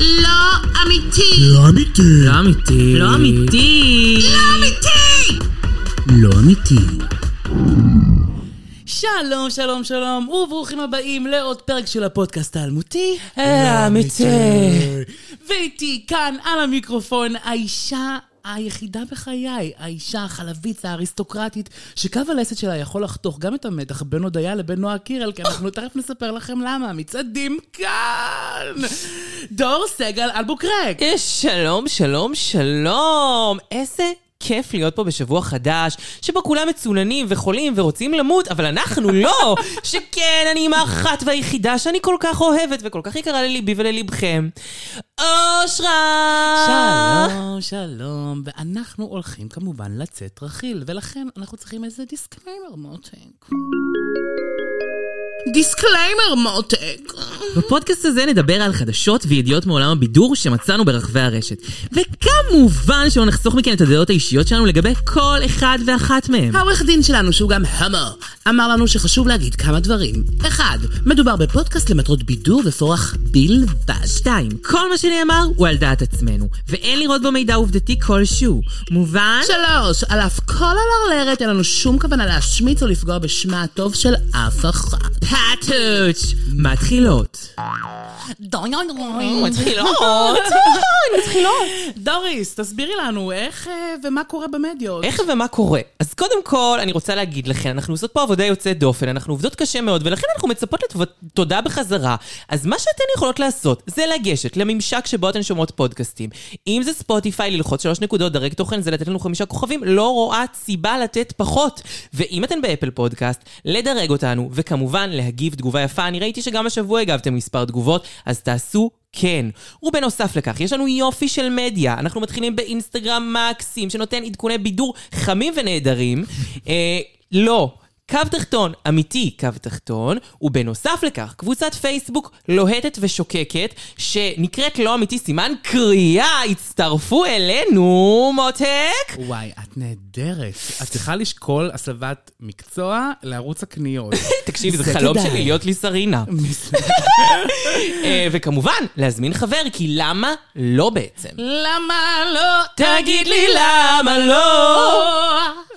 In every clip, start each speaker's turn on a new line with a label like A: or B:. A: לא אמיתי!
B: לא אמיתי.
C: לא אמיתי.
D: לא אמיתי.
A: לא אמיתי!
B: לא אמיתי.
D: שלום, שלום, שלום, וברוכים הבאים לעוד פרק של הפודקאסט האלמותי.
B: לא
D: האמיתי. ואיתי כאן על המיקרופון האישה היחידה בחיי, האישה החלבית האריסטוקרטית, שקו הלסת שלה יכול לחתוך גם את המתח בין הודיה לבין נועה קירל, כי אנחנו תכף נספר לכם למה. מצעדים כאן! דור סגל אלבוקרק.
C: אה, שלום, שלום, שלום. איזה כיף להיות פה בשבוע חדש, שבו כולם מצוננים וחולים ורוצים למות, אבל אנחנו לא. שכן, אני עם האחת והיחידה שאני כל כך אוהבת וכל כך יקרה לליבי ולליבכם. אושרה!
D: שלום, שלום, ואנחנו הולכים כמובן לצאת רכיל, ולכן אנחנו צריכים איזה דיסקליימר מותק.
A: דיסקליימר מותק.
C: בפודקאסט הזה נדבר על חדשות וידיעות מעולם הבידור שמצאנו ברחבי הרשת. וכמובן שלא נחסוך מכן את הדעות האישיות שלנו לגבי כל אחד ואחת מהם.
A: העורך דין שלנו, שהוא גם המר, אמר לנו שחשוב להגיד כמה דברים. אחד, מדובר בפודקאסט למטרות בידור ופורח בלבד.
C: 2. כל מה שנאמר הוא על דעת עצמנו, ואין לראות בו מידע עובדתי כלשהו. מובן?
A: שלוש, על אף כל הלרלרת אין לנו שום כוונה להשמיץ או לפגוע בשמה הטוב של אף אחת.
C: פאטוץ'! מתחילות. מתחילות!
D: דוריס, תסבירי לנו איך אה, ומה קורה במדיות.
C: איך ומה קורה? אז קודם כל, אני רוצה להגיד לכן, אנחנו עושות פה עבודה יוצאת דופן, אנחנו עובדות קשה מאוד, ולכן אנחנו מצפות לתודה בחזרה. אז מה שאתן יכולות לעשות, זה לגשת לממשק שבו אתן שומעות פודקאסטים. אם זה ספוטיפיי, ללחוץ שלוש נקודות, דרג תוכן, זה לתת לנו חמישה כוכבים, לא רואה סיבה לתת פחות. ואם אתן באפל פודקאסט, לדרג אותנו, וכמובן להגיב תגובה יפה. אני ראיתי שגם השבוע הגבתם מספר תגובות, אז תעשו כן. ובנוסף לכך, יש לנו יופי של מדיה. אנחנו מתחילים באינסטגרם מקסים, שנותן עדכוני בידור חמים ונהדרים. אה, לא. קו תחתון, אמיתי קו תחתון, ובנוסף לכך, קבוצת פייסבוק לוהטת ושוקקת, שנקראת לא אמיתי סימן קריאה, הצטרפו אלינו, מותק!
D: וואי, את נהדרת. את צריכה לשקול הסבת מקצוע לערוץ הקניות.
C: תקשיבי,
D: זה
C: זה חלום
D: כדאי.
C: שלי להיות לי סרינה. אה, וכמובן, להזמין חבר, כי למה לא בעצם?
D: למה לא
C: תגיד לי למה לא!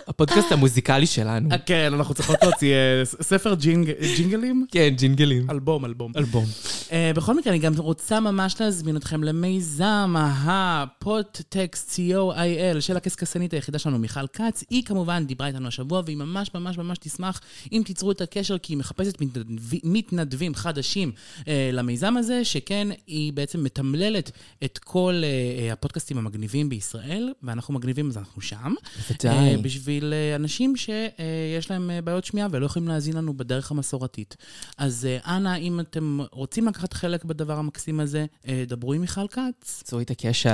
C: הפודקאסט המוזיקלי שלנו.
D: כן, אנחנו צריכות להוציא אה, ס- ספר ג'ינג- ג'ינגלים.
C: כן, ג'ינגלים.
D: אלבום, אלבום.
C: אלבום.
D: אה, בכל מקרה, אני גם רוצה ממש להזמין אתכם למיזם הפודטקסט co.il של הקשקשנית היחידה שלנו, מיכל כץ. היא כמובן דיברה איתנו השבוע, והיא ממש ממש ממש תשמח אם תיצרו את הקשר, כי היא מחפשת מתנדב- מתנדבים חדשים אה, למיזם הזה, שכן היא בעצם מתמללת את כל אה, אה, הפודקאסטים המגניבים בישראל, ואנחנו מגניבים אז אנחנו שם.
C: בוודאי.
D: אה, בשביל אה, אנשים שיש להם אה, בעיות שמיעה ולא יכולים להאזין לנו בדרך המסורתית. אז אה, אנא, אם אתם רוצים לקחת חלק בדבר המקסים הזה, אה, דברו עם מיכל כץ.
C: צאו את הקשר.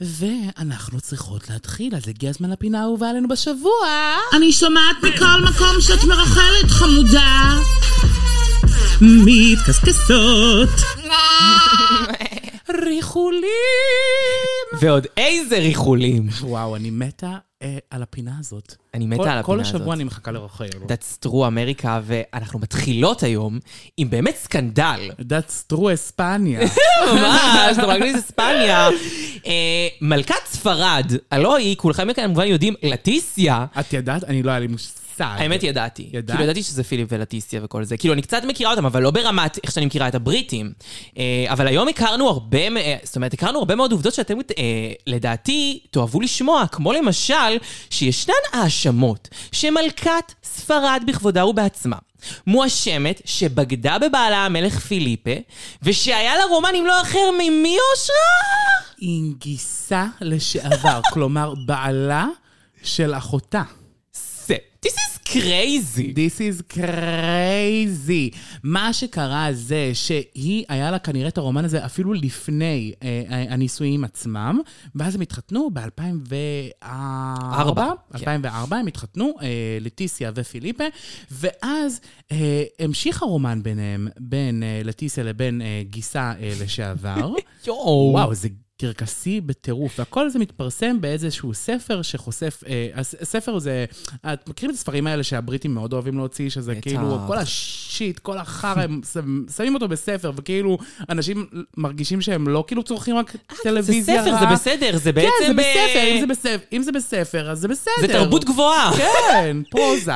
D: ואנחנו צריכות להתחיל, אז הגיע הזמן לפינה האהובה עלינו בשבוע.
A: אני שומעת מכל מקום שאת מרחלת, חמודה. מתקסקסות.
D: ריחולים!
C: ועוד איזה ריחולים.
D: וואו, אני מתה אה, על הפינה הזאת.
C: אני מתה
D: כל-
C: על הפינה
D: כל
C: הזאת.
D: השבוע אני מחכה לרחל.
C: That's true אמריקה, ואנחנו מתחילות היום עם באמת סקנדל.
D: That's true אספניה.
C: ממש, זה מרגיש אספניה. אה, מלכת ספרד, הלא היא, כולכם כמובן יודעים, לטיסיה.
D: את ידעת? אני לא היה לי מושג.
C: האמת ידעתי.
D: ידעת?
C: כאילו ידעתי שזה פיליפ ולטיסיה וכל זה. כאילו אני קצת מכירה אותם, אבל לא ברמת איך שאני מכירה את הבריטים. אה, אבל היום הכרנו הרבה, מ- אה, זאת אומרת, הכרנו הרבה מאוד עובדות שאתם אה, לדעתי תאהבו לשמוע, כמו למשל, שישנן האשמות שמלכת ספרד בכבודה ובעצמה. מואשמת שבגדה בבעלה המלך פיליפה, ושהיה לה רומן עם לא אחר ממי אושרה?
D: עם גיסה לשעבר, כלומר בעלה של אחותה.
C: זה, this is crazy.
D: This is crazy. מה שקרה זה שהיא, היה לה כנראה את הרומן הזה אפילו לפני אה, אה, הנישואים עצמם, ואז הם התחתנו ב-2004.
C: ארבע, כן.
D: 2004 הם התחתנו, אה, לטיסיה ופיליפה, ואז אה, המשיך הרומן ביניהם, בין אה, לטיסיה לבין אה, גיסה אה, לשעבר.
C: יואו.
D: וואו, זה קרקסי בטירוף, והכל זה מתפרסם באיזשהו ספר שחושף, אה, הס- הספר זה, את מכירים את הספרים האלה שהבריטים מאוד אוהבים להוציא, שזה
C: בטח.
D: כאילו, כל השיט, כל החרא, הם שם- שמים אותו בספר, וכאילו, אנשים מרגישים שהם לא כאילו צורכים רק
C: אה, זה
D: טלוויזיה
C: ספר,
D: רעה.
C: זה בסדר, זה בעצם...
D: כן, זה בספר,
C: אה,
D: אם זה בספר, אם זה בספר, אז זה בסדר.
C: זה תרבות גבוהה.
D: כן, פרוזה.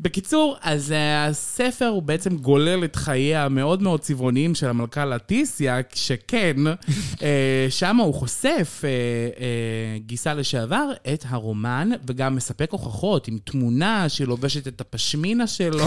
D: בקיצור, אז אה, הספר הוא בעצם גולל את חייה המאוד מאוד צבעוניים של המלכה לטיסיה, שכן, אה, שם הוא חושף אה, אה, גיסה לשעבר את הרומן, וגם מספק הוכחות עם תמונה שלובשת את הפשמינה שלו.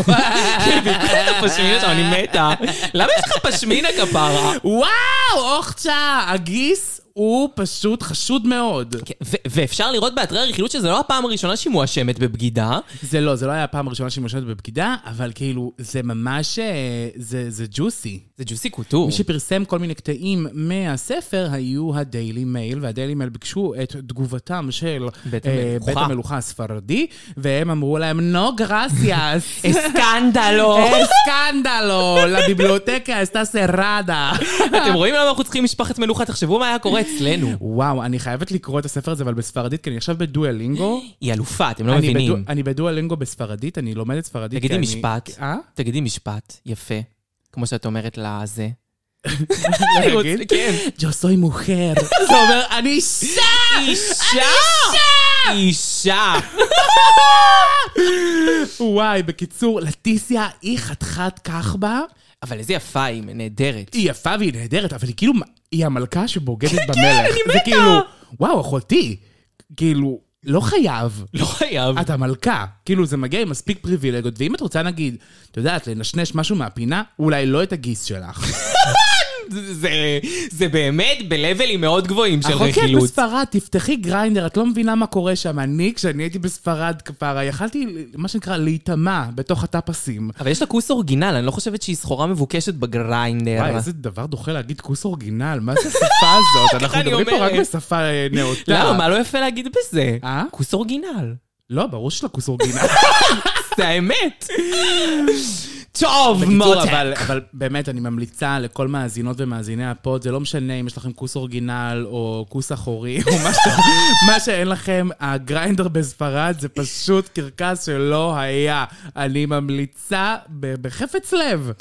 C: פשמינה שם, אני מתה. למה יש לך פשמינה כפרה?
D: וואו, אוכצ'ה, הגיס הוא פשוט חשוד מאוד.
C: כן, ו- ואפשר לראות באתרי הרכילות שזה לא הפעם הראשונה שהיא מואשמת בבגידה.
D: זה לא, זה לא היה הפעם הראשונה שהיא מושבת בבגידה, אבל כאילו, זה ממש, אה, זה זה ג'וסי.
C: זה ג'וסי קוטור.
D: מי שפרסם כל מיני קטעים מהספר היו הדיילי מייל, והדיילי מייל ביקשו את תגובתם של
C: בית
D: אה,
C: המלוכה.
D: בית המלוכה הספרדי, והם אמרו להם, נו גרסיאס,
C: אסקנדלו.
D: אסקנדלו, לביבליוטקה אסתה סרדה.
C: אתם רואים למה אנחנו צריכים משפחת מלוכה? תחשבו מה היה קורה אצלנו.
D: וואו, אני חייבת לקרוא את הספר הזה, אבל בספרדית, כי אני עכשיו בדואלינגו.
C: היא אלופה, אתם לא
D: אני בדו-
C: מבינים.
D: אני בדואלינגו בספרדית, אני לומדת ספרדית.
C: תגידי
D: כי אני-
C: משפט.
D: אה?
C: תגידי משפט יפה, כמו שאת אומרת לזה.
D: אני
C: רוצה-
D: אגיד?
C: כן.
D: Yo soy mujer. זה אומר, אני אישה!
C: אישה! אישה!
D: וואי, בקיצור, לטיסיה היא חתיכת כך בה.
C: אבל איזה יפה היא, נהדרת.
D: היא יפה והיא נהדרת, אבל היא כאילו, היא המלכה שבוגדת במלך. כן, אני מתה. זה כאילו, וואו, אחותי. כאילו, לא חייב.
C: לא חייב.
D: את המלכה. כאילו, זה מגיע עם מספיק פריבילגיות, ואם את רוצה, נגיד, את יודעת, לנשנש משהו מהפינה, אולי לא את הגיס שלך.
C: זה- זה באמת בלבלים מאוד גבוהים של
D: אחות כן
C: רכילות.
D: בספרד, תפתחי גריינדר, את לא מבינה מה קורה שם. אני, כשאני הייתי בספרד כפרה, יכלתי, מה שנקרא, להיטמע בתוך הטפסים.
C: אבל יש לה כוס אורגינל, אני לא חושבת שהיא סחורה מבוקשת בגריינדר.
D: וואי, איזה דבר דוחה להגיד כוס אורגינל, מה זה השפה הזאת? אנחנו
C: אני
D: מדברים פה
C: אומרת.
D: רק בשפה אה, נאותה.
C: למה? מה לא יפה להגיד בזה?
D: אה?
C: כוס אורגינל.
D: לא, ברור שלה כוס אורגינל.
C: זה האמת. טוב,
D: בקיצור,
C: מותק.
D: אבל, אבל באמת, אני ממליצה לכל מאזינות ומאזיני הפוד, זה לא משנה אם יש לכם כוס אורגינל או כוס אחורי או מה, ש... מה שאין לכם, הגריינדר בספרד זה פשוט קרקס שלא היה. אני ממליצה ב- בחפץ לב.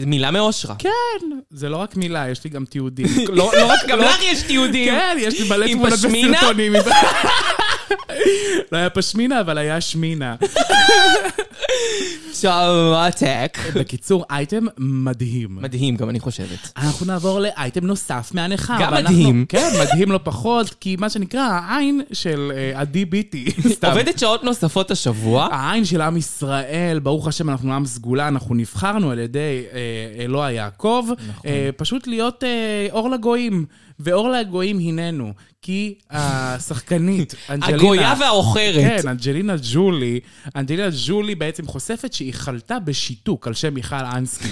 C: מילה מאושרה.
D: כן, זה לא רק מילה, יש לי גם תיעודים. לא, לא רק...
C: גם
D: לא...
C: לך יש תיעודים.
D: כן, יש לי מלא
C: עם
D: תמונות
C: פשמינה?
D: וסרטונים. לא היה פשמינה, אבל היה שמינה.
C: טוב, מותק.
D: בקיצור, אייטם מדהים.
C: מדהים, גם אני חושבת.
D: אנחנו נעבור לאייטם נוסף מהנכר.
C: גם
D: אבל אנחנו-
C: מדהים.
D: כן, מדהים לא פחות, כי מה שנקרא העין של אה, עדי ביטי. סתם.
C: עובדת שעות נוספות השבוע.
D: העין של עם ישראל, ברוך השם, אנחנו עם סגולה, אנחנו נבחרנו על ידי אה, אלוה יעקב,
C: נכון.
D: אה, פשוט להיות אה, אור לגויים, ואור לגויים הננו, כי השחקנית, אנג'לינה...
C: הגויה והעוכרת.
D: כן, אנג'לינה ג'ולי, אנג'לינה ג'ולי בעצם חושפת שהיא חלתה בשיתוק על שם מיכל אנסקי.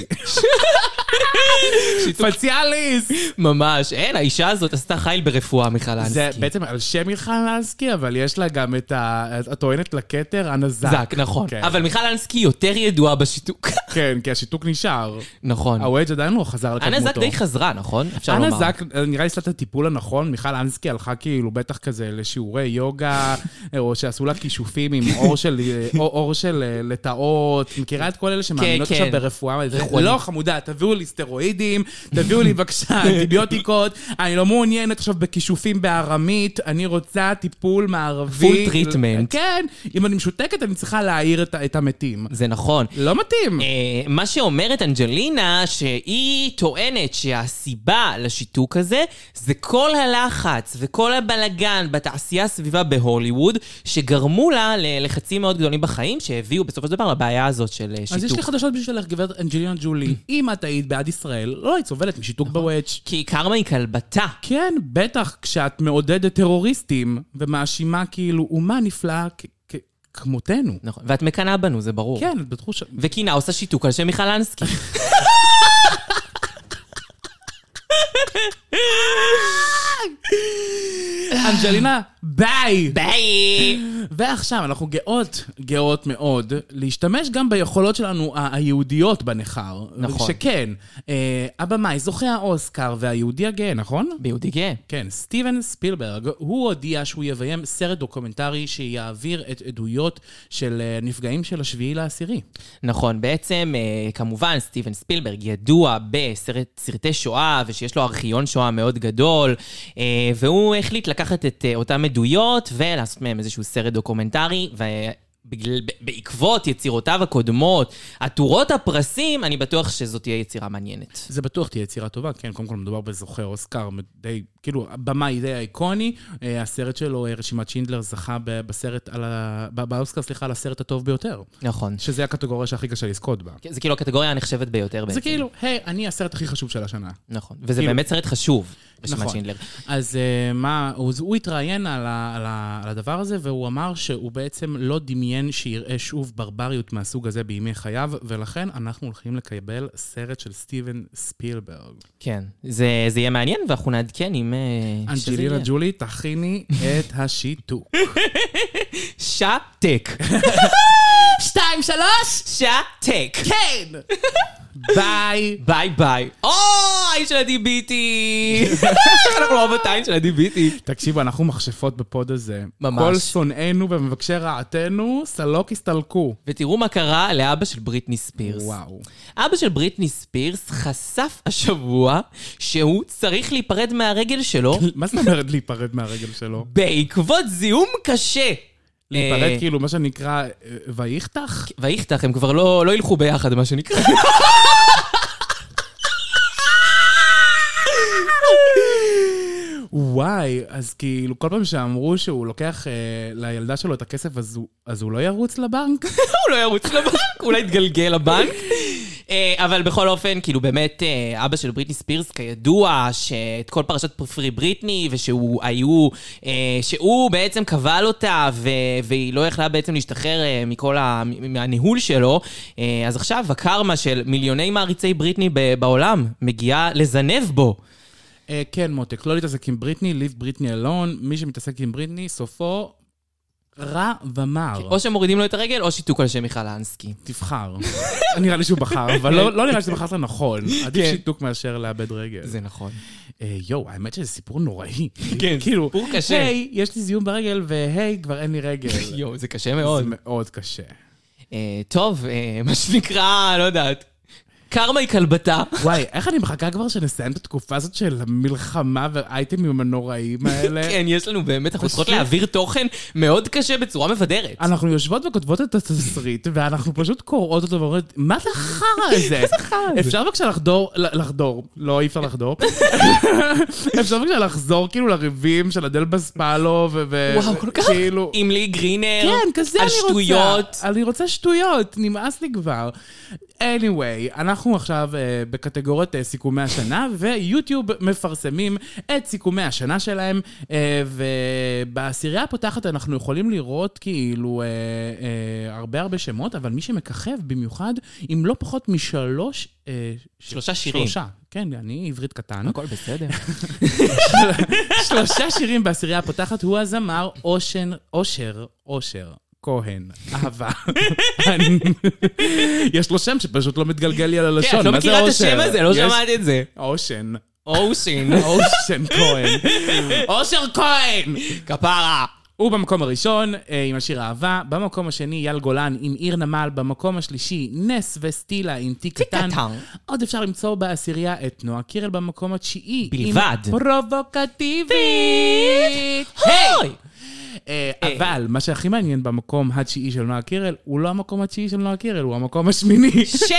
D: פציאליסט!
C: ממש, אין, האישה הזאת עשתה חיל ברפואה, מיכל
D: זה
C: אנסקי.
D: בעצם על שם מיכל אנסקי, אבל יש לה גם את ה... את טוענת לכתר, הנזק.
C: זק, נכון.
D: כן.
C: אבל מיכל אנסקי יותר ידועה בשיתוק.
D: כן, כי השיתוק נשאר.
C: נכון.
D: הוודג' עדיין לא חזר לקדמותו.
C: אנה זק די חזרה, נכון? אפשר
D: אנה
C: לומר.
D: זק, נראה לי עשתה את הטיפול הנכון, מיכל אנסקי הלכה כאילו בטח כזה לשיעורי יוגה, או שעשו לה כישופים עם אור של, או- אור של אה, לטאות, מכירה את כל אלה שמאמינות
C: כן.
D: עכשיו ברפואה? זה-
C: רפואנית.
D: לא, חמודה, תביאו לי סטרואידים, תביאו לי בבקשה אנטיביוטיקות, אני לא מעוניינת עכשיו בכישופים בארמית, אני רוצה טיפול מערבי.
C: Full treatment.
D: כן, אם אני משותקת אני צריכה להעיר את ה- את המתים.
C: זה נכון.
D: לא מתאים.
C: אה, מה שאומרת אנג'לינה, שהיא טוענת שהסיבה לשיתוק הזה זה כל הלחץ וכל הבלגן בתעשייה הסביבה בהוליווד, שגרמו לה ללחצים מאוד גדולים בחיים, שהביאו בסופו של דבר לבעיה הזאת של אה, שיתוק.
D: אז יש לי חדשות בשבילך, גברת אנג'לינה ג'ולי. אם את היית בעד ישראל, לא היית סובלת משיתוק
C: נכון.
D: בוואץ'.
C: כי קרמה היא כלבתה.
D: כן, בטח כשאת מעודדת טרוריסטים ומאשימה כאילו אומה נפלאה כ- כ- כמותנו.
C: נכון. ואת מקנאה בנו, זה ברור.
D: כן, את בתחושה...
C: וקינה עושה שיתוק על שם מיכל אנסקי.
D: אנג'לינה, ביי!
C: ביי!
D: ועכשיו, אנחנו גאות, גאות מאוד, להשתמש גם ביכולות שלנו ה- היהודיות בניכר.
C: נכון.
D: שכן, אה, הבמאי זוכה האוסקר והיהודי הגאה, נכון?
C: ביהודי גאה.
D: כן, סטיבן ספילברג, הוא הודיע שהוא יביים סרט דוקומנטרי שיעביר את עדויות של אה, נפגעים של השביעי לעשירי.
C: נכון, בעצם, אה, כמובן, סטיבן ספילברג ידוע בסרטי שואה, ושיש לו ארכיון שואה מאוד גדול, אה, והוא החליט לקחת את אה, אותן עדויות ולעשות מהם איזשהו סרט דוקומנטרי, ו... בגלל, ב- בעקבות יצירותיו הקודמות, עטורות הפרסים, אני בטוח שזאת תהיה יצירה מעניינת.
D: זה בטוח תהיה יצירה טובה, כן, קודם כל מדובר בזוכה אוסקר, די, כאילו, במאי די איקוני. אה, הסרט שלו, אה, רשימת שינדלר, זכה ב- בסרט על ה... ב- באוסקר, סליחה, על הסרט הטוב ביותר.
C: נכון.
D: שזה הקטגוריה שהכי קשה לזכות בה.
C: זה כאילו הקטגוריה הנחשבת ביותר בעצם.
D: זה כאילו, היי, אני הסרט הכי חשוב של השנה.
C: נכון. וזה
D: כאילו-
C: באמת סרט חשוב, רשימת
D: נכון.
C: שינדלר.
D: אז אה, מה, הוא הוא התראיין על ה- על ה- על הדבר הזה, והוא אמר שהוא בעצם לא דמיין שיראה שוב ברבריות מהסוג הזה בימי חייו, ולכן אנחנו הולכים לקבל סרט של סטיבן ספילברג.
C: כן. זה, זה יהיה מעניין, ואנחנו נעדכן אם... אה, שזה
D: אנג'לינה
C: יהיה.
D: ג'ולי, תכיני את השיתוק.
C: שתק.
D: שתיים, שלוש,
C: שתק.
D: כן! ביי!
C: ביי ביי. או, האיש של ה-DBT. אנחנו רובוטיים של ה-DBT.
D: תקשיבו, אנחנו מכשפות בפוד הזה.
C: ממש.
D: כל שונאינו ומבקשי רעתנו, סלוק הסתלקו.
C: ותראו מה קרה לאבא של בריטני ספירס.
D: וואו.
C: אבא של בריטני ספירס חשף השבוע שהוא צריך להיפרד מהרגל שלו
D: מה זאת אומרת להיפרד מהרגל שלו?
C: בעקבות זיהום קשה.
D: להיפרד
C: אה,
D: כאילו, מה שנקרא, אה, ויכתך?
C: ויכתך, הם כבר לא, לא ילכו ביחד, מה שנקרא.
D: וואי, אז כאילו, כל פעם שאמרו שהוא לוקח אה, לילדה שלו את הכסף, אז הוא- אז הוא לא ירוץ לבנק?
C: הוא לא ירוץ לבנק, אולי יתגלגל לבנק. אה, אבל בכל אופן, כאילו באמת, אה, אבא של בריטני ספירס, כידוע, שאת כל פרשת פרי בריטני, ושהוא היו, אה, שהוא בעצם כבל אותה, ו- והיא לא יכלה בעצם להשתחרר אה, מכל ה... מ- מהניהול שלו, אה, אז עכשיו הקרמה של מיליוני מעריצי בריטני ב- בעולם מגיעה לזנב בו.
D: אה, כן, מותק, לא להתעסק עם בריטני, leave בריטני alone, מי שמתעסק עם בריטני, סופו רע ומר.
C: או שמורידים לו את הרגל, או שיתוק על שם מיכל אנסקי.
D: תבחר. נראה לי שהוא בחר, אבל לא- לא נראה שזה בחרת נכון. עדיף
C: כן.
D: שיתוק מאשר לאבד רגל.
C: זה נכון.
D: אה, יואו, האמת שזה סיפור נוראי.
C: כן,
D: כאילו,
C: סיפור קשה.
D: היי, יש לי זיהום ברגל, והי, כבר אין לי רגל.
C: יואו, זה קשה
D: זה
C: מאוד.
D: מאוד קשה.
C: אה, טוב, אה, מה שנקרא, לא יודעת. קרמה היא כלבתה.
D: וואי, איך אני מחכה כבר שנסיים את התקופה הזאת של המלחמה והאייטמים הנוראים האלה?
C: כן, יש לנו באמת, אנחנו צריכות
D: פשוט-
C: להעביר תוכן מאוד קשה בצורה מבדרת.
D: אנחנו יושבות וכותבות את התסריט, ואנחנו פשוט קוראות אותו ואומרות, מה זה החרא הזה? מה זה החרא הזה? אפשר בבקשה לחדור, ל- לחדור, לא, אי אפשר לחדור. אפשר בבקשה לחזור כאילו לריבים של אדל בספלו, ו... ו-
C: וואו, כל כך.
D: כאילו...
C: עם לי גרינר.
D: כן, כזה אני רוצה.
C: על שטויות.
D: אני רוצה שטויות, נמאס לי כבר. anyway, אנחנו עכשיו אה, בקטגוריית אה, סיכומי השנה, ויוטיוב מפרסמים את סיכומי השנה שלהם, אה, ובעשירייה הפותחת אנחנו יכולים לראות כאילו אה, אה, הרבה הרבה שמות, אבל מי שמככב במיוחד, אם לא פחות משלוש... אה, ש-
C: שלושה שירים. אוקיי.
D: שלושה, כן, אני עברית קטן.
C: הכל בסדר.
D: שלושה שירים בעשירייה הפותחת הוא הזמר אושן, אושר, אושר. כהן, אהבה. אני- יש לו שם שפשוט לא מתגלגל לי על הלשון,
C: כן,
D: מה
C: את
D: זה
C: לא
D: אושר?
C: מכירה את השם הזה, לא
D: יש-
C: שמעת את זה.
D: אושן,
C: אושין.
D: אושן כהן. אושר כהן!
C: כפרה.
D: הוא במקום הראשון אה, עם השיר אהבה, במקום השני אייל גולן עם עיר נמל, במקום השלישי נס וסטילה עם תיק קטן.
C: קטן.
D: עוד אפשר למצוא בעשירייה את נועה קירל במקום התשיעי. עם
C: בלבד.
D: פרובוקטיבית.
C: היי!
D: אה, אבל מה שהכי מעניין במקום התשיעי של נועה קירל, הוא לא המקום התשיעי של נועה קירל, הוא המקום השמיני.
C: של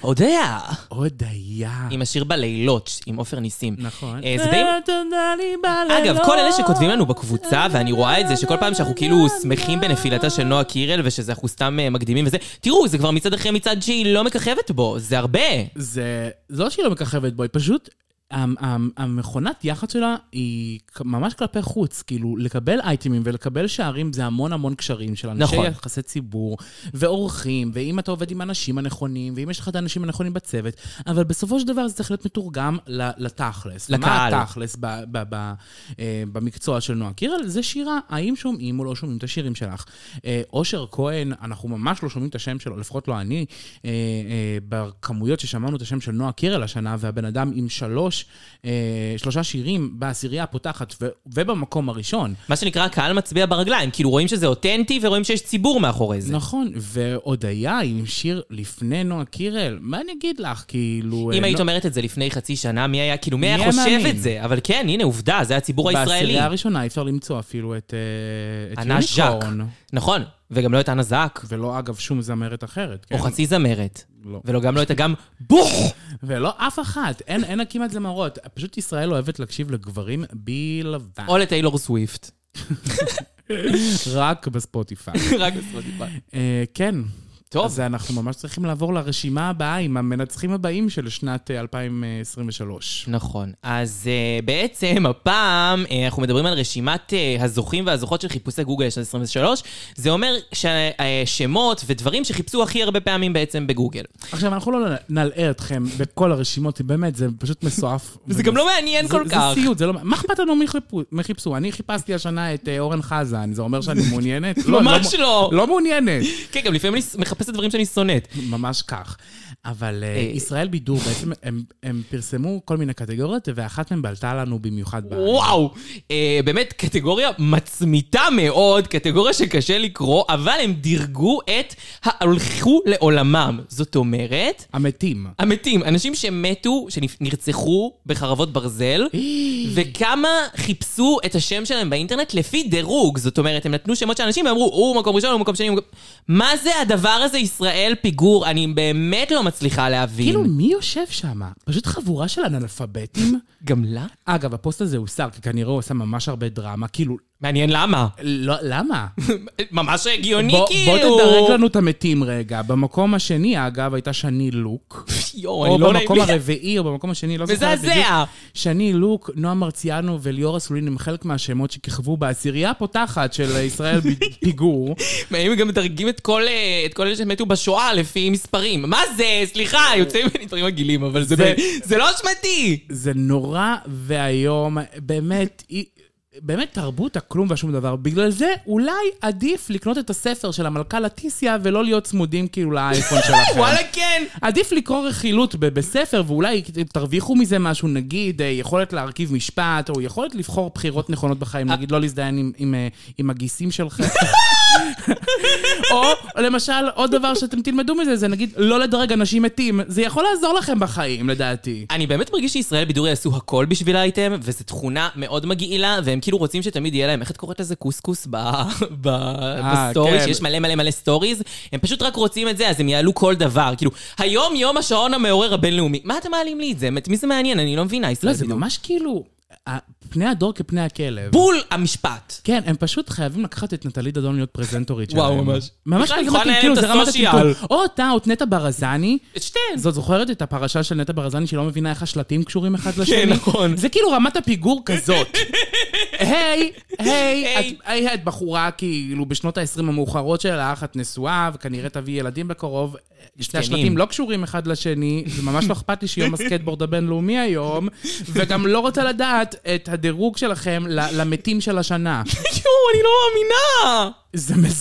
C: הודיה.
D: הודיה.
C: עם השיר בלילות, עם עופר ניסים.
D: נכון.
C: אה, זה די...
D: תודה לי בלילות.
C: אגב, כל אלה שכותבים לנו בקבוצה, ואני רואה את
D: לא-
C: זה, שכל פעם שאנחנו כאילו שמחים בנפילתה של נועה קירל, ושזה אנחנו סתם אה, מקדימים וזה, תראו, זה כבר מצד אחרי מצד שהיא לא מככבת בו, זה הרבה.
D: זה זה לא שהיא לא מככבת בו, היא פשוט המ- המ- המכונת יח"צ שלה היא כ- ממש כלפי חוץ, כאילו, לקבל אייטמים ולקבל שערים זה המון המון קשרים של אנשי
C: נכון.
D: יחסי ציבור, ואורחים, ואם אתה עובד עם האנשים הנכונים, ואם יש לך את האנשים הנכונים בצוות, אבל בסופו של דבר זה צריך להיות מתורגם ל- לתכלס.
C: לקהל.
D: מה התכלס ב- ב- ב- אה, במקצוע של נועה קירל? זה שירה, האם שומעים או לא שומעים את השירים שלך. אה, אושר כהן, אנחנו ממש לא שומעים את השם שלו, לפחות לא אני, אה, אה, בכמויות ששמענו את השם של נועה קירל השנה, והבן אדם עם שלוש, אה, שלושה שירים בעשירייה הפותחת ו- ובמקום הראשון.
C: מה שנקרא, הקהל מצביע ברגליים. כאילו, רואים שזה אותנטי ורואים שיש ציבור מאחורי זה.
D: נכון, והודיה עם שיר לפני נועה קירל, מה אני אגיד לך, כאילו...
C: אם
D: אה,
C: היית
D: נו-
C: אומרת את זה לפני חצי שנה, מי היה, כאילו, מי היה
D: מי
C: חושב
D: מאמין?
C: את זה? אבל כן, הנה, עובדה, זה הציבור הישראלי.
D: בעשירייה הראשונה אי אפשר למצוא אפילו את אה, את
C: ענה ז'אק.
D: יוניקורן.
C: נכון, וגם לא את אנה זאק,
D: ולא, אגב, שום זמרת אחרת. כן?
C: או חצי זמרת.
D: לא.
C: ולא גם לא את הגם בוך!
D: ולא אף אחת, אין, אין לה כמעט זמרות. פשוט ישראל אוהבת להקשיב לגברים בלבד.
C: או לטיילור סוויפט.
D: רק בספוטיפיי.
C: רק בספוטיפיי.
D: אה, כן.
C: טוב.
D: אז אנחנו ממש צריכים לעבור לרשימה הבאה עם המנצחים הבאים של שנת אה, 2023.
C: נכון. אז uh, בעצם הפעם uh, אנחנו מדברים על רשימת uh, הזוכים והזוכות של חיפושי גוגל של 23. זה אומר ששמות ודברים שחיפשו הכי הרבה פעמים בעצם בגוגל.
D: עכשיו, אנחנו לא נלאה אתכם בכל הרשימות, באמת, זה פשוט מסועף.
C: זה גם לא מעניין
D: זה-
C: כל כך.
D: זה סיוט, זה לא... מה אכפת לנו מי חיפו- מי חיפשו? אני חיפשתי השנה את אה, אורן חזן, זה אומר שאני מעוניינת? לא,
C: ממש לא.
D: לא מעוניינת.
C: כן, גם לפעמים אני מחפשת דברים שאני שונאת.
D: ממש כך. אבל אה,
C: אה.
D: ישראל בידור, בעצם הם- הם פרסמו כל מיני קטגוריות, ואחת מהן בלטה לנו במיוחד בעין.
C: וואו, אה, באמת קטגוריה מצמיתה מאוד, קטגוריה שקשה לקרוא, אבל הם דירגו את ההלכו לעולמם. זאת אומרת,
D: המתים.
C: המתים, אנשים שמתו, שנרצחו בחרבות ברזל, וכמה חיפשו את השם שלהם באינטרנט לפי דירוג. זאת אומרת, הם נתנו שמות של אנשים ואמרו, הוא מקום ראשון, הוא מקום שני. הוא מקום-" מה זה הדבר הזה, ישראל פיגור? אני באמת לא מצליחה להבין.
D: כאילו, מי יושב שם? פשוט חבורה של אנאלפביתים?
C: גם לה?
D: אגב, הפוסט הזה הוסר, כי כנראה הוא עשה ממש הרבה דרמה. כאילו,
C: מעניין למה.
D: לא, למה?
C: ממש הגיוני,
D: בוא
C: כאילו.
D: בוא תדרג לנו את המתים רגע. במקום השני, אגב, הייתה שני לוק.
C: יואו,
D: או
C: אני לא נעים
D: במקום
C: לי.
D: הרביעי, או במקום השני, לא זוכרת בדיוק.
C: מזעזע.
D: שני לוק, נועה מרציאנו וליאורה סולין הם חלק מהשמות שכיכבו בעשירייה הפותחת של ישראל ב- פיגור.
C: הם גם מדרגים את כל אה, את כל אלה שמתו בשואה לפי מספרים. מה זה? סליחה, יוצאים ממני דברים מגעילים, אבל זה
D: אה. זה- אה.
C: ב- זה לא אשמתי.
D: זה נורא ואיום, באמת, אי- באמת תרבות הכלום והשום דבר. בגלל זה אולי עדיף לקנות את הספר של המלכה לטיסיה ולא להיות צמודים כאילו לאייפון שלכם.
C: וואלה, כן.
D: עדיף לקרוא רכילות ב- בספר, ואולי תרוויחו מזה משהו, נגיד, אה, יכולת להרכיב משפט, או יכולת לבחור בחירות נכונות בחיים, נגיד לא להזדיין עם, עם, אה, עם הגיסים שלכם. או למשל, עוד דבר שאתם תלמדו מזה, זה נגיד לא לדרג אנשים מתים. זה יכול לעזור לכם בחיים, לדעתי.
C: אני באמת מרגיש שישראל בידור יעשו הכל בשביל האייטם, וזו תכונה מאוד מגעילה, והם כאילו רוצים שתמיד יהיה להם, איך את קוראת לזה קוסקוס ב... ב... בסטוריז,
D: כן.
C: שיש מלא מלא מלא סטוריז, הם פשוט רק רוצים את זה, אז הם יעלו כל דבר. כאילו, היום יום השעון המעורר הבינלאומי. מה אתם מעלים לי את זה? את מי זה מעניין? אני לא מבינה, ישראל
D: לא, זה
C: בידור.
D: ממש כאילו, ה- פני הדור כפני הכלב.
C: בול המשפט.
D: כן, הם פשוט חייבים לקחת את נטלי דדון להיות פרזנטורית שלהם.
C: וואו, ממש.
D: ממש
C: בכלל,
D: כזה
C: יכולה
D: מתאים,
C: לנהל
D: כאילו,
C: את
D: זה רמת
C: הסושיאל.
D: הטלטול. או אותה, או את נטע ברזני.
C: את שתיהן.
D: זאת זוכרת את הפרשה של נטע ברזני, שלא מבינה איך השלטים קשורים אחד לשני?
C: נכון.
D: זה כאילו רמת הפיגור כזאת. היי, היי,
C: היי.
D: את- היי, את בחורה כאילו בשנות ה-20 המאוחרות שלך, את נשואה, וכנראה תביא ילדים בקרוב. שני השלטים לא קשורים אחד לשני, זה ממש לא אכפת לי שיום הסקטבורד הבינלאומי היום, וגם לא רוצה לדעת את הדירוג שלכם ל- למתים של השנה.
C: יואו, אני לא מאמינה!
D: זה מז...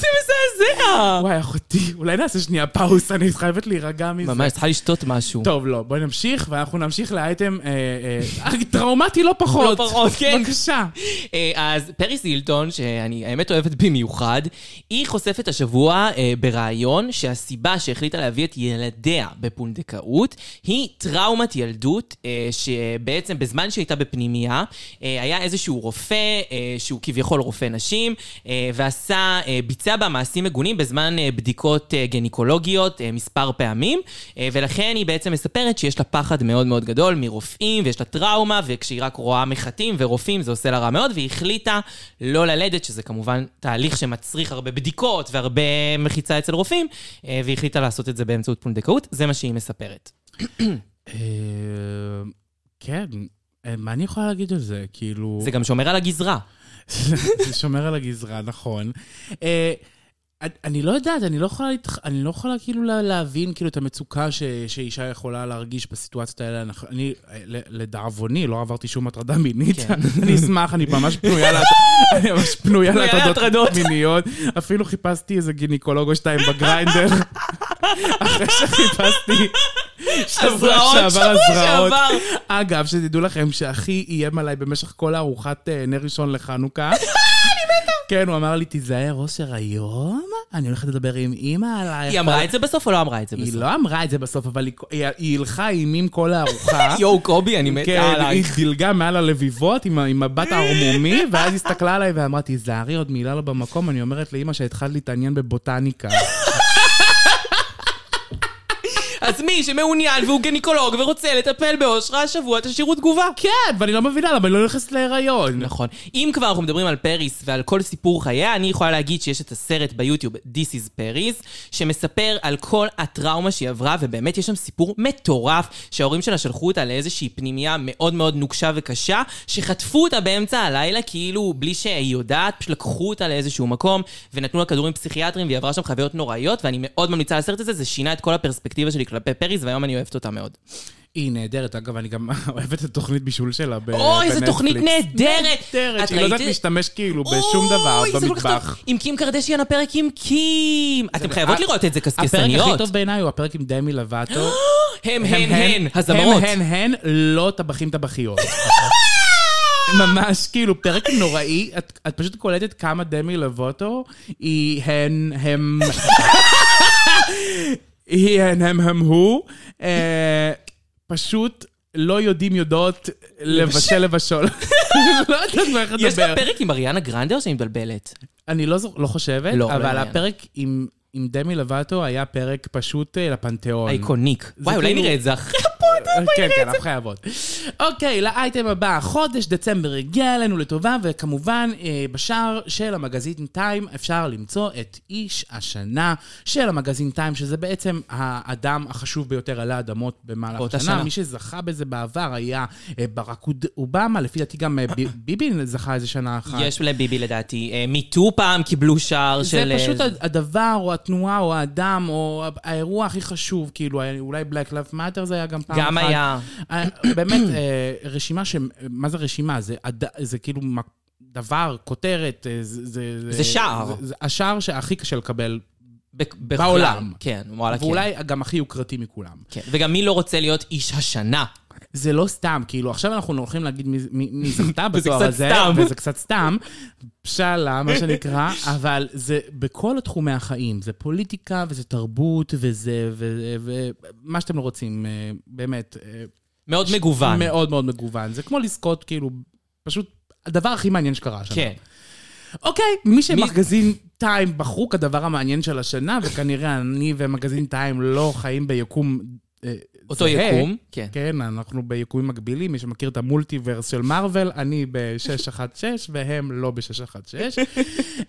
C: זה מזעזע!
D: וואי, אחותי, אולי נעשה שנייה פאוס, אני חייבת להירגע מזה.
C: ממש, צריכה לשתות משהו.
D: טוב, לא, בואי נמשיך, ואנחנו נמשיך לאייטם אה, אה, טראומטי לא פחות.
C: לא פחות, כן.
D: בבקשה.
C: אה, אז פריס הילטון, שאני האמת אוהבת במיוחד, היא חושפת השבוע אה, בריאיון שהסיבה שהחליטה להביא את ילדיה בפונדקאות היא טראומת ילדות, אה, שבעצם בזמן שהייתה בפנימייה, אה, היה איזשהו רופא, אה, שהוא כביכול רופא נשים, אה, ועשה, אה, ביצע בה מעשים מגונים בזמן אה, בדיקות אה, גניקולוגיות אה, מספר פעמים, אה, ולכן היא בעצם מספרת שיש לה פחד מאוד מאוד גדול מרופאים, ויש לה טראומה, וכשהיא רק רואה מחטים ורופאים זה עושה לה רע מאוד, והיא החליטה לא ללדת, שזה כמובן תהליך שמצריך הרבה בדיקות והרבה מחיצה אצל רופאים, אה, והיא החליטה לעשות את זה באמצעות פונדקאות, זה מה שהיא מספרת.
D: אה, כן, כן, אה, מה אני יכולה להגיד על זה? כאילו...
C: זה גם שומר על הגזרה.
D: זה שומר על הגזרה, נכון. אה, אני- אני לא יודעת, אני לא יכולה, להתח... אני לא יכולה כאילו לה- להבין כאילו את המצוקה ש... שאישה יכולה להרגיש בסיטואציות האלה. אנחנו- אני, אה, ל- לדאבוני, לא עברתי שום הטרדה מינית.
C: כן.
D: אני אשמח, אני ממש פנויה לה- אני ממש פנויה
C: פנויה
D: להטרדות
C: להטרדות.
D: מיניות. אפילו חיפשתי איזה גינקולוג או שתיים בגריינדר. אחרי שחיפשתי שבוע
C: הזרעות,
D: שעבר
C: שבוע
D: הזרעות.
C: שעבר.
D: אגב, שתדעו לכם שאחי איים עליי במשך כל הארוחת אה, נר ראשון לחנוכה. כן, הוא אמר לי, תיזהר, אושר, היום אני הולכת לדבר עם אימא עלייך.
C: היא אמרה את זה בסוף או לא אמרה את זה
D: היא
C: בסוף?
D: לא אמרה את זה בסוף, אבל היא- היא- היא הלכה אימים כל הארוחה.
C: יואו, קובי, אני מתה
D: כן, היא
C: עלייך.
D: דילגה מעל הלביבות עם ה- עם מבט הערמומי, ואז הסתכלה עליי ואמרה, תיזהרי, עוד מילה לא במקום, אני אומרת לאימא שהתחלת להתעניין בבוטניקה.
C: אז מי שמעוניין והוא גניקולוג ורוצה לטפל באושרה השבוע, תשאירו תגובה.
D: כן, ואני לא מבינה למה אני לא נכנסת להיריון.
C: נכון. אם כבר אנחנו מדברים על פריס ועל כל סיפור חייה, אני יכולה להגיד שיש את הסרט ביוטיוב This is Paris, שמספר על כל הטראומה שהיא עברה, ובאמת יש שם סיפור מטורף, שההורים שלה שלחו אותה לאיזושהי פנימייה מאוד מאוד נוקשה וקשה, שחטפו אותה באמצע הלילה, כאילו בלי שהיא יודעת, פשוט לקחו אותה לאיזשהו מקום, ונתנו לה כדורים פסיכיאטריים, והיא עברה שם חוויות נוראיות, ואני מאוד ממליצה על הסרט הזה, זה שינה את כל הפרספקטיבה שלי כלפי פריס, והיום אני אוהבת אותה מאוד.
D: היא נהדרת, אגב, אני גם אוהב את התוכנית בישול שלה ב-
C: אוי, איזה תוכנית
D: בנטפליקס.
C: נהדרת!
D: נהדרת,
C: את
D: שהיא לא יודעת
C: ראית-
D: להשתמש כאילו בשום דבר
C: אוי, זה כל כך
D: במטבח.
C: טוב. עם קים קרדשיאן הפרק עם קים. אתם חייבות לראות את זה,
D: אה, הפרק הכי
C: קסקסניות.
D: טוב בעיניי הוא הפרק עם דמי לבטו.
C: הם, הן, הן, הזמרות.
D: הם, הן, הן, לא טבחים טבחיות. ממש, כאילו, פרק נוראי, את, את פשוט קולטת כמה דמי לבוטו היא הן, הם... היא הן, הם, הם, הוא. אה, פשוט לא יודעים, יודעות לבשל לבשול. לא יודעת מה איך לדבר.
C: יש לה פרק עם אריאנה גרנדה או שאני מתבלבלת?
D: אני לא, זוכ... לא חושבת,
C: לא,
D: אבל
C: מעניין.
D: הפרק עם, עם דמי לבטו היה פרק פשוט אה, לפנתיאון.
C: אייקוניק. וואי, אולי
D: כאילו-
C: נראה את זה אחרי.
D: כן, כן, אנחנו חייבות. אוקיי, לאייטם הבא. חודש דצמבר הגיע אלינו לטובה, וכמובן, אה, בשער של המגזין טיים אפשר למצוא את איש השנה של המגזין טיים, שזה בעצם האדם החשוב ביותר על האדמות במהלך
C: באותה
D: השנה.
C: שנה.
D: מי שזכה בזה בעבר היה אה, ברק אובמה, לפי דעתי גם אה, ב- ביבי זכה איזה שנה אחת.
C: יש לביבי לדעתי. אה, מיטו פעם קיבלו שער של...
D: זה
C: אה,
D: פשוט הדבר, או התנועה, או האדם, או האירוע הכי חשוב, כאילו, אולי Black Lives Matter זה היה גם פעם
C: גם
D: אחת.
C: היה.
D: אה, באמת, אה, רשימה ש... מה זה רשימה? זה, הד- זה כאילו מק- דבר, כותרת, אה, זה... זה,
C: זה שער.
D: זה- זה השער שהכי קשה לקבל,
C: ב- בכלל.
D: בעולם.
C: כן, וואלה, כן.
D: ואולי גם הכי יוקרתי מכולם.
C: כן. וגם מי לא רוצה להיות איש השנה?
D: זה לא סתם, כאילו, עכשיו אנחנו הולכים להגיד מי, מי, מי זכתה
C: וזה
D: בתואר
C: קצת
D: הזה,
C: סתם.
D: וזה קצת סתם, פשלה, מה שנקרא, אבל זה בכל תחומי החיים, זה פוליטיקה, וזה תרבות, וזה, ו- ו- מה שאתם לא רוצים, אה, באמת, אה,
C: מאוד מגוון.
D: מאוד מאוד מגוון. זה כמו לזכות, כאילו, פשוט הדבר הכי מעניין שקרה שם.
C: כן.
D: אוקיי, מי שמגזין טיים בחרו כדבר המעניין של השנה, וכנראה אני ומגזין טיים לא חיים ביקום... אה,
C: אותו
D: זהה.
C: יקום. כן.
D: כן, אנחנו ביקומים מקבילים, מי שמכיר את המולטיברס של מארוול, אני ב-616 והם לא ב-616.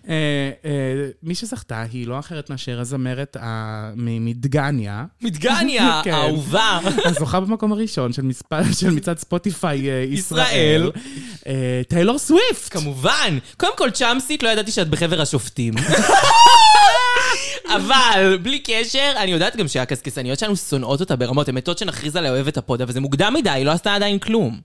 D: אה, מי שזכתה היא לא אחרת מאשר הזמרת ה- מ- מדגניה,
C: מדגניה,
D: כן.
C: אהובה.
D: הזוכה במקום הראשון של מספר- של מצעד ספוטיפיי אה, ישראל,
C: ישראל.
D: אה, טיילור סוויפט.
C: כמובן. קודם כל, צ'אמסית, לא ידעתי שאת בחבר השופטים. אבל, בלי קשר, אני יודעת גם שהקסקסניות שלנו שונאות אותה ברמות, הן מתות שנכריז עליה אוהבת הפוד, אבל זה מוקדם מדי, היא לא עשתה עדיין כלום.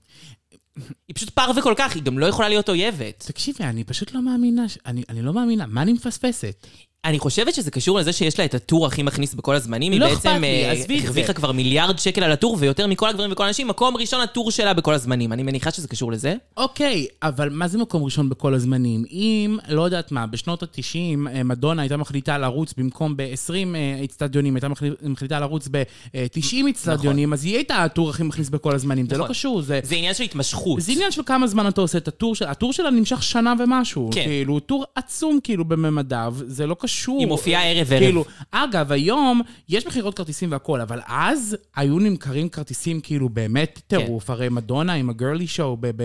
C: היא פשוט פר וכל כך, היא גם לא יכולה להיות אויבת.
D: תקשיבי, אני פשוט לא מאמינה, ש- אני אני לא מאמינה, מה אני מפספסת?
C: אני חושבת שזה קשור לזה שיש לה את הטור הכי מכניס בכל הזמנים, היא
D: לא אכפת
C: בעצם
D: לי,
C: אה,
D: עזבי את זה.
C: הרוויחה כבר מיליארד שקל על הטור, ויותר מכל הגברים וכל הנשים, מקום ראשון הטור שלה בכל הזמנים. אני מניחה שזה קשור לזה.
D: אוקיי, אבל מה זה מקום ראשון בכל הזמנים? אם, לא יודעת מה, בשנות ה-90 מדונה הייתה מחליטה לרוץ במקום ב-20 אצטדיונים, הייתה מחליט- מחליטה לרוץ ב-90 אצטדיונים, אז היא הייתה הטור הכי מכניס בכל הזמנים, זה לא
C: נכון.
D: קשור, זה...
C: זה עניין של התמשכות.
D: זה עניין של כמה זמן אתה עושה את הטור שלה, הטור שלה נמשך שנה ומשהו.
C: כן.
D: כאילו, הוא טור עצום כאילו בממדיו, זה לא קשור.
C: היא מופיעה ערב ערב.
D: כאילו, אגב, היום יש מכירות כרטיסים והכול, אבל
C: כן.
D: אז היו נמכרים כרטיסים כאילו באמת טירוף. הרי מדונה עם הגרלי שואו ב... ב-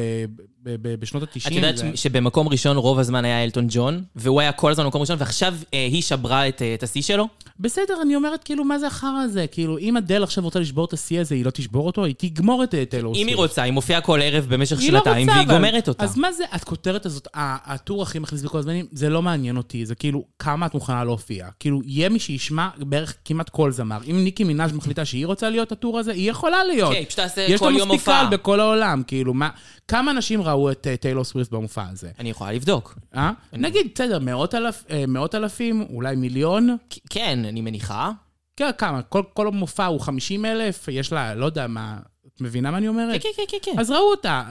D: ב- ב- בשנות ה-90.
C: את יודעת ש- שבמקום ראשון רוב הזמן היה אלטון ג'ון, והוא היה כל הזמן במקום ראשון, ועכשיו אה, היא שברה את אה, את השיא שלו?
D: בסדר, אני אומרת, כאילו, מה זה החרא הזה? כאילו, אם אדל עכשיו רוצה לשבור את השיא הזה, היא לא תשבור אותו? היא תגמור את אה, טיילור
C: אם היא
D: סוויפט.
C: רוצה, היא מופיעה כל ערב במשך
D: היא לא
C: שנתיים,
D: רוצה,
C: והיא
D: אבל-
C: גומרת אותה.
D: אז מה זה, הכותרת הזאת, ה- הטור הכי מכניס בכל הזמנים, זה לא מעניין אותי, זה כאילו, כמה את מוכנה להופיע. כאילו, יהיה מי שישמע בערך כמעט כל זמר. אם ניקי מנאז' מחליטה שהיא רוצה להיות הטור הזה, היא יכולה להיות.
C: כן, היא פשוט תעשה
D: יש
C: כל
D: לה
C: יום
D: מספיק
C: הופעה.
D: קהל בכל העולם, כאילו, מה... כמה אנשים ראו את אה, טיילור סוויפט במופע הזה?
C: אני יכולה לבדוק.
D: אה? נגיד, בסדר, מאות אלף- אה, מאות אלפים, אולי מיליון,
C: כ- כן, אני מניחה.
D: כן, כמה? כל, כל מופע הוא 50 אלף, יש לה, לא יודע מה, את מבינה מה אני
C: כן,
D: אומרת?
C: כן, כן, כן, כן.
D: אה. אז ראו אותה.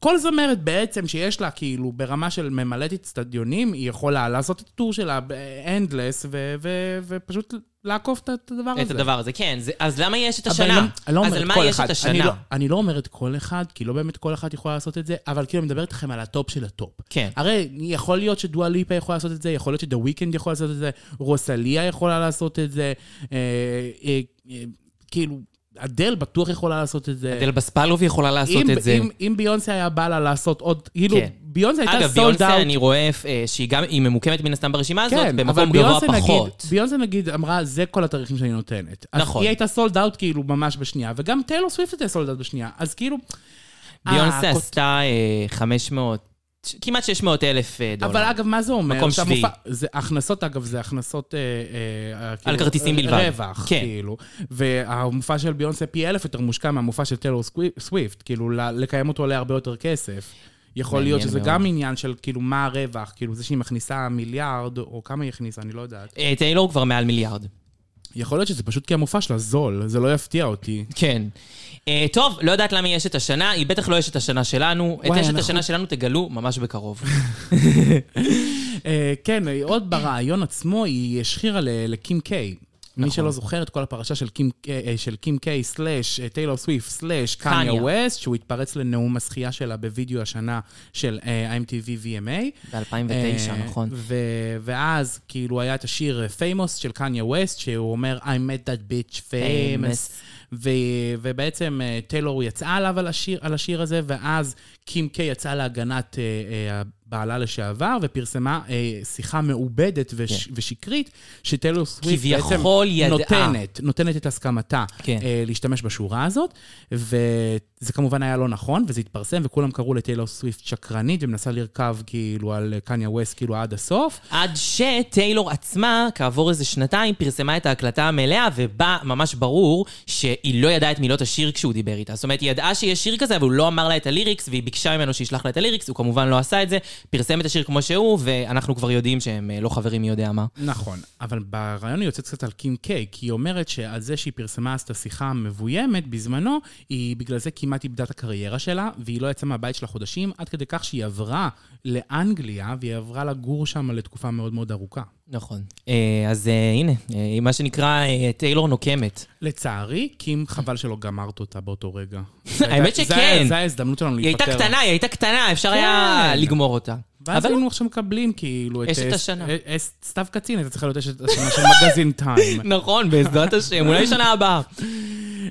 D: כל זמרת בעצם שיש לה, כאילו, ברמה של ממלאת אצטדיונים, היא יכולה לעשות את הטור שלה ב-endless, ו- ו- ופשוט לעקוף את את הדבר הזה.
C: את הדבר הזה, כן. זה- אז למה יש את
D: אבל אני
C: השנה?
D: לא, אני
C: אז
D: לא
C: על
D: אומרת
C: מה
D: כל
C: יש
D: אחד.
C: את
D: אני לא,
C: השנה?
D: אני לא אומרת כל אחד, כי לא באמת כל אחת יכולה לעשות את זה, אבל כאילו, אני מדברת איתכם על הטופ של הטופ.
C: כן.
D: הרי יכול להיות שדואה ליפה יכולה לעשות את זה, יכול להיות שדה וויקנד יכול לעשות את זה, רוסליה יכולה לעשות את זה, אה, אה, אה, כאילו, אדל בטוח יכולה לעשות את זה.
C: דל בספלוב יכולה לעשות
D: אם-
C: את זה.
D: אם- אם ביונסה היה בא לה לעשות עוד, כאילו,
C: כן.
D: ביונסה הייתה
C: אגב,
D: סולד
C: ביונסה,
D: אאוט.
C: אני רואה אה, שהיא גם, היא ממוקמת מן הסתם ברשימה הזאת,
D: כן, אבל
C: במקום גבוה
D: ביונסה נגיד,
C: פחות.
D: ביונסה נגיד אמרה, זה כל התאריכים שאני נותנת. אז
C: נכון.
D: היא הייתה סולד אאוט כאילו ממש בשנייה, וגם טיילור סוויפט הייתה סולד אאוט בשנייה, אז כאילו...
C: ביונסה
D: אה, הכות-
C: עשתה אה, 500, ש- כמעט 600 אלף אה, דולר.
D: אבל אגב, מה זה אומר?
C: מקום
D: שהמופע-
C: שביעי.
D: זה הכנסות, אגב, זה הכנסות... אה, אה, אה, כאילו,
C: כרטיסים
D: אה,
C: בלבד.
D: רווח,
C: כן.
D: כאילו. והמופע של ביונסה פי אלף יותר מושקע מהמופע של טיילור סקווי- סוויפט, כאילו, ל- לקיים אותו עולה הרבה יותר כסף. יכול
C: מעניין
D: להיות שזה
C: מאוד.
D: גם עניין של כאילו מה הרווח, כאילו זה שהיא מכניסה מיליארד, או כמה היא הכניסה, אני לא יודעת.
C: אה, טיילור כבר מעל מיליארד.
D: יכול להיות שזה פשוט כי המופע שלה זול, זה לא יפתיע אותי.
C: כן. אה, טוב, לא יודעת למה יש את השנה, היא בטח לא יש את השנה שלנו. את
D: וואי,
C: יש את
D: אנחנו-
C: השנה שלנו תגלו ממש בקרוב.
D: אה, כן, אה, עוד ברעיון עצמו, היא השחירה ל- לקים קיי. מי שלא זוכר את כל הפרשה של קים, אה, אה, של קים קיי, סלאש, אה, טיילור סוויפט, סלאש, קניה
C: קניה.
D: ווסט, שהוא התפרץ לנאום הזכייה שלה בווידאו השנה של אה, IMTV VMA.
C: ב-2009,
D: אה,
C: נכון.
D: ו- ואז, כאילו, היה את השיר פיימוס של קניה ווסט, שהוא אומר, I met that bitch famous.
C: Famous.
D: ו- ובעצם אה, טיילור יצאה עליו על השיר, על השיר הזה, ואז קים קיי יצאה להגנת אה, אה, הבעלה לשעבר, ופרסמה אה, שיחה מעובדת וש- ושקרית, שטיילור סוויפט בעצם
C: כן. כביכול ידעה.
D: נותנת, נותנת את הסכמתה
C: כן.
D: אה, להשתמש בשורה הזאת, וזה כמובן היה לא נכון, וזה התפרסם, וכולם קראו לטיילור סוויפט שקרנית, ומנסה לרכב כאילו על קניה ווסט כאילו עד הסוף.
C: עד שטיילור עצמה, כעבור איזה שנתיים, פרסמה את ההקלטה המלאה, ובה ממש ברור שהיא לא ידעה את מילות השיר כשהוא דיבר איתה. זאת אומרת, היא ידעה שיש שיר כזה, אבל הוא לא אמר לה את הליריקס, והיא ביקשה ממנו שישלח לה את הליריקס, הוא כמובן לא עשה את זה, פרסם את השיר כמו שהוא, ואנחנו כבר יודעים שהם אה, לא חברים מי יודע מה.
D: נכון, אבל ברעיון היא יוצאת קצת על קים קיי, כי היא אומרת שעל זה שהיא פרסמה אז את השיחה המבוימת בזמנו, היא בגלל זה כמעט איבדה את הקריירה שלה, והיא לא יצאה מהבית שלה חודשים, עד כדי כך שהיא עברה לאנגליה, והיא עברה לגור שם לתקופה מאוד מאוד ארוכה.
C: נכון. אה, אז אה, הנה, אה, מה שנקרא, אה, טיילור נוקמת.
D: לצערי, קים, חבל שלא גמרת אותה באותו רגע.
C: האמת
D: זה-
C: שכן.
D: זו ההזדמנות שלנו
C: היא
D: להיפטר.
C: הייתה קטנה, היא הייתה קטנה, אפשר היה
D: כן.
C: לגמור אותה.
D: ואז
C: אבל
D: היינו עכשיו מקבלים כאילו את...
C: אשת
D: אה,
C: השנה.
D: אה, אה, סתיו קצין, הייתה צריכה להיות אשת השנה של מגזין טיים.
C: נכון, בעזרת השם, אולי שנה הבאה. אה,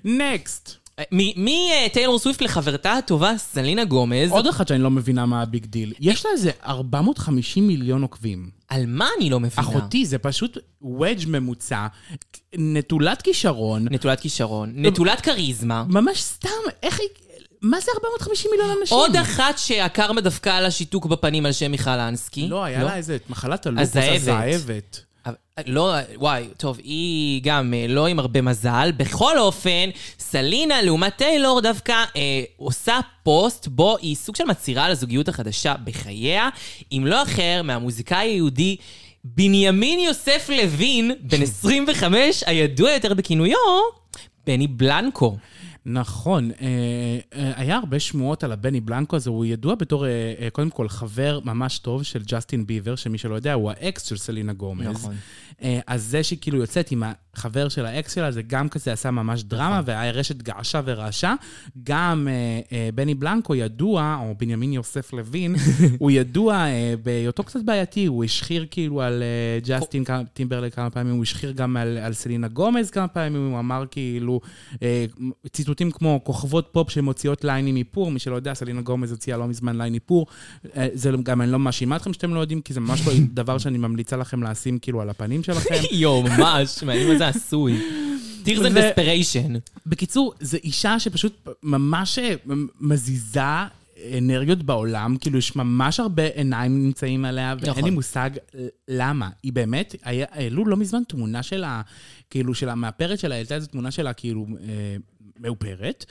D: נקסט.
C: מטיילור סוויפט לחברתה הטובה סלינה גומז,
D: עוד אחת שאני לא מבינה מה הביג דיל. יש לה איזה 450 מיליון עוקבים.
C: על מה אני לא מבינה?
D: אחותי, זה פשוט וודג' ממוצע, נטולת כישרון,
C: נטולת כישרון, נטולת כריזמה.
D: ממש סתם, איך היא... מה זה 450 מיליון אנשים?
C: עוד אחת שהקרמה דפקה על השיתוק בפנים על שם מיכל אנסקי.
D: לא, היה לה איזה את מחלת הלוקוס,
C: הזאבת.
D: הזאבת.
C: אבל- לא, וואי, טוב, היא גם אה, לא עם הרבה מזל. בכל אופן, סלינה, לעומת טיילור, דווקא אה, עושה פוסט בו היא סוג של מצהירה על הזוגיות החדשה בחייה, אם לא אחר מהמוזיקאי היהודי בנימין יוסף לוין, בן 25, הידוע יותר בכינויו, בני בלנקו.
D: נכון, אה, אה, היה הרבה שמועות על הבני בלנקו הזה, הוא ידוע בתור, אה, אה, קודם כל, חבר ממש טוב של ג'סטין ביבר, שמי שלא יודע, הוא האקס של סלינה גומז.
C: נכון.
D: אה, אז זה שכאילו יוצאת עם החבר של האקס שלה, זה גם כזה עשה ממש דרמה, והרשת געשה ורעשה. גם אה, אה, בני בלנקו ידוע, או בנימין יוסף לוין, הוא ידוע אה, בהיותו קצת בעייתי, הוא השחיר כאילו על אה, ג'סטין כמה- טימברלייק כמה פעמים, הוא השחיר גם על, על סלינה גומז כמה פעמים, הוא אמר כאילו אה, ציטוטים כמו כוכבות פופ שמוציאות ליין עם איפור, מי שלא יודע, סלינה גומז הוציאה לא מזמן ליין איפור. אה, זה גם, אני לא מאשימה אתכם שאתם לא יודעים, כי זה ממש לא דבר שאני ממליצה לכם לשים כאילו על הפנים שלכם.
C: יואו, ממש, מעניין מה זה עשוי. טירס אנד
D: ו-
C: דספיריישן.
D: בקיצור, זו אישה שפשוט ממש אה, מזיזה אנרגיות בעולם, כאילו יש ממש הרבה עיניים נמצאים עליה, ואין
C: נכון.
D: לי מושג למה. היא באמת, היה- העלו לא מזמן תמונה שלה, כאילו שלה, מהפרט שלה, העלתה איזו תמונה שלה, כאילו... אה, מאופרת,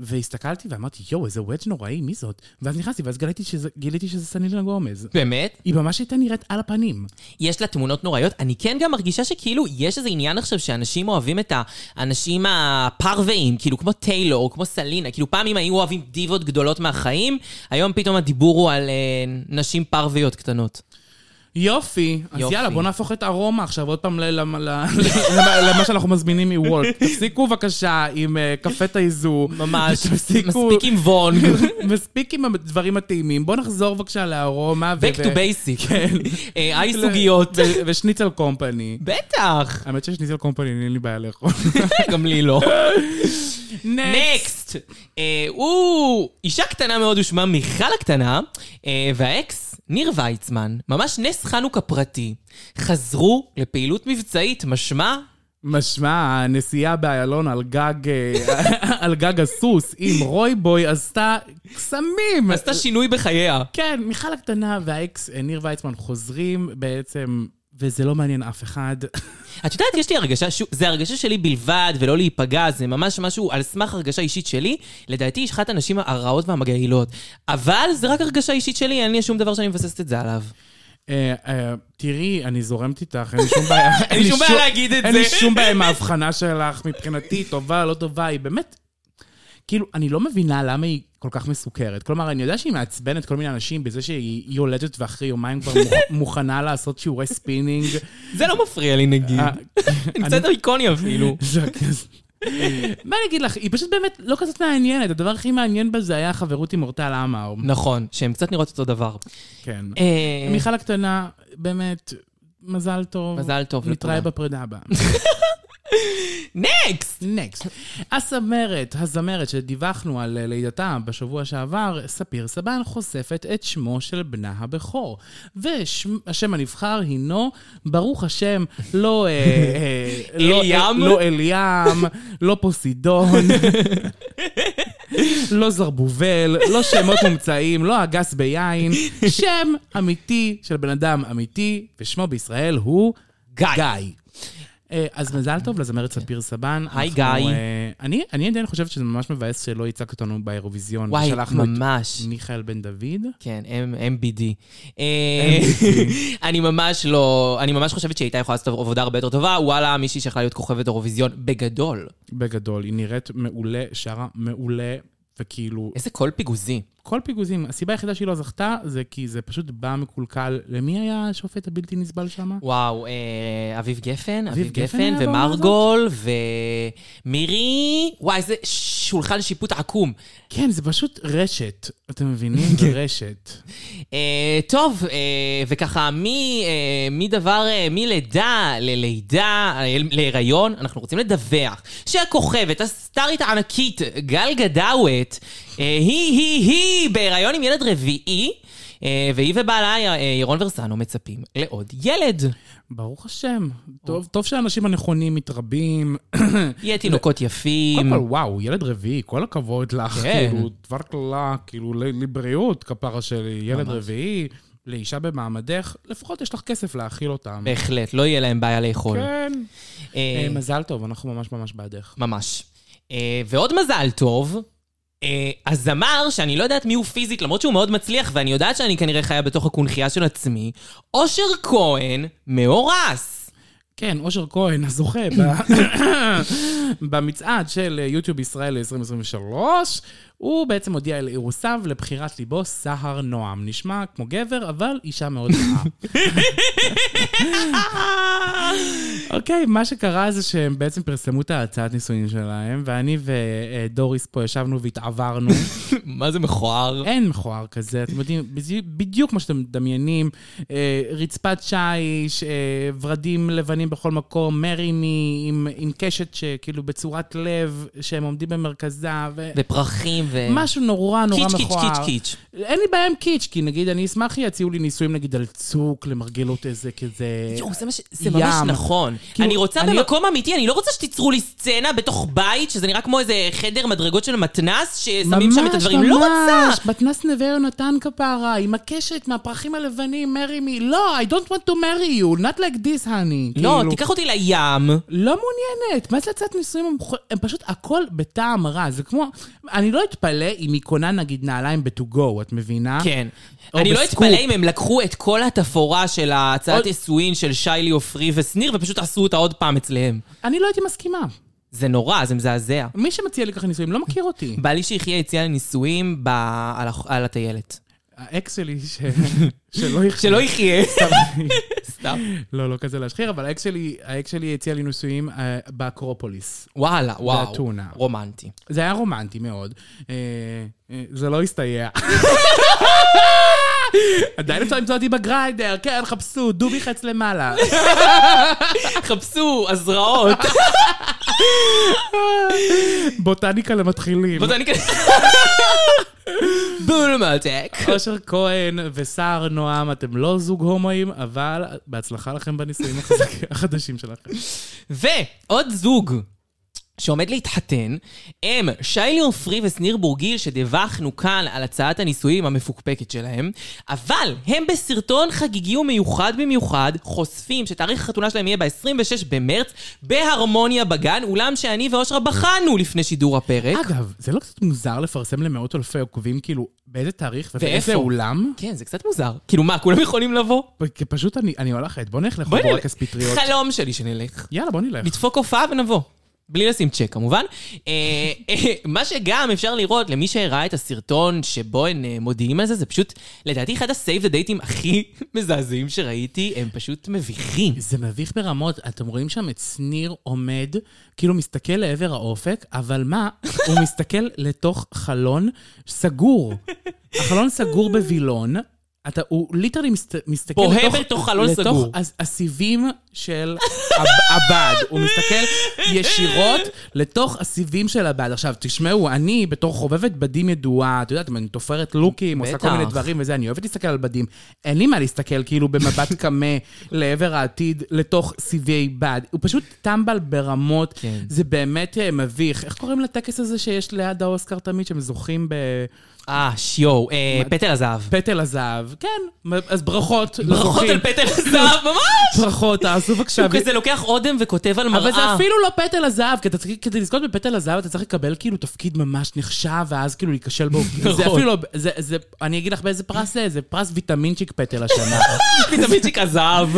D: והסתכלתי ואמרתי, יואו, איזה וודג' נוראי, מי זאת? ואז נכנסתי, ואז גיליתי שזה, גיליתי שזה סנילה גומז.
C: באמת?
D: היא ממש הייתה נראית על הפנים.
C: יש לה תמונות נוראיות. אני כן גם מרגישה שכאילו, יש איזה עניין עכשיו שאנשים אוהבים את האנשים הפרוואים, כאילו, כמו טיילור, כמו סלינה. כאילו, פעם אם היו אוהבים דיבות גדולות מהחיים, היום פתאום הדיבור הוא על אה, נשים פרוויות קטנות.
D: יופי, אז
C: יופי.
D: יאללה, בוא נהפוך את ארומה עכשיו עוד פעם ל- ל- ל- ל- למה שאנחנו מזמינים מוולט. תפסיקו בבקשה עם אה, קפה תעיזו.
C: ממש,
D: תפסיקו-
C: מספיק עם וונג.
D: מספיק עם הדברים הטעימים. בואו נחזור בבקשה לארומה. ו-
C: Back
D: ו-
C: to basic.
D: כן.
C: אה, היי סוגיות.
D: ו- ושניצל קומפני.
C: בטח.
D: האמת ששניצל קומפני, אין לי בעיה לאכול.
C: גם לי לא.
D: נקסט.
C: נקסט! אה, הוא אישה קטנה מאוד, הוא שמה מיכל הקטנה, אה, והאקס, ניר ויצמן, ממש נס חנוכה פרטי, חזרו לפעילות מבצעית, משמע...
D: משמע, הנסיעה באיילון על גג, אה, על גג הסוס עם רוי בוי עשתה קסמים.
C: עשתה שינוי בחייה.
D: כן, מיכל הקטנה והאקס אה, ניר ויצמן חוזרים בעצם, וזה לא מעניין אף אחד.
C: את יודעת, יש לי הרגשה, ש... זה הרגשה שלי בלבד, ולא להיפגע, זה ממש משהו על סמך הרגשה אישית שלי. לדעתי, היא אחת הנשים הרעות והמגעילות. אבל זה רק הרגשה אישית שלי, אין לי שום דבר שאני מבססת את זה עליו.
D: אה, אה, תראי, אני זורמת איתך, אין לי שום בעיה. אין
C: שום בעיה להגיד את
D: אין
C: זה.
D: לי שום בעיה עם ההבחנה שלך, מבחינתי, טובה, לא טובה, היא באמת... כאילו, אני לא מבינה למה היא כל כך מסוכרת. כלומר, אני יודע שהיא מעצבנת כל מיני אנשים בזה שהיא היא יולדת ואחרי יומיים כבר מוכ- מוכנה לעשות שיעורי ספינינג.
C: זה לא מפריע לי, נגיד.
D: אה,
C: אני קצת איקוני אפילו.
D: זה הכס. מה אני אגיד לך, היא פשוט באמת לא כזאת מעניינת. הדבר הכי מעניין בה זה היה החברות עם אורטל עמאר.
C: נכון, שהן קצת נראות אותו דבר.
D: כן.
C: אה,
D: מיכל הקטנה, באמת, מזל טוב.
C: מזל טוב
D: נתראה
C: לכולם.
D: בפרידה הבאה.
C: נקסט!
D: נקסט. הזמרת, הזמרת שדיווחנו על אה, לידתה בשבוע שעבר, ספיר סבן, חושפת את שמו של בנה הבכור. והשם הנבחר הינו, ברוך השם, לא... אה, אה, לא-
C: אליאם?
D: לא אליאם, לא פוסידון. לא זרבובל, לא שמות מומצאים, לא אגס ביין. שם אמיתי של בן אדם אמיתי, ושמו בישראל הוא
C: גיא. כן.
D: גיא. אה, אז מזל טוב לזמרת ספיר סבן.
C: היי,
D: אנחנו,
C: גיא.
D: אה, אני אני עדיין חושבת שזה ממש מבאס שלא ייצג אותנו באירוויזיון.
C: וואי,
D: ושלחנו את
C: ממש.
D: מיכאל בן דוד.
C: כן, M- MBD. אה, אני ממש לא... אני ממש חושבת שהיא הייתה יכולה לעשות עבודה הרבה יותר טובה. וואלה, מישהי שיכולה להיות כוכבת אירוויזיון בגדול.
D: בגדול, היא נראית מעולה, שרה מעולה, וכאילו,
C: איזה קול פיגוזי.
D: כל פיגוזים. הסיבה היחידה שהיא לא זכתה, זה כי זה פשוט בא מקולקל. למי היה השופט הבלתי נסבל שם?
C: וואו, אה, אביב גפן, אביב
D: גפן
C: גפן
D: היה בעונה
C: ומרגול ומירי... וואי, איזה שולחן שיפוט עקום.
D: כן, זה פשוט רשת. אתם מבינים? זה רשת.
C: אה, טוב, אה, וככה, מי, אה, מי דבר, אה, מלידה ללידה, אה, להיריון, אנחנו רוצים לדווח שהכוכבת, הסטארית הענקית, גל גדאוות, אה, היא, היא, היא, בהיריון עם ילד רביעי, אה, והיא ובעלה, אה, ירון ורסנו, מצפים לעוד ילד.
D: ברוך השם. טוב, טוב שהאנשים הנכונים מתרבים.
C: יהיה תינוקות
D: קודם
C: יפים.
D: כל, וואו, ילד רביעי, כל הכבוד לך,
C: כן.
D: כאילו, דבר כללה, כאילו, ל- לבריאות, כפרה שלי, ילד רביעי, לאישה במעמדך, לפחות יש לך כסף להאכיל אותם.
C: בהחלט, לא יהיה להם בעיה לאכול.
D: כן.
C: אה,
D: אה, מזל טוב, אנחנו ממש ממש בעדך.
C: ממש. אה, ועוד מזל טוב, אה, הזמר, שאני לא יודעת מי הוא פיזית, למרות שהוא מאוד מצליח, ואני יודעת שאני כנראה חיה בתוך הקונכייה של עצמי, אושר כהן מאורס.
D: כן, אושר כהן, הזוכה ב- במצעד של אה, יוטיוב ישראל 2023, הוא בעצם הודיע על אירוסיו לבחירת ליבו סהר נועם. נשמע כמו גבר, אבל אישה מאוד רעה. אוקיי, מה שקרה זה שהם בעצם פרסמו את ההצעת נישואים שלהם, ואני ודוריס פה ישבנו והתעברנו.
C: מה זה מכוער?
D: אין מכוער כזה, אתם יודעים, בדיוק- בדיוק כמו שאתם מדמיינים, אה, רצפת שיש, אה, ורדים לבנים בכל מקום, מרי מי עם, עם קשת שכאילו בצורת לב, שהם עומדים במרכזה, ו...
C: ופרחים ו...
D: משהו נורא נורא
C: כן. קיץ', קיץ',
D: מכוער.
C: קיץ', קיץ'.
D: אין לי בעיה עם קיץ', כי נגיד, אני אשמח שיציעו לי ניסויים נגיד על צוק, למרגלות איזה כזה...
C: יואו, זה, מה ש... זה ממש
D: ים.
C: נכון.
D: כאילו,
C: אני רוצה
D: אני-
C: במקום אמיתי, אני לא רוצה שתיצרו לי סצנה בתוך בית, שזה נראה כמו איזה חדר מדרגות של מתנס, ששמים שם את הדברים. לא רוצה!
D: ממש, מתנ"ס נווה יונתן כפרה, עם הקשת מהפרחים הלבנים, marry me. לא, I don't want to marry you, not like this, honey.
C: לא,
D: כאילו,
C: תיקח אותי לים.
D: לא מעוניינת. מה זה הצעת נישואים? הם חו- הם פשוט הכל בטעם רע. זה כמו... אני לא אתפלא אם היא קונה נגיד נעליים ב-to go, את מבינה?
C: כן.
D: או
C: אני לא
D: בסקופ.
C: אתפלא אם הם לקחו את כל התפאורה של
D: עוד-
C: ההצעת נישואין של שיילי עופרי ושניר, ופשוט עשו אותה עוד פעם אצלהם.
D: אני לא הייתי מסכימה.
C: זה נורא, זה מזעזע.
D: מי שמציע לי ככה נישואים לא מכיר אותי.
C: בעלי שיחיה הציע לי נישואים ב... על, הח- על הטיילת.
D: האקס שלי, ש- שלא יחשב.
C: שלא יחיה. סתם.
D: לא, לא כזה להשחיר, אבל האקס שלי, האקס שלי הציע לי נישואים אה, באקרופוליס.
C: וואלה, וואו.
D: ואתונה.
C: רומנטי.
D: זה היה רומנטי מאוד. אה, אה, זה לא הסתייע. עדיין אפשר למצוא אותי בגריידר, כן, חפשו, דובי חץ למעלה.
C: חפשו, הזרעות.
D: בוטניקה למתחילים.
C: בוא תעניק... בולמוטק.
D: אושר כהן וסער נועם, אתם לא זוג הומואים, אבל בהצלחה לכם בנישואים החזק- החדשים שלכם.
C: ועוד זוג. שעומד להתחתן, הם שיילי עופרי ושניר בורגיל, שדיווחנו כאן על הצעת הנישואים המפוקפקת שלהם, אבל הם בסרטון חגיגי ומיוחד במיוחד, חושפים שתאריך החתונה שלהם יהיה ב-26 במרץ, בהרמוניה בגן, אולם שאני ואושרה בחנו לפני שידור הפרק.
D: אגב, זה לא קצת מוזר לפרסם למאות אלפי עוקבים, כאילו, באיזה תאריך
C: ואיפה?
D: ובאיזה אולם?
C: כן, זה קצת מוזר. כאילו מה, כולם יכולים לבוא?
D: פ- פשוט אני אני הולכת, בוא נלך
C: בואי
D: לחברות
C: נלך.
D: כספטריות.
C: חלום שלי שנלך.
D: יאללה, בוא נלך.
C: לדפוק הופעה ונבוא. בלי לשים צ'ק כמובן. אה, אה, מה שגם אפשר לראות למי שראה את הסרטון שבו הם אה, מודיעים על זה, זה פשוט, לדעתי, אחד הסייב דה דייטים הכי מזעזעים שראיתי, הם פשוט מביכים.
D: זה מביך ברמות, אתם רואים שם את שניר עומד, כאילו מסתכל לעבר האופק, אבל מה, הוא מסתכל לתוך חלון סגור. החלון סגור בווילון. אתה, הוא ליטרלי מסת, מסתכל
C: בוהה
D: לתוך...
C: בתוך חלון
D: לתוך
C: סגור.
D: הס- הסיבים של הב- הבד. הוא מסתכל ישירות לתוך הסיבים של הבד. עכשיו, תשמעו, אני בתור חובבת בדים ידועה, את יודעת, אני תופרת לוקים, עושה כל מיני
C: בטח.
D: דברים. דברים וזה, אני אוהבת להסתכל על בדים. אין לי מה להסתכל כאילו במבט קמה לעבר העתיד, לתוך סיבי בד. הוא פשוט טמבל ברמות.
C: כן.
D: זה באמת אה, מביך. איך קוראים לטקס הזה שיש ליד האוסקר תמיד, שהם זוכים
C: אה, שיואו, אה, פטל הזהב.
D: בפטל הזהב? כן, אז ברכות.
C: ברכות
D: לזוכים.
C: על פטל הזהב, ממש!
D: ברכות, תעשו בבקשה.
C: הוא כזה לוקח אודם וכותב על מראה.
D: אבל זה אפילו לא פטל הזהב, כי אתה צריך, כדי לזכות בפטל הזהב אתה צריך לקבל כאילו תפקיד ממש נחשב, ואז כאילו להיכשל בו.
C: נכון.
D: זה אפילו, לא- זה, זה, אני אגיד לך באיזה פרס זה, זה פרס ויטמינצ'יק פטל השנה.
C: פיטמיצ'יק הזהב.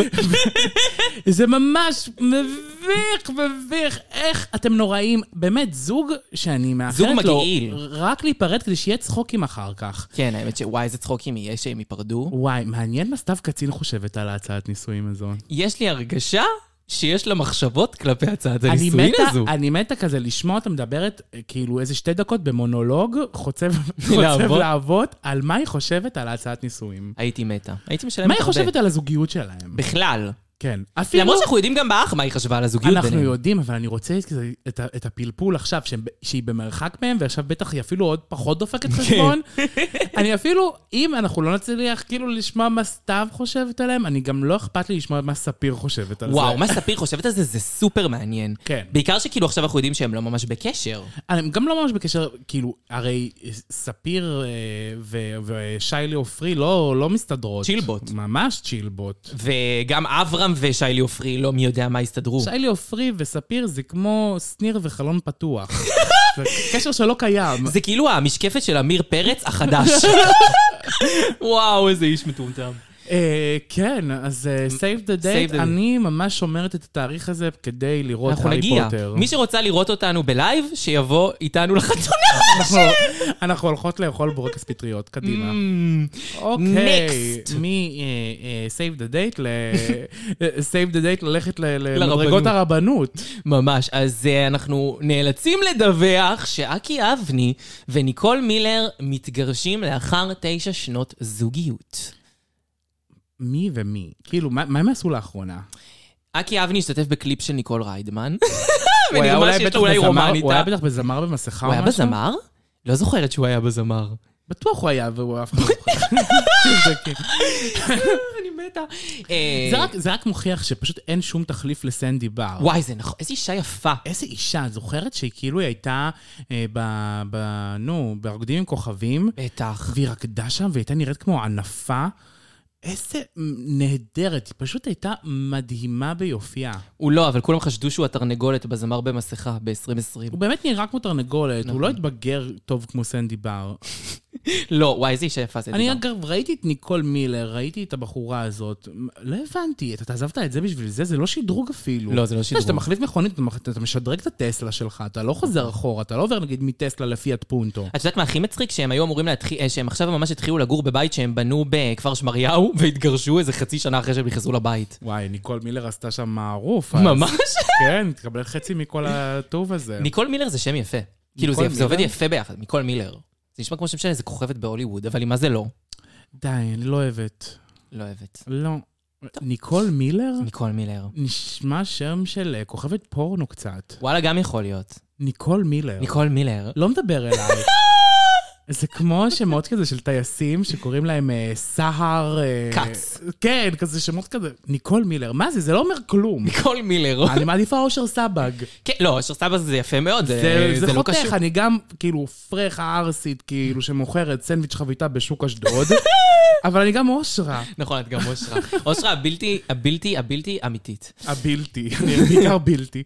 D: זה ממש מביך, מביך. איך אתם נוראים. באמת, זוג שאני
C: זוג
D: מאחלת לו
C: מגעיל.
D: רק להיפרד כדי שיהיה צחוקים אחר כך.
C: כן, האמת שוואי, איזה צחוקים יהיה שהם ייפרדו.
D: וואי, מעניין מה סתיו קצין חושבת על ההצעת נישואים הזו.
C: יש לי הרגשה שיש לה מחשבות כלפי הצעת
D: אני
C: הנישואין
D: מתה,
C: הזו.
D: אני מתה כזה לשמוע אותה מדברת אה, כאילו איזה שתי דקות במונולוג חוצב חוצב
C: להבות.
D: להבות על מה היא חושבת על ההצעת נישואים.
C: הייתי מתה. הייתי משלמת הרבה.
D: מה היא חושבת על הזוגיות שלהם?
C: בכלל.
D: כן.
C: למרות שאנחנו יודעים גם באח מה היא חשבה על הזוגיות ביניהם.
D: אנחנו יודעים, אבל אני רוצה כזה את, ה- את הפלפול עכשיו, שהם ב- שהיא במרחק מהם, ועכשיו בטח היא אפילו עוד פחות
C: כן.
D: דופקת חשבון. אני אפילו, אם אנחנו לא נצליח כאילו לשמוע מה סתיו חושבת עליהם, אני גם לא אכפת לי לשמוע מה ספיר חושבת על
C: וואו,
D: זה.
C: מה ספיר חושבת על זה, זה סופר מעניין.
D: כן.
C: בעיקר שכאילו עכשיו אנחנו יודעים שהם לא ממש בקשר.
D: הם גם לא ממש בקשר, כאילו, הרי ספיר אה, ו- ושיילי עופרי לא, לא מסתדרות.
C: צ'ילבוט.
D: ממש צ'ילבוט.
C: וגם אברהם ושיילי עופרי לא מי יודע מה הסתדרו.
D: שיילי עופרי וספיר זה כמו שניר וחלון פתוח. זה קשר שלא קיים.
C: זה כאילו המשקפת של עמיר פרץ החדש. וואו, איזה איש מטומטם.
D: אה, כן, אז אה, save the
C: Save the
D: date,
C: date.
D: אני ממש שומרת את התאריך הזה כדי לראות
C: אנחנו
D: הארי
C: נגיע.
D: פוטר.
C: מי שרוצה לראות אותנו בלייב, שיבוא איתנו לחתונה.
D: אנחנו- אנחנו הולכות לאכול בורקס פטריות, קדימה.
C: אמ,
D: אוקיי,
C: Next.
D: מ-save the date ל... אה, save the date ללכת ל-
C: לרבנות.
D: למדרגות הרבנות.
C: ממש. אז אה, אנחנו נאלצים לדווח שאקי אבני וניקול מילר מתגרשים לאחר תשע שנות זוגיות.
D: מי ומי? כאילו, מה מה הם עשו לאחרונה?
C: אקי אבני השתתף בקליפ של ניקול ריידמן.
D: אה, הוא היה
C: ונגמר
D: אולי
C: שיש
D: בטח
C: לו אולי
D: בזמר-
C: רומן
D: הוא
C: איתה.
D: היה בטח בזמר במסכה או
C: הוא היה
D: משהו?
C: בזמר? לא זוכרת שהוא היה בזמר.
D: בטוח הוא היה, והוא אף אחד לא זוכר.
C: אני מתה. אה,
D: זה רק- זה רק מוכיח שפשוט אין שום תחליף לסנדי בר.
C: וואי, זה נכון. איזו אישה יפה.
D: איזה אישה, את זוכרת שהיא כאילו הייתה אה, ב... ב- נו, ברוקדים עם כוכבים,
C: בטח.
D: והיא רקדה שם והיא הייתה נראית כמו ענפה. איזה נהדרת, היא פשוט הייתה מדהימה ביופייה.
C: הוא לא, אבל כולם חשדו שהוא התרנגולת בזמר במסכה ב-2020.
D: הוא באמת נראה כמו תרנגולת, הוא
C: נכון.
D: לא התבגר טוב כמו סנדי בר.
C: לא, וואי, איזה אישה יפה זה
D: אני
C: דיבר.
D: אגב ראיתי את ניקול מילר, ראיתי את הבחורה הזאת, לא הבנתי, אתה עזבת את זה בשביל זה? זה לא שדרוג אפילו.
C: לא, זה לא
D: אתה יודע,
C: שדרוג.
D: כשאתה מחליף מכונית, אתה מח- אתה משדרג את הטסלה שלך, אתה לא חוזר אחורה, אתה לא עובר נגיד מטסלה לפיאט פונטו.
C: את יודעת מה הכי מצחיק? שהם היו אמורים להתחיל, אה, שהם עכשיו ממש התחילו לגור בבית שהם בנו בכפר שמריהו, והתגרשו איזה חצי שנה אחרי שהם נכנסו לבית.
D: וואי, ניקול מילר עשתה שם מערוף. אז-
C: ממש.
D: כן, תקבל חצי מכל הטוב הזה.
C: ניקול מילר זה שם יפה. כאילו, זה-
D: ניקול
C: זה עובד
D: כן. מילר?
C: יפה ביחד, ניקול מילר. זה נשמע כמו שם של איזה כוכבת בהוליווד, אבל היא מה זה לא?
D: די, אני לא אוהבת.
C: לא אוהבת.
D: לא. ניקול מילר?
C: ניקול מילר.
D: נשמע שם של אה, כוכבת פורנו קצת.
C: וואלה, גם יכול להיות.
D: ניקול מילר.
C: ניקול מילר.
D: לא מדבר אליי. זה כמו שמות כזה של טייסים שקוראים להם אה, סהר... אה,
C: כץ.
D: כן, כזה שמות כזה. ניקול מילר. מה זה? זה לא אומר כלום.
C: ניקול מילר.
D: אני מעדיפה אושר סבג.
C: כן, לא, אשר סבא זה יפה מאוד,
D: זה,
C: זה
D: אה, זה,
C: זה לא
D: חותך,
C: קשור.
D: אני גם כאילו פרחה ערסית, כאילו, שמוכרת סנדוויץ' חביתה בשוק אשדוד, אבל אני גם אושרה,
C: נכון, את גם אושרה. אושרה הבלתי, הבלתי, הבלתי אמיתית.
D: הבלתי, אני בעיקר בלתי.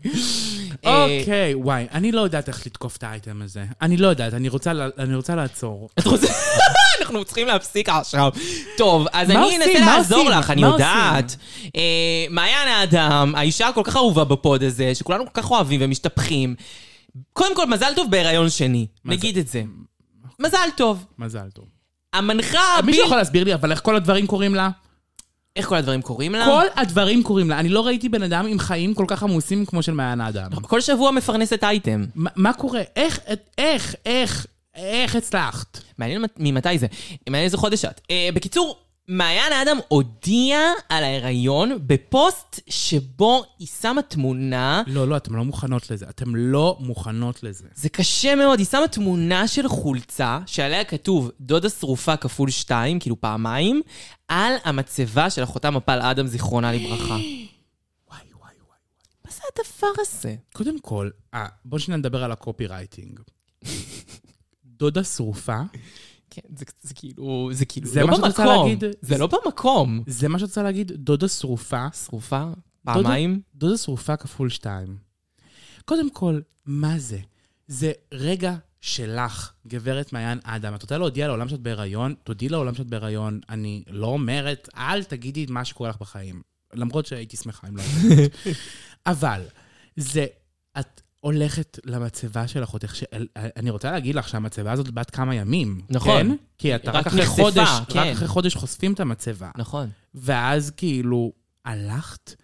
D: אוקיי, וואי, אני לא יודעת איך לתקוף את האייטם הזה. אני לא יודעת, אני רוצה לה- אני רוצה לעצור.
C: את רוצה... אנחנו צריכים להפסיק עכשיו. טוב, אז
D: מה
C: אני
D: עושים?
C: אנסה
D: מה
C: לעזור
D: עושים?
C: לך, אני
D: מה
C: יודעת. אה, מעיין האדם, האישה הכל כך אהובה בפוד הזה, שכולנו כל כך אוהבים ומשתפכים. קודם כל, מזל טוב בהיריון שני. נגיד את זה. מזל טוב.
D: מזל טוב.
C: המנחה
D: אה, מישהו
C: הביל...
D: יכול להסביר לי, אבל איך כל הדברים קוראים לה?
C: איך כל הדברים קוראים לה?
D: כל הדברים קוראים לה. אני לא ראיתי בן אדם עם חיים כל כך עמוסים כמו של מעיין האדם.
C: כל שבוע מפרנסת אייטם.
D: מה- מה קורה? איך, איך, איך, איך הצלחת?
C: מעניין מת- ממתי זה. מעניין איזה חודש את. אה, בקיצור, מעיין האדם הודיעה על ההיריון בפוסט שבו היא שמה תמונה
D: לא, לא, אתם לא מוכנות לזה. אתם לא מוכנות לזה.
C: זה קשה מאוד, היא שמה תמונה של חולצה שעליה כתוב דודה שרופה כפול שתיים, כאילו פעמיים, על המצבה של אחותה מפל אדם, זיכרונה לברכה.
D: וואי, וואי, וואי.
C: מה זה הדבר הזה?
D: קודם כל, אה, בואו שניה נדבר על הקופי רייטינג. דודה שרופה,
C: כן, זה, זה כאילו, זה כאילו
D: זה
C: לא
D: מה שאת רוצה
C: במקום.
D: להגיד?
C: זה לא במקום.
D: זה מה שאת רוצה להגיד? דודה שרופה,
C: שרופה, פעמיים.
D: דודה שרופה כפול שתיים. קודם כל, מה זה? זה רגע שלך, גברת מעיין אדם. את רוצה להודיע לעולם שאת בהיריון? תודיעי לעולם שאת בהיריון. אני לא אומרת, אל תגידי את מה שקורה לך בחיים. למרות שהייתי שמחה אם לא הייתי. אבל, זה, את הולכת למצבה של אחותך, שאני רוצה להגיד לך שהמצבה הזאת בת כמה ימים.
C: נכון.
D: כן? כי אתה
C: רק
D: רק, אחרי
C: נחשפה,
D: חודש,
C: כן.
D: רק אחרי חודש חושפים את המצבה.
C: נכון.
D: ואז כאילו, הלכת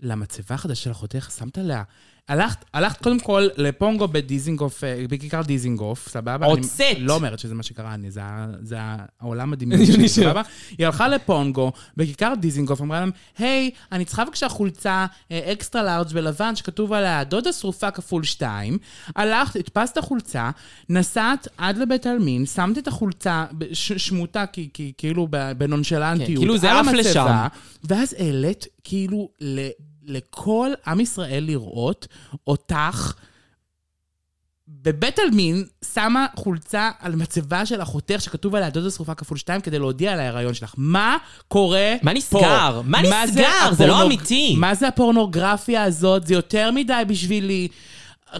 D: למצבה החדשה של אחותך, שמת עליה. הלכת, הלכת קודם כל לפונגו בדיזינגוף, אה, בכיכר דיזינגוף, סבבה? אני
C: הוצאת.
D: לא אומרת שזה מה שקרה, אני, זה, ה- זה ה- העולם הדמיוני שלי, סבבה? היא הלכה לפונגו, בכיכר דיזינגוף, אמרה להם, היי, אני צריכה בבקשה חולצה אה, אקסטרה לארג' בלבן, שכתוב עליה דודה שרופה כפול שתיים. הלכת, הדפסת חולצה, נסעת עד לבית העלמין, שמת את החולצה ב- ש- שמוטה, כי- כי- כאילו ב- בנונשלנטיות,
C: כן, כאילו זה
D: על
C: עף
D: המצבה,
C: לשם.
D: ואז העלית כאילו ל, לכל עם ישראל לראות אותך בבית עלמין, שמה חולצה על מצבה של אחותך שכתוב עליה דודה שרופה כפול שתיים כדי להודיע על ההיריון שלך. מה קורה
C: מה נסגר?
D: פה?
C: מה נסגר?
D: זה
C: זה לא
D: הפורנוג-
C: אמיתי.
D: מה זה הפורנוגרפיה הזאת? זה יותר מדי בשבילי.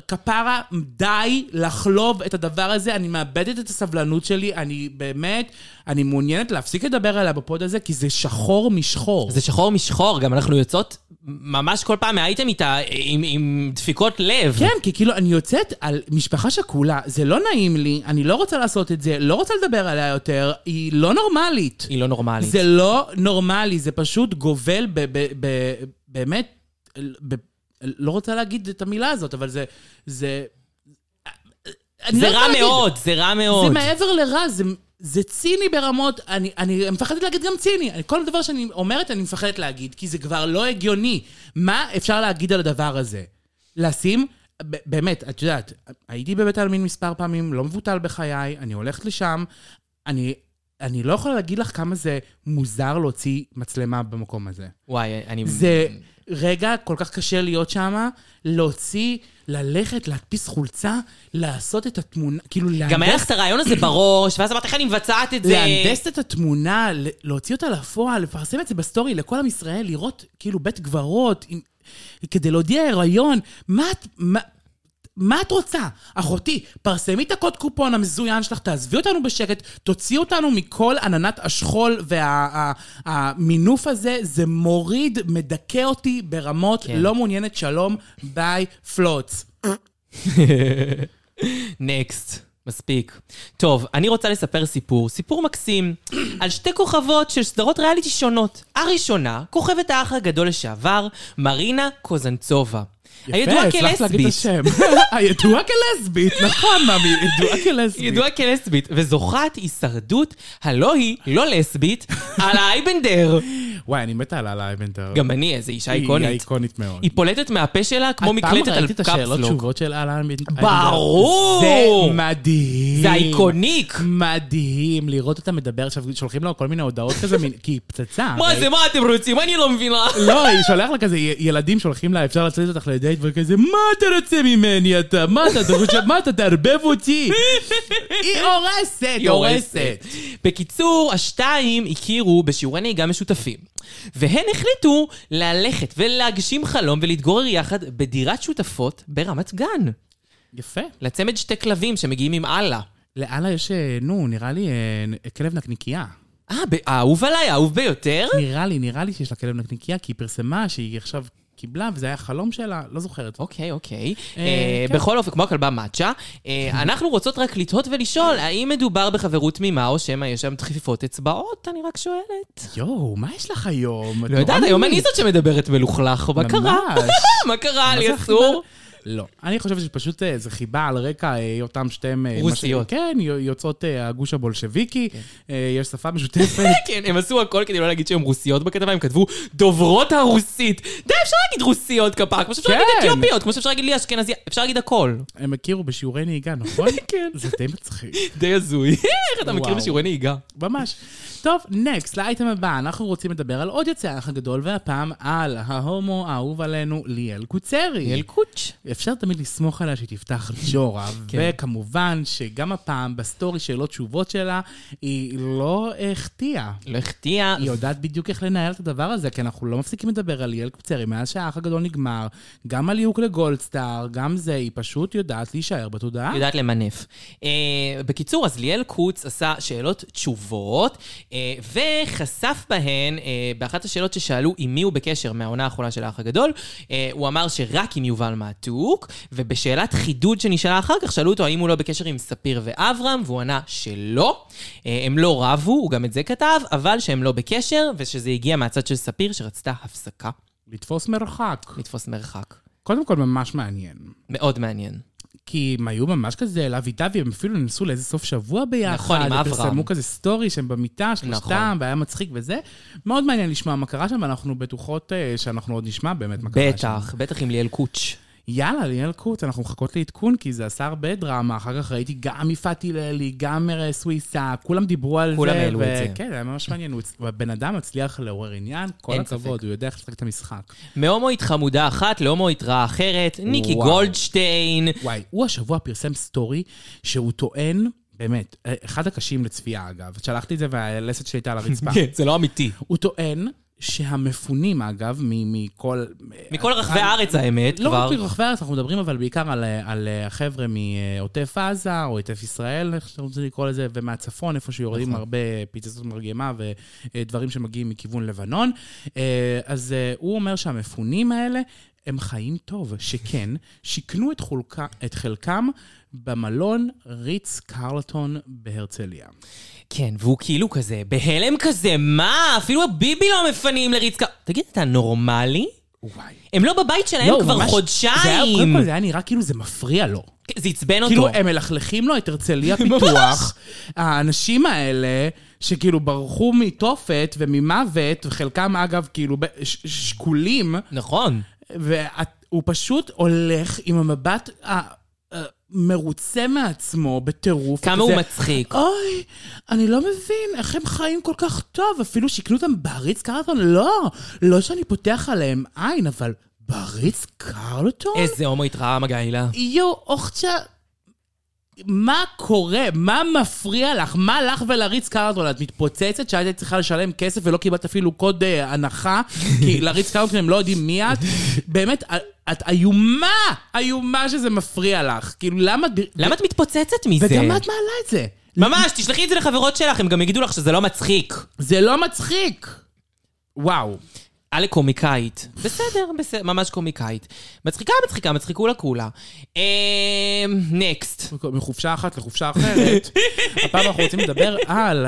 D: כפרה, די לחלוב את הדבר הזה, אני מאבדת את הסבלנות שלי, אני באמת, אני מעוניינת להפסיק לדבר עליה בפוד הזה, כי זה שחור משחור.
C: זה שחור משחור, גם אנחנו יוצאות ממש כל פעם מהאייטם איתה עם, עם דפיקות לב.
D: כן, כי כאילו, אני יוצאת על משפחה שכולה, זה לא נעים לי, אני לא רוצה לעשות את זה, לא רוצה לדבר עליה יותר, היא לא נורמלית.
C: היא לא נורמלית.
D: זה לא נורמלי, זה פשוט גובל ב... ב, ב באמת, ב, לא רוצה להגיד את המילה הזאת, אבל זה... זה, אני
C: זה
D: לא
C: רע
D: רוצה להגיד.
C: מאוד, זה רע מאוד.
D: זה מעבר לרע, זה, זה ציני ברמות, אני, אני מפחדת להגיד גם ציני. אני, כל דבר שאני אומרת, אני מפחדת להגיד, כי זה כבר לא הגיוני. מה אפשר להגיד על הדבר הזה? לשים, ב- באמת, את יודעת, הייתי בבית העלמין מספר פעמים, לא מבוטל בחיי, אני הולכת לשם, אני, אני לא יכולה להגיד לך כמה זה מוזר להוציא מצלמה במקום הזה.
C: וואי, אני...
D: זה רגע כל כך קשה להיות שם, להוציא, ללכת, להדפיס חולצה, לעשות את התמונה, כאילו להנדס...
C: גם היה לך את הרעיון הזה בראש, ואז אמרת, איך אני מבצעת את זה?
D: להנדס את התמונה, ל- להוציא אותה לפועל, לפרסם את זה בסטורי לכל עם ישראל, לראות כאילו בית גברות, עם... כדי להודיע הריון, מה את... מה... מה את רוצה? אחותי, פרסמי את הקוד קופון המזוין שלך, תעזבי אותנו בשקט, תוציאי אותנו מכל עננת השכול והמינוף הזה, זה מוריד, מדכא אותי ברמות
C: כן.
D: כן. לא מעוניינת שלום, ביי, פלוץ.
C: נקסט. מספיק. טוב, אני רוצה לספר סיפור, סיפור מקסים, על שתי כוכבות של סדרות ריאליטי שונות. הראשונה, כוכבת האח הגדול לשעבר, מרינה קוזנצובה. הידועה כלסבית.
D: הידועה כלסבית, נכון, ממי, ידועה כלסבית.
C: ידועה כלסבית, וזוכת הישרדות הלא היא, לא לסבית, על האייבנדר.
D: וואי, אני מתה על אלה אייבנדר.
C: גם אני, איזו אישה
D: היא
C: איקונית.
D: איקונית מאוד.
C: היא פולטת מהפה שלה כמו מקלטת על
D: את פעם ראית את השאלות
C: קפסלוק.
D: תשובות של אלה אייבנדר?
C: ברור!
D: זה מדהים.
C: זה אייקוניק.
D: מדהים לראות אותה מדברת. עכשיו, שולחים לה כל מיני הודעות כזה, מין- כי היא פצצה.
C: מה
D: הרי.
C: זה, מה אתם רוצים? אני לא מבינה.
D: לא, היא שולח לה כזה, י- ילדים שולחים לה, אפשר לצאת אותך לדייט, וכזה, מה אתה רוצה ממני אתה? מה אתה אתה חושב? מה אתה תערבב אותי? היא הורסת, היא הורסת.
C: בקיצור, השתיים הכירו בשיעורי נהיגה משותפים. והן החליטו ללכת ולהגשים חלום ולהתגורר יחד בדירת שותפות ברמת גן.
D: יפה.
C: לצמד שתי כלבים שמגיעים עם אללה.
D: לאללה יש, אה, נו, נראה לי אה, נ- כלב נקניקייה.
C: אה, ב- האהוב עליי, האהוב ביותר?
D: נראה לי, נראה לי שיש לה כלב נקניקייה, כי היא פרסמה שהיא עכשיו קיבלה, וזה היה חלום שלה, לא זוכרת.
C: אוקיי, אוקיי.
D: אה,
C: אה,
D: כן.
C: בכל אופן, כמו הכלבה מאצ'ה, אה, אנחנו רוצות רק לתהות ולשאול, האם מדובר בחברות תמימה, או שמא יש שם דחיפות אצבעות? אני רק שואלת.
D: יואו, מה יש לך היום? את
C: לא יודעת,
D: נורא
C: היום אני
D: מינית.
C: זאת שמדברת מלוכלך, מה קרה?
D: ממש.
C: מה קרה? לי
D: זה
C: אסור?
D: לא. אני חושבת שפשוט אה, זה חיבה על רקע אה, אותם שתיהם... אה,
C: רוסיות.
D: מה ש- כן, יו- יוצאות אה, הגוש הבולשביקי, אה, יש שפה משותפת.
C: כן, הם עשו הכל כדי לא להגיד שהן רוסיות בכתבה, הם כתבו דוברות הרוסית. די, אפשר להגיד רוסיות כפרה, כמו שאפשר
D: כן.
C: להגיד אתיופיות, כמו שאפשר להגיד לי אשכנזי, אפשר להגיד הכל.
D: הם הכירו בשיעורי נהיגה, נכון?
C: כן.
D: זה די מצחיק.
C: די הזוי. איך אתה מכיר
D: וואו.
C: בשיעורי נהיגה?
D: ממש. טוב, נקסט, לאייטם הבא, אנחנו רוצים לדבר על עוד יוצא האח הגדול, והפעם על ההומו האהוב עלינו, ליאל קוצרי.
C: אל קוץ'.
D: אפשר תמיד לסמוך עליה שהיא תפתח ג'ורה,
C: כן.
D: וכמובן שגם הפעם בסטורי שאלות תשובות שלה, היא לא החטיאה.
C: לא החטיאה.
D: היא יודעת בדיוק איך לנהל את הדבר הזה, כי אנחנו לא מפסיקים לדבר על ליאל קפצרי מאז שהאח הגדול נגמר, גם על ליהוק לגולדסטאר, גם זה, היא פשוט יודעת להישאר בתודעה.
C: יודעת למנף. Uh, בקיצור, אז ליאל קוץ עשה שאלות תשובות, uh, וחשף בהן, uh, באחת השאלות ששאלו עם מי הוא בקשר מהעונה האחרונה של האח הגדול, uh, הוא אמר שרק עם יובל מעתוק, ובשאלת חידוד שנשאלה אחר כך, שאלו אותו האם הוא לא בקשר עם ספיר ואברהם, והוא ענה שלא. Uh, הם לא רבו, הוא גם את זה כתב, אבל שהם לא בקשר, ושזה הגיע מהצד של ספיר שרצתה הפסקה,
D: לתפוס מרחק.
C: לתפוס מרחק.
D: קודם כל, ממש מעניין.
C: מאוד מעניין.
D: כי הם היו ממש כזה לאבי דבי, הם אפילו נסעו לאיזה סוף שבוע ביחד.
C: נכון, עם אברהם.
D: פרסמו כזה סטורי שהם במיטה,
C: נכון.
D: שלושתם, והיה מצחיק וזה. מאוד מעניין לשמוע מה קרה שם, ואנחנו בטוחות אה, שאנחנו עוד נשמע באמת מה קרה שם.
C: בטח, בטח עם ליאל קוץ'.
D: יאללה, ליאל קוט, אנחנו מחכות לעדכון, כי זה עשה הרבה דרמה. אחר כך ראיתי גם יפעת הללי, גם אה, סוויסה, כולם דיברו על
C: כולם
D: זה.
C: העלו את זה.
D: כן, היה ממש מעניין. הוא- הבן אדם מצליח לעורר עניין, כל
C: אין
D: הכבוד, הוא יודע איך לשחק את המשחק.
C: מהומואית חמודה אחת להומואית רעה אחרת, ניקי
D: וואו.
C: גולדשטיין.
D: וואי, הוא השבוע פרסם סטורי שהוא טוען, באמת,
C: כן.
D: אה, אחד הקשים לצפייה אגב, שלחתי את זה והלסת שהייתה על הרצפה.
C: זה לא אמיתי.
D: הוא טוען שהמפונים, אגב, מ- מכל...
C: מכל רחבי הארץ, האמת,
D: לא
C: כבר.
D: רק מרחבי הארץ, אנחנו מדברים אבל בעיקר על, אה, על אה, החבר'ה מעוטף עזה, או עוטף ישראל, איך שאתם רוצים לקרוא לזה, ומהצפון, איפה שיורדים נכון. הרבה פיצצות מרגמה ודברים שמגיעים מכיוון לבנון. אה, אז אה, הוא אומר שהמפונים האלה... הם חיים טוב, שכן, שיכנו את, חולקה, את חלקם במלון ריץ קרלטון בהרצליה.
C: כן, והוא כאילו כזה, בהלם כזה, מה? אפילו הביבי לא מפנים לרצקה. תגיד, אתה נורמלי?
D: וואי.
C: הם לא בבית שלהם
D: לא, הוא
C: כבר
D: ממש- זה היה, קודם
C: חודשיים.
D: כל זה היה נראה כאילו זה מפריע לו.
C: זה עצבן אותו.
D: כאילו, הם מלכלכים לו את הרצליה פיתוח. האנשים האלה, שכאילו ברחו מתופת וממוות, וחלקם אגב, כאילו, ב- ש- שקולים,
C: נכון.
D: והוא פשוט הולך עם המבט ה- ה- מרוצה מעצמו בטירוף.
C: כמה
D: כזה,
C: הוא מצחיק.
D: אוי, אני לא מבין, איך הם חיים כל כך טוב, אפילו שיקנו אותם בעריץ קרלטון? לא, לא שאני פותח עליהם עין, אבל בעריץ קרלטון?
C: איזה הומו התרעה, מגעילה.
D: יואו, אוכצ'ה, מה קורה? מה מפריע לך? מה לך ולריץ קרלטון? את מתפוצצת שאת היית צריכה לשלם כסף ולא קיבלת אפילו קוד אה, הנחה, כי לריץ קרלטון הם לא יודעים מי את? באמת, את- את איומה! איומה שזה מפריע לך. כאילו, למה...
C: למה את מתפוצצת מזה?
D: וגם מה את מעלה את זה?
C: ממש, תשלחי את זה לחברות שלך, הם גם יגידו לך שזה לא מצחיק.
D: זה לא מצחיק! וואו.
C: עלי קומיקאית. בסדר, בסדר, ממש קומיקאית. מצחיקה, מצחיקה, מצחיקו לה כולה. אה, נקסט.
D: מחופשה אחת לחופשה אחרת. הפעם אנחנו רוצים לדבר על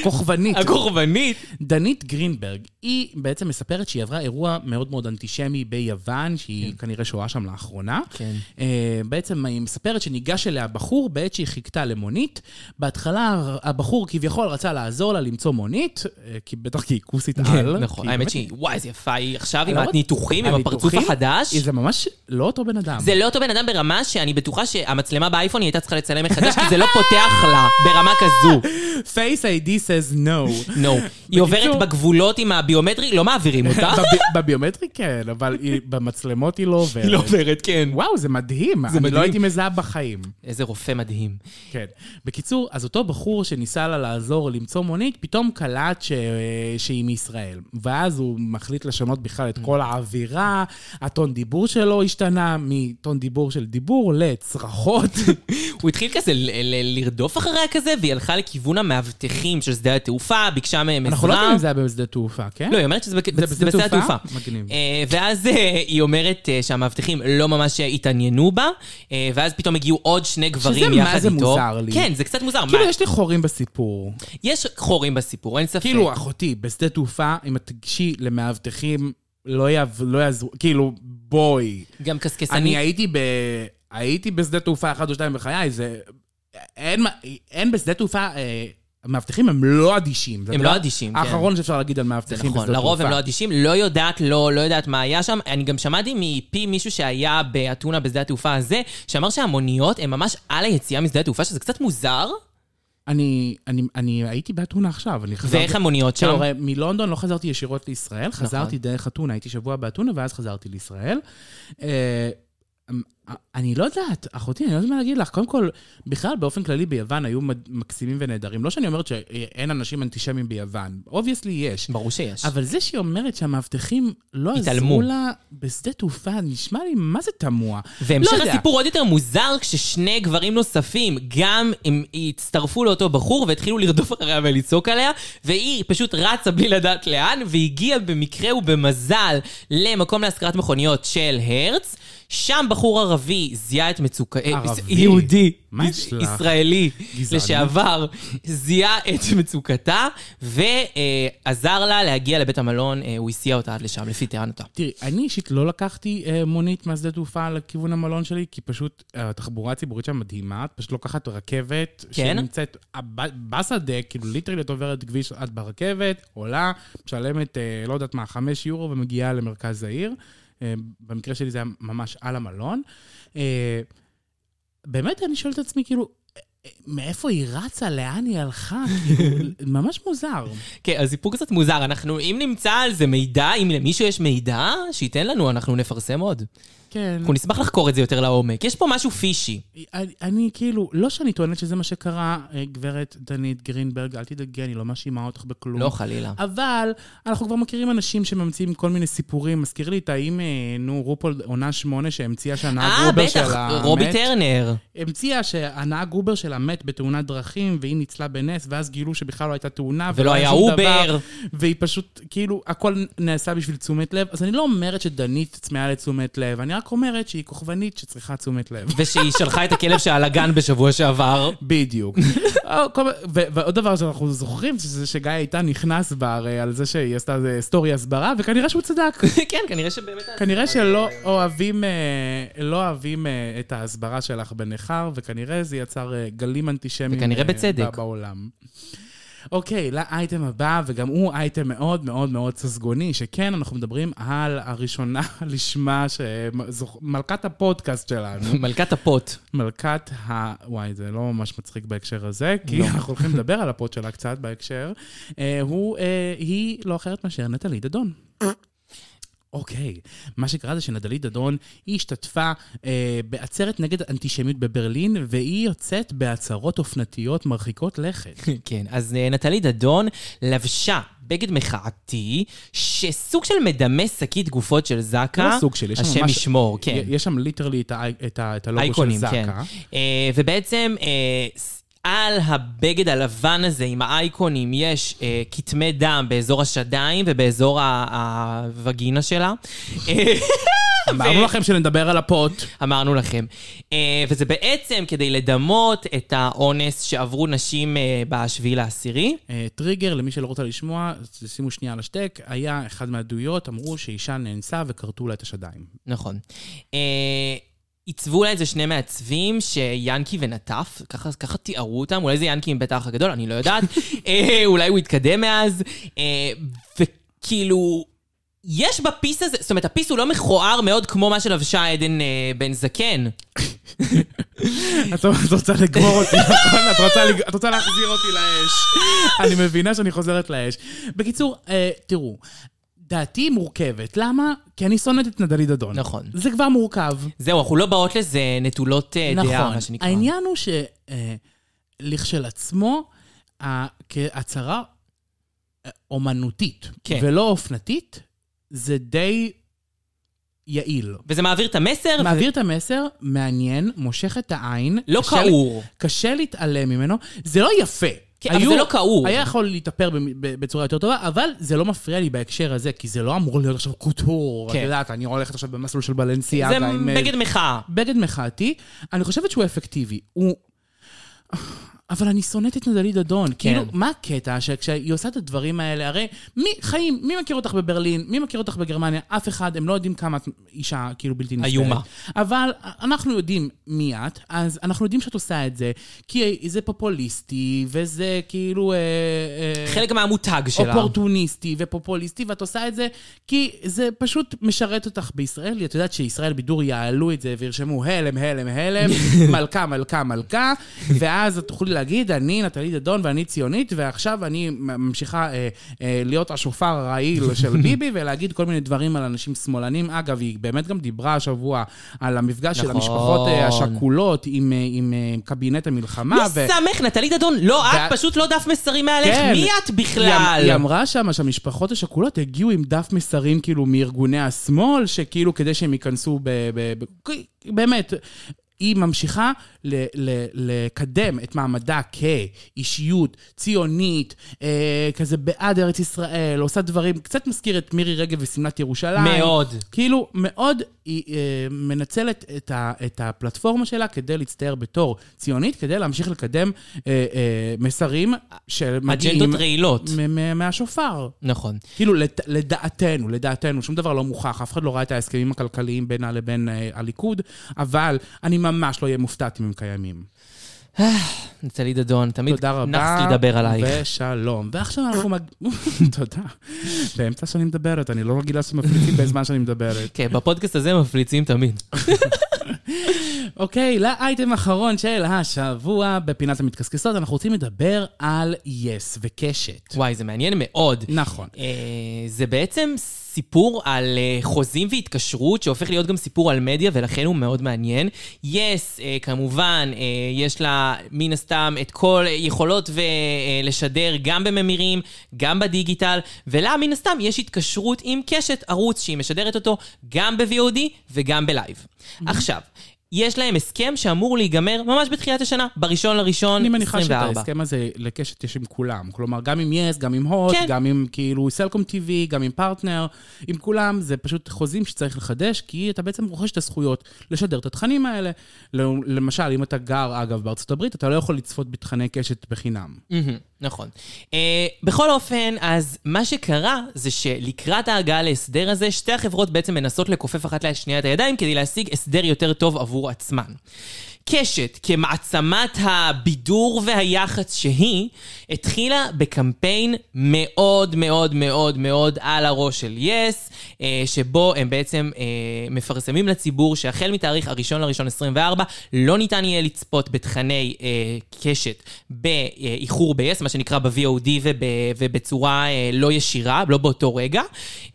D: הכוכבנית.
C: הקורבנית.
D: דנית גרינברג, היא בעצם מספרת שהיא עברה אירוע מאוד מאוד אנטישמי ביוון, שהיא כנראה שוהה שם לאחרונה.
C: כן.
D: אה, בעצם היא מספרת שניגש אליה בחור בעת שהיא חיכתה למונית. בהתחלה הבחור כביכול רצה לעזור לה למצוא מונית, אה, כי בטח כי היא כוסית על.
C: נכון,
D: כי
C: האמת
D: באמת-
C: שהיא, וואי, איזה יפה היא עכשיו עם
D: למרות-
C: הניתוחים, עם הפרצוף
D: הניתוחים,
C: החדש.
D: זה ממש לא אותו בן אדם.
C: זה לא אותו בן אדם ברמה שאני בטוחה שהמצלמה באייפון היא הייתה צריכה לצלם מחדש, כי זה לא פותח לה ברמה כזו.
D: Face ID says no.
C: נו. היא עוברת
D: בקיצור-
C: בגבולות עם הביומטרי, לא מעבירים אותה.
D: בב- בביומטרי כן, אבל היא- במצלמות היא לא עוברת.
C: עוברת, כן.
D: וואו, זה מדהים. אני
C: מדהים.
D: לא הייתי מזהה בחיים.
C: איזה רופא מדהים.
D: כן. בקיצור, אז אותו בחור שניסה לה לעזור למצוא מונית, פתאום קלט ש... שהיא מישראל. ואז הוא מחליט לשנות בכלל
C: Mm.
D: את כל האווירה, הטון דיבור שלו השתנה מטון דיבור של דיבור לצרחות.
C: הוא התחיל כזה ל- ל- לרדוף אחריה כזה, והיא הלכה לכיוון המאבטחים של שדה התעופה, ביקשה מהם עזרה.
D: אנחנו לא יודעים אם זה היה בשדה תעופה, כן?
C: לא, היא אומרת שזה בק- בשדה התעופה.
D: מגניב.
C: אה, ואז אה, היא אומרת אה, שהמאבטחים לא ממש התעניינו בה, אה, ואז פתאום הגיעו עוד שני גברים
D: מה
C: יחד איתו.
D: זה מוזר לי.
C: כן, זה קצת מוזר.
D: כאילו,
C: מה- אוקיי.
D: יש לי חורים בסיפור.
C: יש חורים בסיפור, אין ספק.
D: כאילו, אחותי, בשדה תעופה, אם את תיגשי למאבטחים, לא יעב- לא יעזרו, כאילו, בואי.
C: גם
D: אני
C: קסקסנית.
D: הייתי ב... הייתי בשדה תעופה אחד או שתיים בחיי, זה... אין, מה- אין בשדה תעופה... אה, המאבטחים הם לא אדישים. זה
C: הם
D: הדבר
C: לא אדישים, כן.
D: האחרון שאפשר להגיד על
C: זה
D: מאבטחים
C: נכון,
D: בשדה
C: לרוב הם
D: תעופה.
C: לא אדישים, לא יודעת, לא, לא יודעת מה היה שם. אני גם שמעתי מפי מישהו שהיה באתונה בשדה התעופה הזה, שאמר שהמוניות הן ממש על היציאה משדה התעופה, שזה קצת מוזר.
D: אני, אני, אני הייתי באתונה עכשיו, אני חזרתי...
C: ואיך המוניות
D: כאילו,
C: שם? נכון.
D: הרי מלונדון לא חזרתי ישירות לישראל, חזרתי דרך אתונה, הייתי שבוע באתונה ואז חזרתי לישראל. אה, אני לא יודעת, אחותי, אני לא יודעת מה להגיד לך. קודם כל, בכלל, באופן כללי ביוון היו מד- מקסימים ונהדרים. לא שאני אומרת שאין אנשים אנטישמים ביוון, אובייסלי יש.
C: ברור שיש.
D: אבל זה שהיא אומרת שהמאבטחים לא
C: התעלמו.
D: עזרו לה בשדה תעופה, נשמע לי מה זה תמוה.
C: והמשך
D: לא יודע.
C: הסיפור עוד יותר מוזר כששני גברים נוספים גם הם הצטרפו לאותו בחור והתחילו לרדוף אחריה ולצעוק עליה והיא פשוט רצה בלי לדעת לאן והגיעה במקרה ובמזל למקום להשכרת מכוניות של הרץ שם בחור ערבי זיהה את מצוקה... אה,
D: ערבי?
C: יהודי.
D: מה
C: יש-
D: יש לך?
C: ישראלי
D: גזענות.
C: לשעבר זיהה את מצוקתה ועזר לה להגיע לבית המלון, אה, הוא הסיע אותה עד לשם לפי טענתה.
D: תראי, אני אישית לא לקחתי אה, מונית מהשדה תעופה לכיוון המלון שלי, כי פשוט אה, התחבורה הציבורית שם מדהימה, את פשוט לוקחת רכבת,
C: כן?
D: שנמצאת אה, ב- בשדה, כאילו ליטרלי את עוברת כביש, את ברכבת, עולה, משלמת, אה, לא יודעת מה, חמש יורו ומגיעה למרכז העיר. אה, במקרה שלי זה היה ממש על המלון. אה, באמת, אני שואל את עצמי, כאילו, אה, אה, מאיפה היא רצה? לאן היא הלכה? כאילו, ממש מוזר.
C: כן, אז סיפור קצת מוזר. אנחנו, אם נמצא על זה מידע, אם למישהו יש מידע, שייתן לנו, אנחנו נפרסם עוד.
D: כן.
C: אנחנו נשמח לחקור את זה יותר לעומק. יש פה משהו פישי.
D: אני, אני כאילו, לא שאני טוענת שזה מה שקרה, אה, גברת דנית גרינברג, אל תדאגי, אני לא מאשימה אותך בכלום.
C: לא, חלילה.
D: אבל אנחנו כבר מכירים אנשים שממציאים כל מיני סיפורים. מזכיר לי את האם, אה, נו, רופול עונה שמונה שהמציאה שהנהג
C: אה,
D: אובר
C: בטח,
D: שלה מת.
C: רובי טרנר.
D: המציאה שהנהג אובר שלה מת בתאונת דרכים, והיא ניצלה בנס, ואז גילו שבכלל לא הייתה תאונה.
C: ולא היה
D: שום
C: אובר.
D: דבר, והיא פשוט, כאילו, הכל נעשה בשביל תשומת לב. אז אני לא אומרת שדנית צמאה לתשומת לב, אני רק אומרת שהיא כוכבנית שצריכה תשומת לב.
C: ושהיא שלחה את הכלב שלה לגן בשבוע שעבר.
D: בדיוק. אה, כל- ו- ועוד דבר שאנחנו זוכרים, זה שגיא איתן נכנס בה הרי על זה שהיא עשתה איזה סטורי הסברה, וכנראה שהוא צדק.
C: כן, כנראה שבאמת...
D: כנראה שלא אוהבים, אה, לא אוהבים אה, את ההסברה שלך בניכר, וכנראה זה יצר אה, גלים אנטישמיים
C: וכנראה
D: אה,
C: בצדק.
D: ב- בעולם. אוקיי, לאייטם הבא, וגם הוא אייטם מאוד מאוד מאוד ססגוני, שכן, אנחנו מדברים על הראשונה לשמה, ש- זוכ- מלכת הפודקאסט שלנו.
C: מלכת הפוט.
D: מלכת ה... וואי, זה לא ממש מצחיק בהקשר הזה, כי אנחנו הולכים לדבר על הפוד שלה קצת בהקשר. אה, הוא, אה, היא לא אחרת מאשר נטלי דדון. אוקיי, מה שקרה זה שנדלית דדון, היא השתתפה אה, בעצרת נגד אנטישמיות בברלין, והיא יוצאת בהצהרות אופנתיות מרחיקות לכת.
C: כן, אז אה, נטלי דדון לבשה בגד מחאתי, שסוג של מדמה שקית גופות של זק"א.
D: לא סוג של, יש שם
C: השם
D: ממש-
C: ישמור, כן.
D: יש שם ליטרלי את, האי- את, ה- את הלוגו של
C: אייקונים,
D: זק"א.
C: כן. אה, ובעצם אה, ס- על הבגד הלבן הזה עם האייקונים יש אה, כתמי דם באזור השדיים ובאזור ה- הווגינה שלה. אה,
D: אמרנו לכם שנדבר על הפוט.
C: אמרנו לכם. אה, וזה בעצם כדי לדמות את האונס שעברו נשים אה, בשביעי לעשירי.
D: אה, טריגר, למי שלא רוצה לשמוע, שימו שנייה על השתק, היה אחד מהעדויות, אמרו שאישה נאנסה וכרתו לה את השדיים.
C: נכון. אה, עיצבו לה את זה שני מעצבים, שיאנקי ונטף, ככה, ככה תיארו אותם, אולי זה יאנקי עם בית האח הגדול, אני לא יודעת. אה, אולי הוא התקדם מאז, אה, וכאילו... יש בפיס הזה, זאת אומרת, הפיס הוא לא מכוער מאוד כמו מה שלבשה עדן אה, בן זקן.
D: את את רוצה לגמור אותי, נכון? את רוצה לג- את רוצה להחזיר אותי לאש. אני מבינה שאני חוזרת לאש. בקיצור, אה, תראו, דעתי מורכבת. למה? כי אני שונאת את נדלי דדון.
C: נכון.
D: זה כבר מורכב.
C: זהו, אנחנו לא באות לזה נטולות אה, דעה, מה שנקרא.
D: נכון. העניין הוא ש... אה, לכשלעצמו, ה- כהצהרה אה, אומנותית
C: כן.
D: ולא אופנתית, זה די יעיל.
C: וזה מעביר את המסר,
D: מעביר את המסר, מעניין, מושך את העין.
C: לא
D: קשה לי-
C: כעור.
D: קשה להתעלם ממנו. זה לא יפה.
C: כן, אבל זה לא כעור.
D: היה יכול להתאפר במ- ב- בצורה יותר טובה, אבל זה לא מפריע לי בהקשר הזה, כי זה לא אמור להיות עכשיו קוטור.
C: כן.
D: את יודעת, אני הולכת עכשיו במסלול של
C: זה
D: בלנסיאגה עם... אה,
C: בגד מחאה.
D: בגד מחאתי, אני חושבת שהוא אפקטיבי. הוא... אבל אני שונאת את נדלית דדון. כאילו, מה הקטע שכשהיא עושה את הדברים האלה, הרי מי חיים, מי מכיר אותך בברלין, מי מכיר אותך בגרמניה, אף אחד, הם לא יודעים כמה את אישה כאילו בלתי נסבלת.
C: איומה.
D: אבל אנחנו יודעים מי את, אז אנחנו יודעים שאת עושה את זה, כי זה פופוליסטי, וזה כאילו... אה, אה,
C: חלק מהמותג שלה.
D: אופורטוניסטי ופופוליסטי, ואת עושה את זה כי זה פשוט משרת אותך בישראל. את יודעת שישראל בידור יעלו את זה וירשמו הלם, הלם, הלם, מלכה, מלכה, מלכה, ואז את תוכלי להגיד, אני נטלי דדון ואני ציונית, ועכשיו אני ממשיכה אה, אה, להיות השופר הרעיל של ביבי ולהגיד כל מיני דברים על אנשים שמאלנים. אגב, היא באמת גם דיברה השבוע על המפגש של
C: נכון.
D: המשפחות אה, השכולות עם, אה, עם, אה, עם קבינט
C: מי
D: המלחמה. ו-
C: סמך, נטלי דדון? לא
D: וה-
C: את, פשוט לא דף מסרים מעליך.
D: כן.
C: מי את
D: היא אמ- היא
C: בכלל?
D: אמרה שמה שהמשפחות השכולות הגיעו עם דף מסרים כאילו מארגוני השמאל, שכאילו כדי שהם ייכנסו ב... ב, ב כי- באמת. היא ממשיכה ל- ל- לקדם את מעמדה כאישיות ציונית, אה, כזה בעד ארץ ישראל, עושה דברים, קצת מזכיר את מירי רגב ושמלת ירושלים.
C: מאוד.
D: כאילו, מאוד היא אה, מנצלת את, ה, את הפלטפורמה שלה כדי להצטייר בתור ציונית, כדי להמשיך לקדם אה, אה, מסרים שמגיעים...
C: אג'נדות רעילות.
D: מ- מ- מהשופר.
C: נכון.
D: כאילו, לד- לדעתנו, לדעתנו, שום דבר לא מוכח, אף אחד לא ראה את ההסכמים הכלכליים בינה לבין אה, הליכוד, אבל אני ממש לא אהיה מופתעת אם הם קיימים.
C: נטלי דדון, תמיד
D: תודה רבה.
C: נח לדבר עלייך.
D: ושלום. ועכשיו אנחנו מג... תודה. באמצע שאני מדברת, אני לא רגילה שמפליצים בזמן שאני מדברת.
C: כן, בפודקאסט הזה מפליצים תמיד.
D: אוקיי, לאייטם האחרון של השבוע בפינת המתקסקסות, אנחנו רוצים לדבר על יס וקשת.
C: וואי, זה מעניין מאוד.
D: נכון.
C: אה, זה בעצם סיפור על אה, חוזים והתקשרות, שהופך להיות גם סיפור על מדיה, ולכן הוא מאוד מעניין. יס, אה, כמובן, אה, יש לה מן הסתם את כל אה, יכולות ו- אה, לשדר גם בממירים, גם בדיגיטל, ולה מן הסתם יש התקשרות עם קשת, ערוץ שהיא משדרת אותו גם ב-VOD וגם בלייב.
D: Mm-hmm.
C: עכשיו, יש להם הסכם שאמור להיגמר ממש בתחילת השנה, בראשון לראשון, 24.
D: אני מניחה שאת ההסכם הזה לקשת יש עם כולם. כלומר, גם עם יס, גם עם הוט,
C: כן.
D: גם עם כאילו סלקום TV, גם עם פרטנר, עם כולם, זה פשוט חוזים שצריך לחדש, כי אתה בעצם רוכש את הזכויות לשדר את התכנים האלה. ל- למשל, אם אתה גר, אגב, בארצות הברית, אתה לא יכול לצפות בתכני קשת בחינם.
C: מהמם, נכון. Uh, בכל אופן, אז מה שקרה זה שלקראת ההגעה להסדר הזה, שתי החברות בעצם מנסות לכופף אחת לשנייה את הידיים כדי להשיג הסדר יותר טוב עבור עצמן. קשת, כמעצמת הבידור והיח"צ שהיא, התחילה בקמפיין מאוד מאוד מאוד מאוד על הראש של יס, אה, שבו הם בעצם אה, מפרסמים לציבור שהחל מתאריך הראשון לראשון 24, לא ניתן יהיה לצפות בתכני אה, קשת באיחור ב-yes, מה שנקרא ב-VOD וב, ובצורה אה, לא ישירה, לא באותו רגע,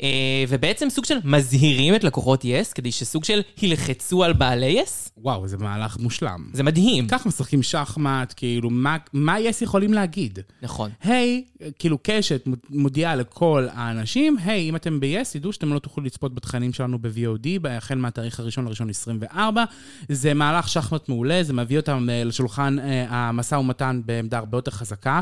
C: אה, ובעצם סוג של מזהירים את לקוחות yes, כדי שסוג של ילחצו על בעלי yes.
D: וואו, זה מהלך מושלם.
C: זה מדהים.
D: כך משחקים שחמט, כאילו, מה, מה יס יכולים להגיד?
C: נכון.
D: היי, כאילו קשת מודיעה לכל האנשים, היי, אם אתם ב-yes, תדעו שאתם לא תוכלו לצפות בתכנים שלנו ב-VOD, ב- החל מהתאריך הראשון לראשון 24. זה מהלך שחמט מעולה, זה מביא אותם אה, לשולחן אה, המשא ומתן בעמדה הרבה יותר חזקה.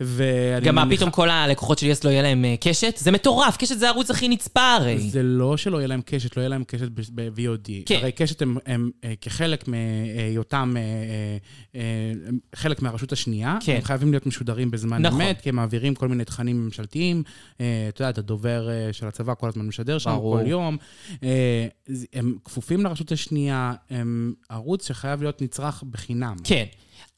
D: ואני
C: גם מה
D: מניח-
C: פתאום כל הלקוחות של יס לא יהיה להם אה, קשת? זה מטורף, קשת זה הערוץ הכי נצפה הרי.
D: זה לא שלא יהיה להם קשת, לא יהיה להם קשת ב-VOD.
C: אוקיי. כן.
D: הרי קשת הם, הם אה, כחלק מהיותם אה, אה, אה, הם חלק מהרשות השנייה,
C: כן.
D: הם חייבים להיות משודרים בזמן
C: נכון.
D: אמת, כי הם מעבירים כל מיני תכנים ממשלתיים. אה, אתה יודע, את הדובר אה, של הצבא כל הזמן משדר שם,
C: ברור.
D: כל יום. אה, ז- הם כפופים לרשות השנייה, הם ערוץ שחייב להיות נצרך בחינם,
C: כן,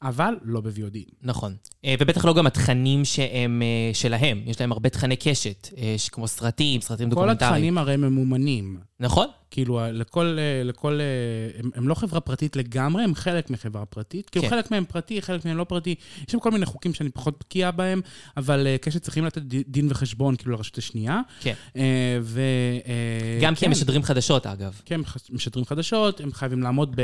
D: אבל לא ב-VOD.
C: נכון. אה, ובטח לא גם התכנים שהם אה, שלהם, יש להם הרבה תכני קשת, אה, ש- כמו סרטים, סרטים
D: כל
C: דוקומנטריים.
D: התכנים הרי ממומנים.
C: נכון?
D: כאילו, ה- לכל... אה, לכל אה, הם, הם לא חברה פרטית לגמרי, הם חלק מחברה פרטית. כאילו,
C: כן.
D: חלק מהם פרטי, חלק מהם לא פרטי. יש שם כל מיני חוקים שאני פחות בקיאה בהם, אבל אה, קשת צריכים לתת ד- דין וחשבון, כאילו, לרשות השנייה.
C: כן.
D: אה, ו... אה,
C: גם כי
D: כן.
C: הם משדרים חדשות, אגב.
D: כן, הם חש- משדרים חדשות, הם חייבים לעמוד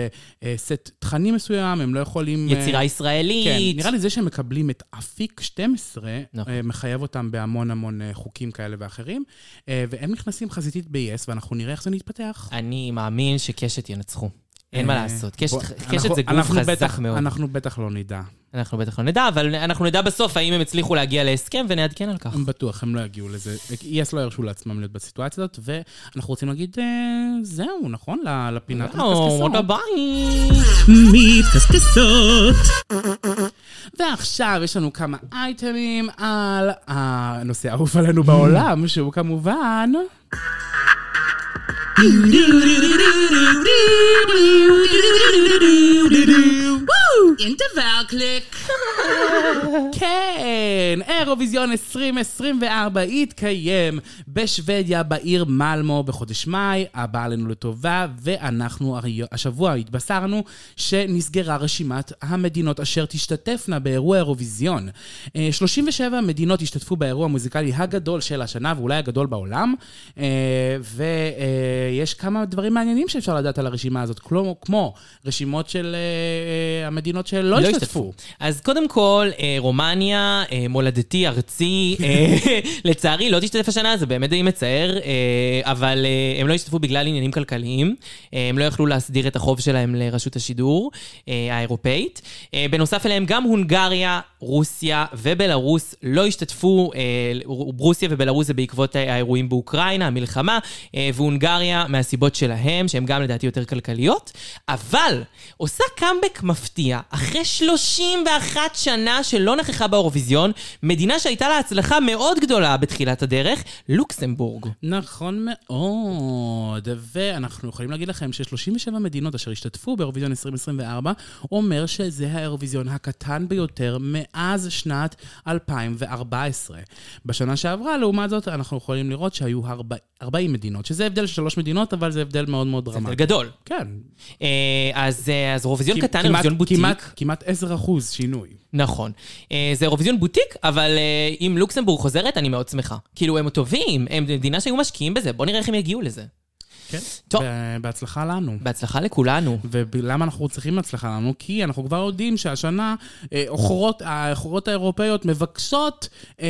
D: בסט תכנים מסוים, הם לא יכולים... אה,
C: יצירה ישראלית.
D: כן, נראה לי זה שהם מקבלים את אפיק 12,
C: נכון.
D: אה, מחייב אותם בהמון המון אה, חוקים כאלה ואחרים, אה, והם נכנסים חזיתית ב-yes, ואנחנו נראה איך זה נתפתח.
C: אני מאמין שקשת ינצחו. אין מה
D: אה,
C: לעשות, קשת
D: בוא,
C: קשת
D: אנחנו-
C: זה גוף
D: אנחנו בטח-
C: חזק מאוד.
D: אנחנו בטח לא נדע.
C: אנחנו בטח לא נדע, אבל אנחנו נדע בסוף האם הם הצליחו להגיע להסכם ונעדכן על כך.
D: הם בטוח, הם לא יגיעו לזה. יס לא ירשו לעצמם להיות בסיטואציה הזאת, ואנחנו רוצים להגיד, אה, זהו, נכון? ל- לפינת
C: או,
D: המקסקסות.
C: עוד הבית.
B: מתקסקסות,
D: ועכשיו יש לנו כמה אייטמים על הנושא האהוב עלינו בעולם, שהוא כמובן...
A: אין דבר קליק.
D: כן, אירוויזיון 2024 יתקיים בשוודיה, בעיר מלמו, בחודש מאי, הבא עלינו לטובה, ואנחנו הרי- השבוע התבשרנו שנסגרה רשימת המדינות אשר תשתתפנה באירוע אירוויזיון. אה, 37 מדינות השתתפו באירוע המוזיקלי הגדול של השנה, ואולי הגדול בעולם, אה, ויש כמה דברים מעניינים שאפשר לדעת על הרשימה הזאת, כמו, כמו רשימות של אה, אה, המדינות
C: לא
D: שלא השתתפו.
C: אז קודם כל, אה, רומניה, אה, מולדתי, ארצי, אה, לצערי לא תשתתף השנה, זה באמת די מצער, אה, אבל אה, הם לא השתתפו בגלל עניינים כלכליים. אה, הם לא יכלו להסדיר את החוב שלהם לרשות השידור אה, האירופאית. אה, בנוסף אליהם, גם הונגריה, רוסיה ובלארוס לא השתתפו. אה, ר- רוסיה ובלארוס זה בעקבות ה- האירועים באוקראינה, המלחמה, אה, והונגריה מהסיבות שלהם, שהן גם לדעתי יותר כלכליות. אבל עושה קאמבק מפתיע, אחרי 31 שנה שלא נכחה באירוויזיון, מדינה שהייתה לה הצלחה מאוד גדולה בתחילת הדרך, לוקסמבורג.
D: נכון מאוד, ואנחנו יכולים להגיד לכם ש-37 מדינות אשר השתתפו באירוויזיון 2024, אומר שזה האירוויזיון הקטן ביותר מאז שנת 2014. בשנה שעברה, לעומת זאת, אנחנו יכולים לראות שהיו 40, 40 מדינות, שזה הבדל של שלוש מדינות, אבל זה הבדל מאוד מאוד
C: זה
D: דרמטי.
C: גדול.
D: כן.
C: אה, אז אה, אז אירוויזיון
D: כ-
C: קטן, אירוויזיון בוטיק.
D: כמעט, כמעט 10 אחוז שינוי.
C: נכון. אה, זה אירוויזיון בוטיק, אבל אה, אם לוקסמבורג חוזרת, אני מאוד שמחה. כאילו, הם טובים, הם מדינה שהיו משקיעים בזה, בואו נראה איך הם יגיעו לזה.
D: כן.
C: טוב.
D: ב- בהצלחה לנו.
C: בהצלחה לכולנו.
D: ולמה אנחנו צריכים הצלחה לנו? כי אנחנו כבר יודעים שהשנה אה, אוכרות, האוכרות האירופאיות מבקשות אה,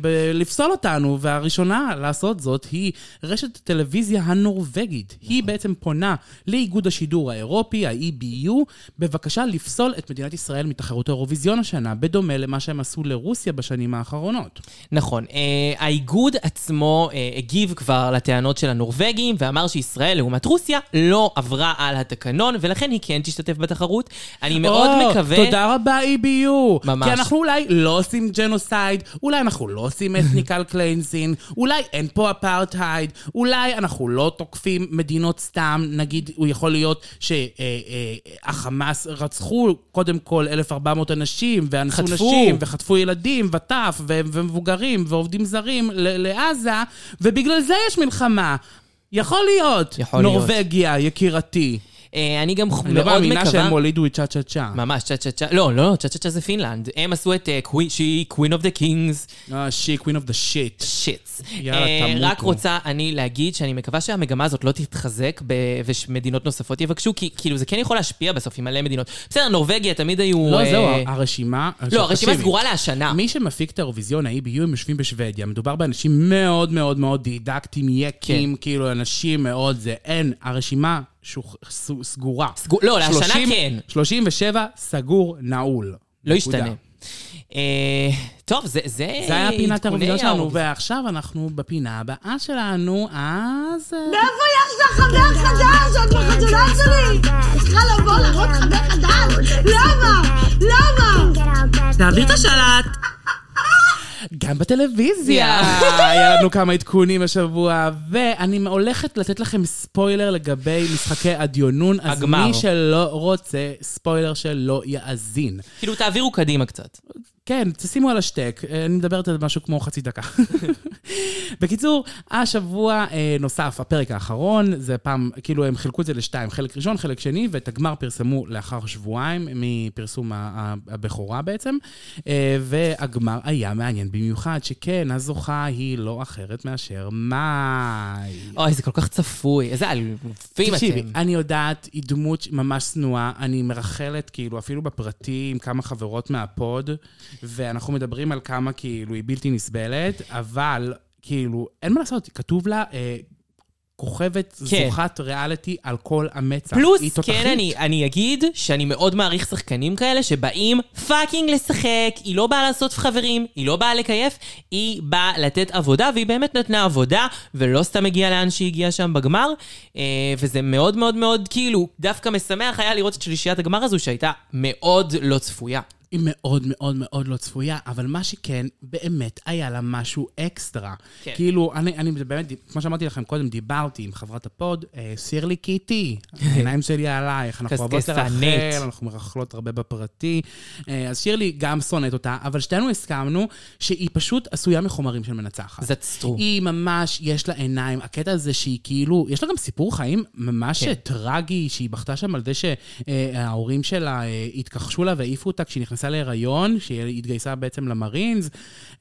D: ב- לפסול אותנו, והראשונה לעשות זאת היא רשת הטלוויזיה הנורבגית. היא בעצם פונה לאיגוד השידור האירופי, ה-EBU, בבקשה לפסול את מדינת ישראל מתחרות האירוויזיון השנה, בדומה למה שהם עשו לרוסיה בשנים האחרונות.
C: נכון. אה, האיגוד עצמו אה, הגיב כבר לטענות של הנורבגים ואמר שישראל, לעומת רוסיה, לא עברה על התקנון, ולכן היא כן תשתתף בתחרות. אני מאוד
D: או,
C: מקווה...
D: תודה רבה, EBU.
C: ממש.
D: כי אנחנו אולי לא עושים ג'נוסייד, אולי אנחנו לא עושים אתניקל קליינזין, אולי אין פה אפרטהייד, אולי אנחנו לא תוקפים מדינות סתם, נגיד, הוא יכול להיות שהחמאס רצחו קודם כל 1,400 אנשים, ואנסו
C: חטפו.
D: נשים, וחטפו ילדים, וטף, ו- ומבוגרים, ועובדים זרים ל- לעזה, ובגלל זה יש מלחמה. יכול להיות.
C: יכול להיות.
D: נורבגיה, יקירתי.
C: אה, אני גם ח-
D: אני לא
C: מאוד
D: מאמינה
C: מקווה...
D: שהם הולידו את צ'ה צ'ה צ'ה.
C: ממש, צ'ה צ'ה צ'ה, לא, לא, צ'ה צ'ה צ'ה זה פינלנד. הם עשו את אה, קווי- שהיא קווין אוף דה קינגס,
D: אה, שי, קווין אוף דה שיט.
C: שיטס.
D: יאללה,
C: אה,
D: תמותו.
C: רק רוצה אני להגיד שאני מקווה שהמגמה הזאת לא תתחזק ב- ושמדינות נוספות יבקשו, כי כאילו זה כן יכול להשפיע בסוף עם מלא מדינות. בסדר, נורבגיה תמיד היו...
D: לא,
C: אה,
D: זהו, הרשימה...
C: לא, הרשימה
D: תקשיבי,
C: סגורה להשנה.
D: מי שמפיק את האירוויזיון, ה-EBU, הם יושבים בשוודיה. מדובר באנשים מאוד מאוד מאוד דידקטים, יקים,
C: כן.
D: כאילו, אנשים מאוד זה. אין, הרשימה שוח- ס- סגורה.
C: סגור- לא, להשנה
D: 30
C: כן.
D: 37, סגור, נעול.
C: לא
D: נקודה.
C: ישתנה. אה, טוב, זה... זה
D: זה היה פינת
C: עדכוני
D: האירוויזיון שלנו,
C: האירוויזיון.
D: ועכשיו אנחנו בפינה הבאה שלנו, אז... אה,
E: מאיפה יש לך חבר חדש? את בחתונה שלי! צריכה לבוא להראות חבר חדש? למה? למה?
B: תעביר את השלט.
D: גם בטלוויזיה. היה לנו כמה עדכונים השבוע, ואני הולכת לתת לכם ספוילר לגבי משחקי הדיונון, אז
C: הגמר.
D: מי שלא רוצה ספוילר שלא יאזין.
C: כאילו, תעבירו קדימה קצת.
D: כן, תשימו על השטק, אה, אני מדברת על משהו כמו חצי דקה. בקיצור, השבוע אה, נוסף, הפרק האחרון, זה פעם, כאילו הם חילקו את זה לשתיים, חלק ראשון, חלק שני, ואת הגמר פרסמו לאחר שבועיים מפרסום ה- ה- הבכורה בעצם, אה, והגמר היה מעניין במיוחד, שכן, הזוכה היא לא אחרת מאשר מאי.
C: אוי, זה כל כך צפוי. איזה אלופים
D: תקשיבי, אה,
C: אתם.
D: אני יודעת, היא דמות ממש שנואה, אני מרחלת, כאילו, אפילו בפרטי עם כמה חברות מהפוד, ואנחנו מדברים על כמה, כאילו, היא בלתי נסבלת, אבל, כאילו, אין מה לעשות, כתוב לה... אה, כוכבת
C: כן.
D: זוכת ריאליטי על כל המצח. היא
C: פלוס,
D: תותחית.
C: כן, אני, אני אגיד שאני מאוד מעריך שחקנים כאלה שבאים פאקינג לשחק, היא לא באה לעשות חברים, היא לא באה לקייף, היא באה לתת עבודה, והיא באמת נתנה עבודה, ולא סתם הגיעה לאן שהיא הגיעה שם בגמר, אה, וזה מאוד מאוד מאוד, כאילו, דווקא משמח היה לראות את שלישיית הגמר הזו, שהייתה מאוד לא צפויה.
D: היא מאוד מאוד מאוד לא צפויה, אבל מה שכן, באמת היה לה משהו אקסטרה.
C: כן.
D: כן. כאילו, אני, אני באמת, כמו שאמרתי לכם קודם, דיברתי עם חברת הפוד, אה, סירלי קיטי, העיניים שלי עלייך, אנחנו אוהבות
C: קשקשנית.
D: לרחל, כן, אנחנו מרכלות הרבה בפרטי. אה, אז שירלי גם שונאת אותה, אבל שתינו הסכמנו שהיא פשוט עשויה מחומרים של מנצחת.
C: זה צטרו.
D: היא ממש, יש לה עיניים. הקטע הזה שהיא כאילו, יש לה גם סיפור חיים ממש
C: כן.
D: כן. טרגי, שהיא בכתה שם על זה שההורים שלה אה, התכחשו לה והעיפו אותה כשהיא נכנסה להיריון, שהיא התגייסה בעצם למרינס.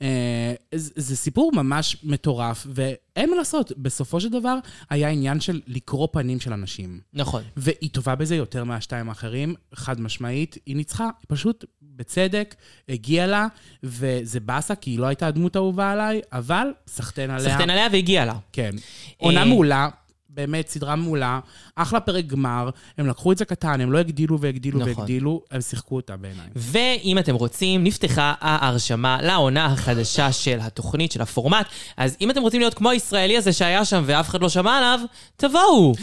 D: אה, זה, זה סיפור ממש מטורף, ואין מה לעשות, בסופו של דבר היה עניין של לקרוא פנים של אנשים.
C: נכון.
D: והיא טובה בזה יותר מהשתיים האחרים, חד משמעית. היא ניצחה, היא פשוט, בצדק, הגיעה לה, וזה באסה, כי היא לא הייתה הדמות האהובה עליי, אבל סחטיין עליה.
C: סחטיין עליה והגיעה לה.
D: כן. עונה
C: אה,
D: מעולה, באמת, סדרה מעולה, אחלה פרק גמר, הם לקחו את זה קטן, הם לא הגדילו והגדילו
C: נכון.
D: והגדילו, הם שיחקו אותה בעיניי.
C: ואם אתם רוצים, נפתחה ההרשמה לעונה החדשה של התוכנית, של הפורמט. אז אם אתם רוצים להיות כמו הישראלי הזה שהיה שם ואף אחד לא שמע עליו, תבואו.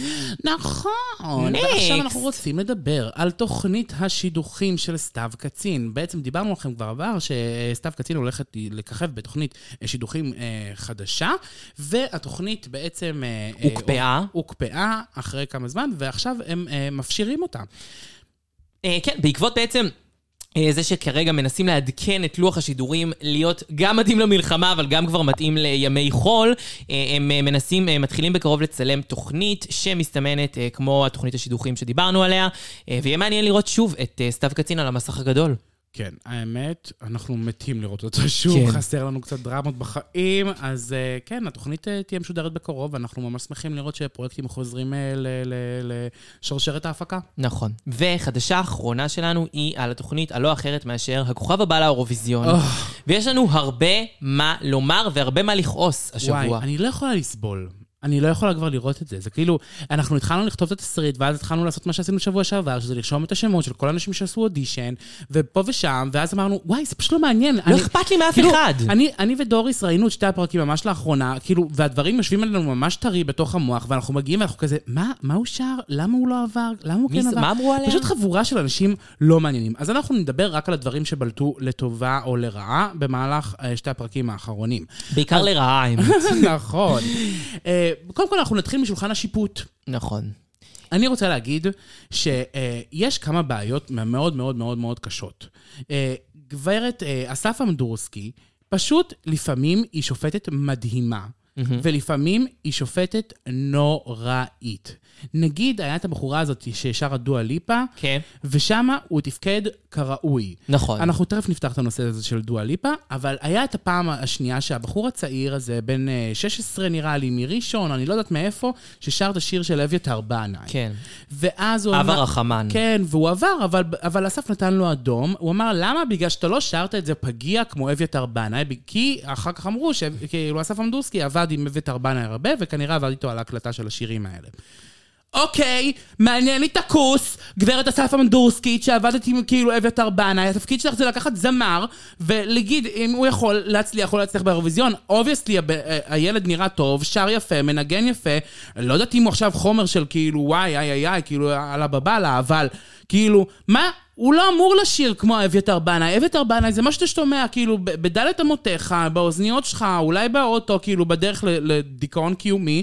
D: נכון.
C: Next.
D: ועכשיו אנחנו רוצים לדבר על תוכנית השידוכים של סתיו קצין. בעצם דיברנו לכם כבר עבר שסתיו קצין הולכת לככב בתוכנית שידוכים אה, חדשה, והתוכנית בעצם... אה, אה,
C: הוקפאה.
D: הוקפאה אחרי כמה זמן, ועכשיו הם אה, מפשירים אותה.
C: אה, כן, בעקבות בעצם... אה, זה שכרגע מנסים לעדכן את לוח השידורים להיות גם מתאים למלחמה, אבל גם כבר מתאים לימי חול. אה, הם אה, מנסים, אה, מתחילים בקרוב לצלם תוכנית שמסתמנת אה, כמו התוכנית השידוכים שדיברנו עליה, אה, ויהיה מעניין לראות שוב את אה, סתיו קצין על המסך הגדול.
D: כן, האמת, אנחנו מתים לראות אותו שוב,
C: כן.
D: חסר לנו קצת דרמות בחיים, אז אה, כן, התוכנית אה, תהיה משודרת בקרוב, ואנחנו ממש שמחים לראות שפרויקטים חוזרים אה, ל- ל- לשרשרת ההפקה.
C: נכון. וחדשה אחרונה שלנו היא על התוכנית הלא אחרת מאשר הכוכב הבא לאירוויזיון.
D: אוח.
C: ויש לנו הרבה מה לומר והרבה מה לכעוס השבוע.
D: וואי, אני לא יכולה לסבול. אני לא יכולה כבר לראות את זה. זה כאילו, אנחנו התחלנו לכתוב את התסריט, ואז התחלנו לעשות מה שעשינו בשבוע שעבר, שזה לרשום את השמות של כל האנשים שעשו אודישן, ופה ושם, ואז אמרנו, וואי, זה פשוט לא מעניין.
C: לא אכפת לי מאף
D: כאילו,
C: אחד.
D: אני, אני ודוריס ראינו את שתי הפרקים ממש לאחרונה, כאילו, והדברים יושבים עלינו ממש טרי בתוך המוח, ואנחנו מגיעים ואנחנו כזה, מה, מה הוא שר? למה הוא לא עבר? למה הוא
C: מי
D: כן
C: זה-
D: עבר?
C: מה אמרו עליה?
D: פשוט חבורה של אנשים לא מעניינים. אז אנחנו נדבר רק על הדברים שבלטו לטובה או לרעה במהלך אה, שתי הפרקים האחרונים.
C: בעיקר לרעה, האמת.
D: נכון. אה, קודם כל, אנחנו נתחיל משולחן השיפוט.
C: נכון.
D: אני רוצה להגיד שיש כמה בעיות מאוד מאוד מאוד מאוד קשות. אה, גברת אה, אסף אמדורסקי, פשוט לפעמים היא שופטת מדהימה. ולפעמים היא שופטת נוראית. נגיד, היה את הבחורה הזאת ששרה דואה ליפה,
C: כן.
D: ושם הוא תפקד כראוי.
C: נכון.
D: אנחנו תכף נפתח את הנושא הזה של דואה ליפה, אבל היה את הפעם השנייה שהבחור הצעיר הזה, בן אה, 16 נראה לי, מראשון, אני לא יודעת מאיפה, ששר את השיר של אביתר בנאי.
C: כן.
D: ואז הוא
C: אב
D: אמר...
C: הרחמן.
D: כן, והוא עבר, אבל, אבל אסף נתן לו אדום. הוא אמר, למה? בגלל שאתה לא שרת את זה פגיע כמו אביתר בנאי, ב- כי אחר כך אמרו שכאילו אסף עמדורסקי עבד עם אביתר בנאי הרבה, וכנראה עבד איתו על ההקלטה של השירים האלה. אוקיי, מעניין לי את הכוס, גברת אסף אמדורסקית, שעבדת עם כאילו אביתר בנאי, התפקיד שלך זה לקחת זמר, ולהגיד אם הוא יכול להצליח או לא להצליח באירוויזיון. אובייסלי, הילד נראה טוב, שר יפה, מנגן יפה, לא יודעת אם הוא עכשיו חומר של כאילו וואי, איי, איי, איי, כאילו עלה בבאללה, אבל כאילו, מה? הוא לא אמור לשיר כמו אביתר בנאי. אביתר בנאי זה מה שאתה שומע, כאילו, ב- בדלת אמותיך, באוזניות שלך, אולי באוטו, כאילו, בדרך ל- לדיכאון קיומי.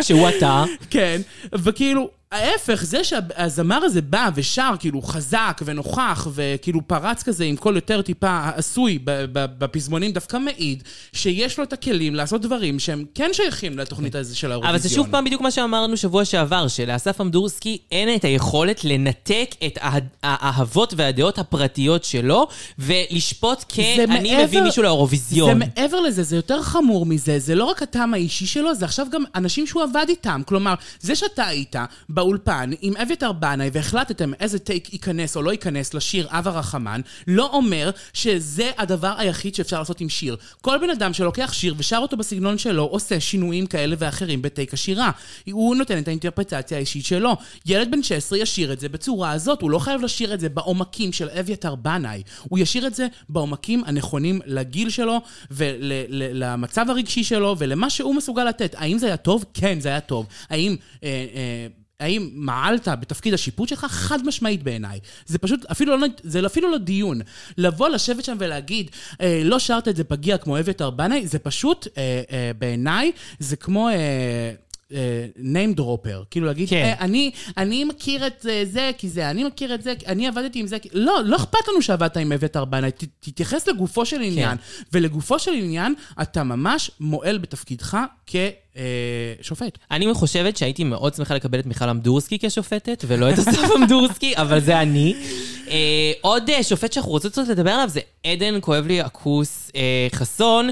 C: שהוא אתה.
D: כן, וכאילו, ההפך, זה שהזמר הזה בא ושר כאילו חזק ונוכח וכאילו פרץ כזה עם קול יותר טיפה עשוי ב- ב- בפזמונים, דווקא מעיד שיש לו את הכלים לעשות דברים שהם כן שייכים לתוכנית הזו של האירוויזיון.
C: אבל זה שוב פעם בדיוק מה שאמרנו שבוע שעבר, שלאסף אמדורסקי אין את היכולת לנתק את הה- האהבות והדעות הפרטיות שלו, ולשפוט כ...
D: זה
C: אני
D: מעבר-
C: מביא מישהו לאירוויזיון.
D: זה מעבר לזה, זה יותר חמור מזה, זה לא רק הטעם האישי שלו, זה עכשיו גם אנשים שהוא עבד איתם. כלומר, זה שאתה היית באולפן עם אביתר בנאי והחלטתם איזה טייק ייכנס או לא ייכנס לשיר אב הרחמן, לא אומר שזה הדבר היחיד שאפשר לעשות עם שיר. כל בן אדם שלוקח שיר ושר אותו בסגנון שלו, עושה שינויים כאלה ואחרים בטייק השירה. הוא נותן את האינטרפרטציה האישית שלו. ילד בן 16 ישיר את זה בצורה הזאת, הוא לא חייב לשיר את זה בעומקים של אביתר בנאי. הוא ישיר את זה בעומקים הנכונים לגיל שלו ולמצב הרגשי שלו ולמה שהוא מסוגל לתת. האם זה היה טוב? כן, זה היה טוב. האם... אה, אה, האם מעלת בתפקיד השיפוט שלך? חד משמעית בעיניי. זה פשוט, אפילו לא, זה אפילו לא דיון. לבוא, לשבת שם ולהגיד, אה, לא שרת את זה פגיע כמו אביתר בנאי, זה פשוט, אה, אה, בעיניי, זה כמו... אה, אה, name dropper, כאילו להגיד,
C: כן.
D: כן. אני, אני מכיר את אה, זה כי זה, אני מכיר את זה, כי- אני עבדתי עם זה, כי... לא, לא אכפת לנו שעבדת עם אביתר בנאי, ת- תתייחס לגופו של עניין. ולגופו של עניין, אתה ממש מועל בתפקידך אה, כשופט.
C: אני חושבת שהייתי מאוד שמחה לקבל את מיכל אמדורסקי כשופטת, ולא את אסף אמדורסקי, אבל זה אני. אה, עוד אה, שופט שאנחנו רוצות קצת לדבר עליו זה עדן, כואב לי הכוס אה, חסון,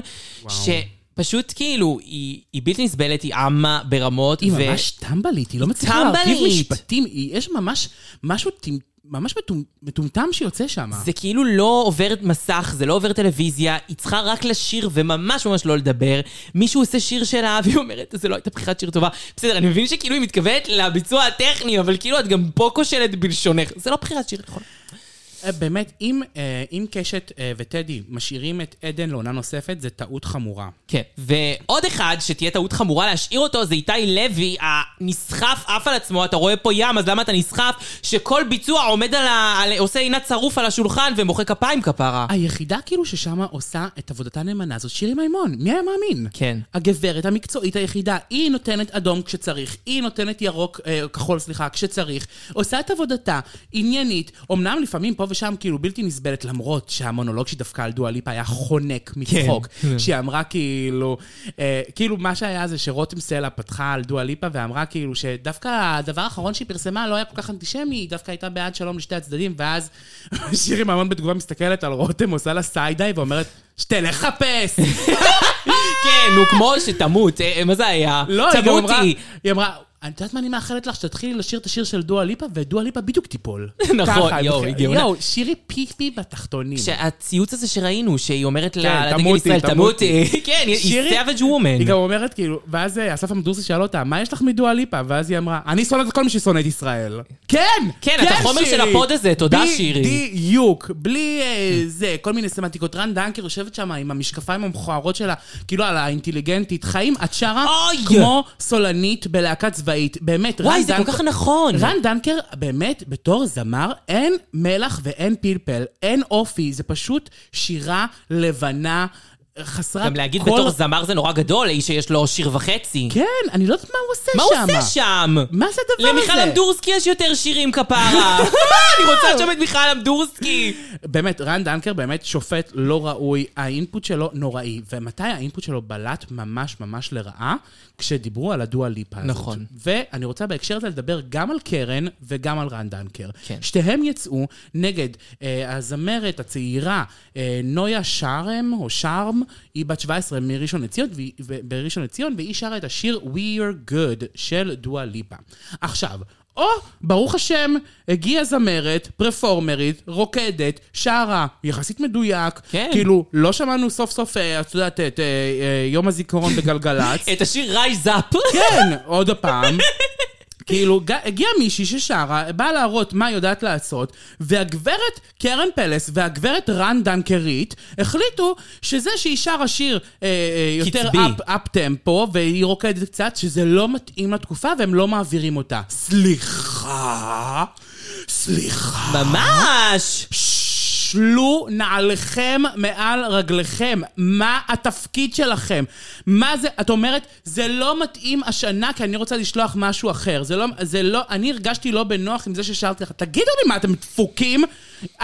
C: שפשוט כאילו, היא, היא בלתי נסבלת, היא עמה ברמות.
D: היא
C: ו-
D: ממש טמבלית, היא לא מצליחה
C: טמבלית.
D: להרכיב משפטים, היא- יש ממש משהו טמ- ממש מטומ- מטומטם שיוצא שם.
C: זה כאילו לא עובר מסך, זה לא עובר טלוויזיה, היא צריכה רק לשיר וממש ממש לא לדבר. מישהו עושה שיר שלה והיא אומרת, זה לא הייתה בחירת שיר טובה. בסדר, אני מבין שכאילו היא מתכוונת לביצוע הטכני, אבל כאילו את גם פה כושלת בלשונך. זה לא בחירת שיר נכון.
D: אה, באמת, אם, אה, אם קשת אה, וטדי משאירים את עדן לעונה נוספת, זה טעות חמורה.
C: כן. ועוד אחד שתהיה טעות חמורה להשאיר אותו זה איתי לוי, הנסחף עף על עצמו, אתה רואה פה ים, אז למה אתה נסחף? שכל ביצוע עומד על ה... על... עושה עינת שרוף על השולחן ומוחא כפיים כפרה.
D: היחידה כאילו ששמה עושה את עבודתה נאמנה זאת שירי מימון, מי היה מאמין?
C: כן.
D: הגברת המקצועית היחידה, היא נותנת אדום כשצריך, היא נותנת ירוק, אה, כחול סליחה, כשצריך, עושה את עבודתה עניינית, אמנם לפעמים פה ושם כאילו בלתי נסבלת, למרות שהמונולוג שהיא דפקה על דואליפה היה חונק מצחוק.
C: כן.
D: שהיא אמרה כאילו, אה, כאילו מה שהיה זה שרותם סלע פתחה על דואליפה ואמרה כאילו שדווקא הדבר האחרון שהיא פרסמה לא היה כל כך אנטישמי, היא דווקא הייתה בעד שלום לשתי הצדדים, ואז שירי מהמון בתגובה מסתכלת על רותם, עושה לה סיידיי ואומרת, שתלך חפש!
C: כן, נו, כמו שתמות, אה, מה זה היה?
D: לא, היא גם אמרה,
C: תמותי.
D: היא אמרה, את יודעת מה אני מאחלת לך? שתתחילי לשיר את השיר של דואה ליפה, ודואה ליפה בדיוק תיפול.
C: נכון,
D: ככה,
C: יואו,
D: היא
C: היא גאונה.
D: יואו, שירי פיפי בתחתונים.
C: שהציוץ הזה שראינו, שהיא אומרת
D: כן,
C: לה, לדגל
D: תמותי,
C: ישראל,
D: תמותי.
C: תמותי. כן, היא
D: שירי-
C: savage woman.
D: היא גם אומרת, כאילו, ואז אה, אסף עמדורסי שאל אותה, מה יש לך מדואה ליפה? ואז היא אמרה, אני שונאת את כל מי ששונא את ישראל. כן!
C: כן, את החומר
D: שירי.
C: של הפוד הזה, תודה, שירי.
D: בדיוק, בלי אה, זה, כל מיני סמנטיקות. רן דנקר יושבת שם עם המשקפיים המכוערות שלה, כאילו על האינטליגנטית. חיים, את שרה
C: אוי!
D: כמו סולנית בלהקה צבאית. באמת, רן
C: וואי, זה כל
D: דנקר-
C: כך נכון.
D: רן דנקר, באמת, בתור זמר, אין מלח ואין פלפל, אין אופי, זה פשוט שירה לבנה, חסרת כל...
C: גם להגיד בתור זמר זה נורא גדול, האיש שיש לו שיר וחצי.
D: כן, אני לא יודעת מה הוא עושה שם.
C: מה הוא עושה שם?
D: מה זה הדבר הזה?
C: למיכל אמדורסקי יש יותר שירים כפרה. אני רוצה שם את מיכל אמדורסקי.
D: באמת, רן דנקר באמת שופט לא ראוי, האינפוט שלו נוראי. ומתי האינפוט שלו בלט ממש ממש לרעה? כשדיברו על הדואה ליפה הזאת.
C: נכון.
D: ואני רוצה בהקשר הזה לדבר גם על קרן וגם על רן דנקר.
C: כן.
D: שתיהם יצאו נגד אה, הזמרת הצעירה אה, נויה שרם, או שרם, היא בת 17 מראשון לציון, והיא- ו- בראשון לציון, והיא שרה את השיר We are good של דואה ליפה. עכשיו, או, ברוך השם, הגיעה זמרת, פרפורמרית, רוקדת, שרה, יחסית מדויק.
C: כן.
D: כאילו, לא שמענו סוף סוף, אה, את יודעת, את אה, אה, יום הזיכרון בגלגלצ.
C: את השיר רייז אפ.
D: כן, עוד פעם. כאילו, ג- הגיעה מישהי ששרה, באה להראות מה היא יודעת לעשות, והגברת קרן פלס והגברת רן דנקרית החליטו שזה שהיא שרה שיר אה, אה, יותר
C: קצבי.
D: אפ, אפ טמפו, והיא רוקדת קצת, שזה לא מתאים לתקופה והם לא מעבירים אותה. סליחה, סליחה.
C: ממש.
D: שלו נעליכם מעל רגליכם. מה התפקיד שלכם? מה זה, את אומרת, זה לא מתאים השנה כי אני רוצה לשלוח משהו אחר. זה לא, זה לא, אני הרגשתי לא בנוח עם זה ששאלתי לך. תגידו לי מה, אתם דפוקים?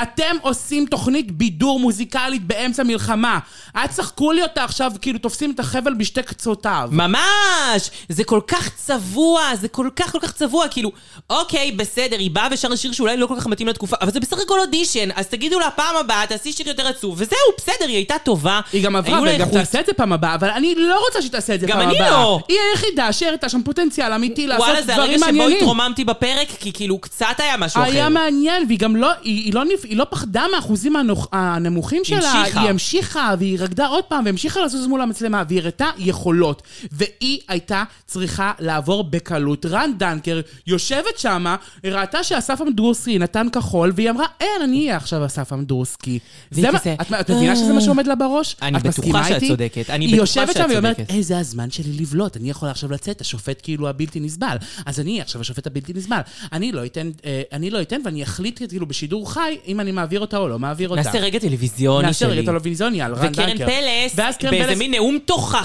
D: אתם עושים תוכנית בידור מוזיקלית באמצע מלחמה. אל תשחקו לי אותה עכשיו, כאילו תופסים את החבל בשתי קצותיו.
C: ממש! זה כל כך צבוע, זה כל כך כל כך צבוע, כאילו, אוקיי, בסדר, היא באה ושרה שיר שאולי לא כל כך מתאים לתקופה, אבל זה בסך הכל אודישן, אז תגידו לה פעם הבאה, תעשי שיר יותר עצוב, וזהו, בסדר, היא הייתה טובה.
D: היא גם עברה,
C: היו לה
D: והיא גם
C: איכות.
D: תעשה את זה פעם הבאה, אבל אני לא רוצה שהיא תעשה את זה
C: גם
D: פעם הבאה.
C: אני לא.
D: היא היחידה שהראתה שם פוטנציאל אמיתי לעשות
C: וואלה,
D: דברים
C: זה
D: מעניינים.
C: הרגע שבו התרוממתי בפרק, כי כאילו, קצת היה משהו אחר.
D: היה מעניין, והיא גם לא, היא, היא, לא, נפ- היא לא פחדה מהאחוזים הנוח, הנמוכים שלה.
C: המשיכה.
D: היא המשיכה, והיא רקדה עוד פעם, והמשיכה לזוז מול המצלמה, והיא הראתה יכולות. והיא הייתה צריכה לעבור בקלות. רן דנקר יושבת שמה, היא ראתה שאסף אמדורסקי נתן כחול, והיא אמרה, אין, אני אהיה עכשיו אסף אמדורסקי.
C: והיא
D: זה מה-
C: כזה,
D: את- את מבינה שזה מה שעומד לה בראש?
C: אני
D: את
C: בטוחה
D: מסכימה
C: שאת
D: איתי?
C: צודקת, אני
D: היא
C: בטוחה
D: יושבת
C: שאת
D: שם, היא אומרת,
C: צודקת.
D: "אה, זה הזמן שלי לבלוט, אני יכולה עכשיו לצאת, השופט כאילו הבלתי נסבל. אז אני עכשיו השופט הבלתי נסבל. אני לא אתן, אה, אני לא אתן ואני אחליט כאילו בשידור חי אם אני מעביר אותה או לא מעביר אותה.
C: נעשה רגע טלוויזיוני
D: נעשה
C: שלי.
D: רגע טלוויזיוני על רן דנקר.
C: וקרן פלס,
D: ואז קרן
C: באיזה
D: פלס-
C: מין נאום תוכחה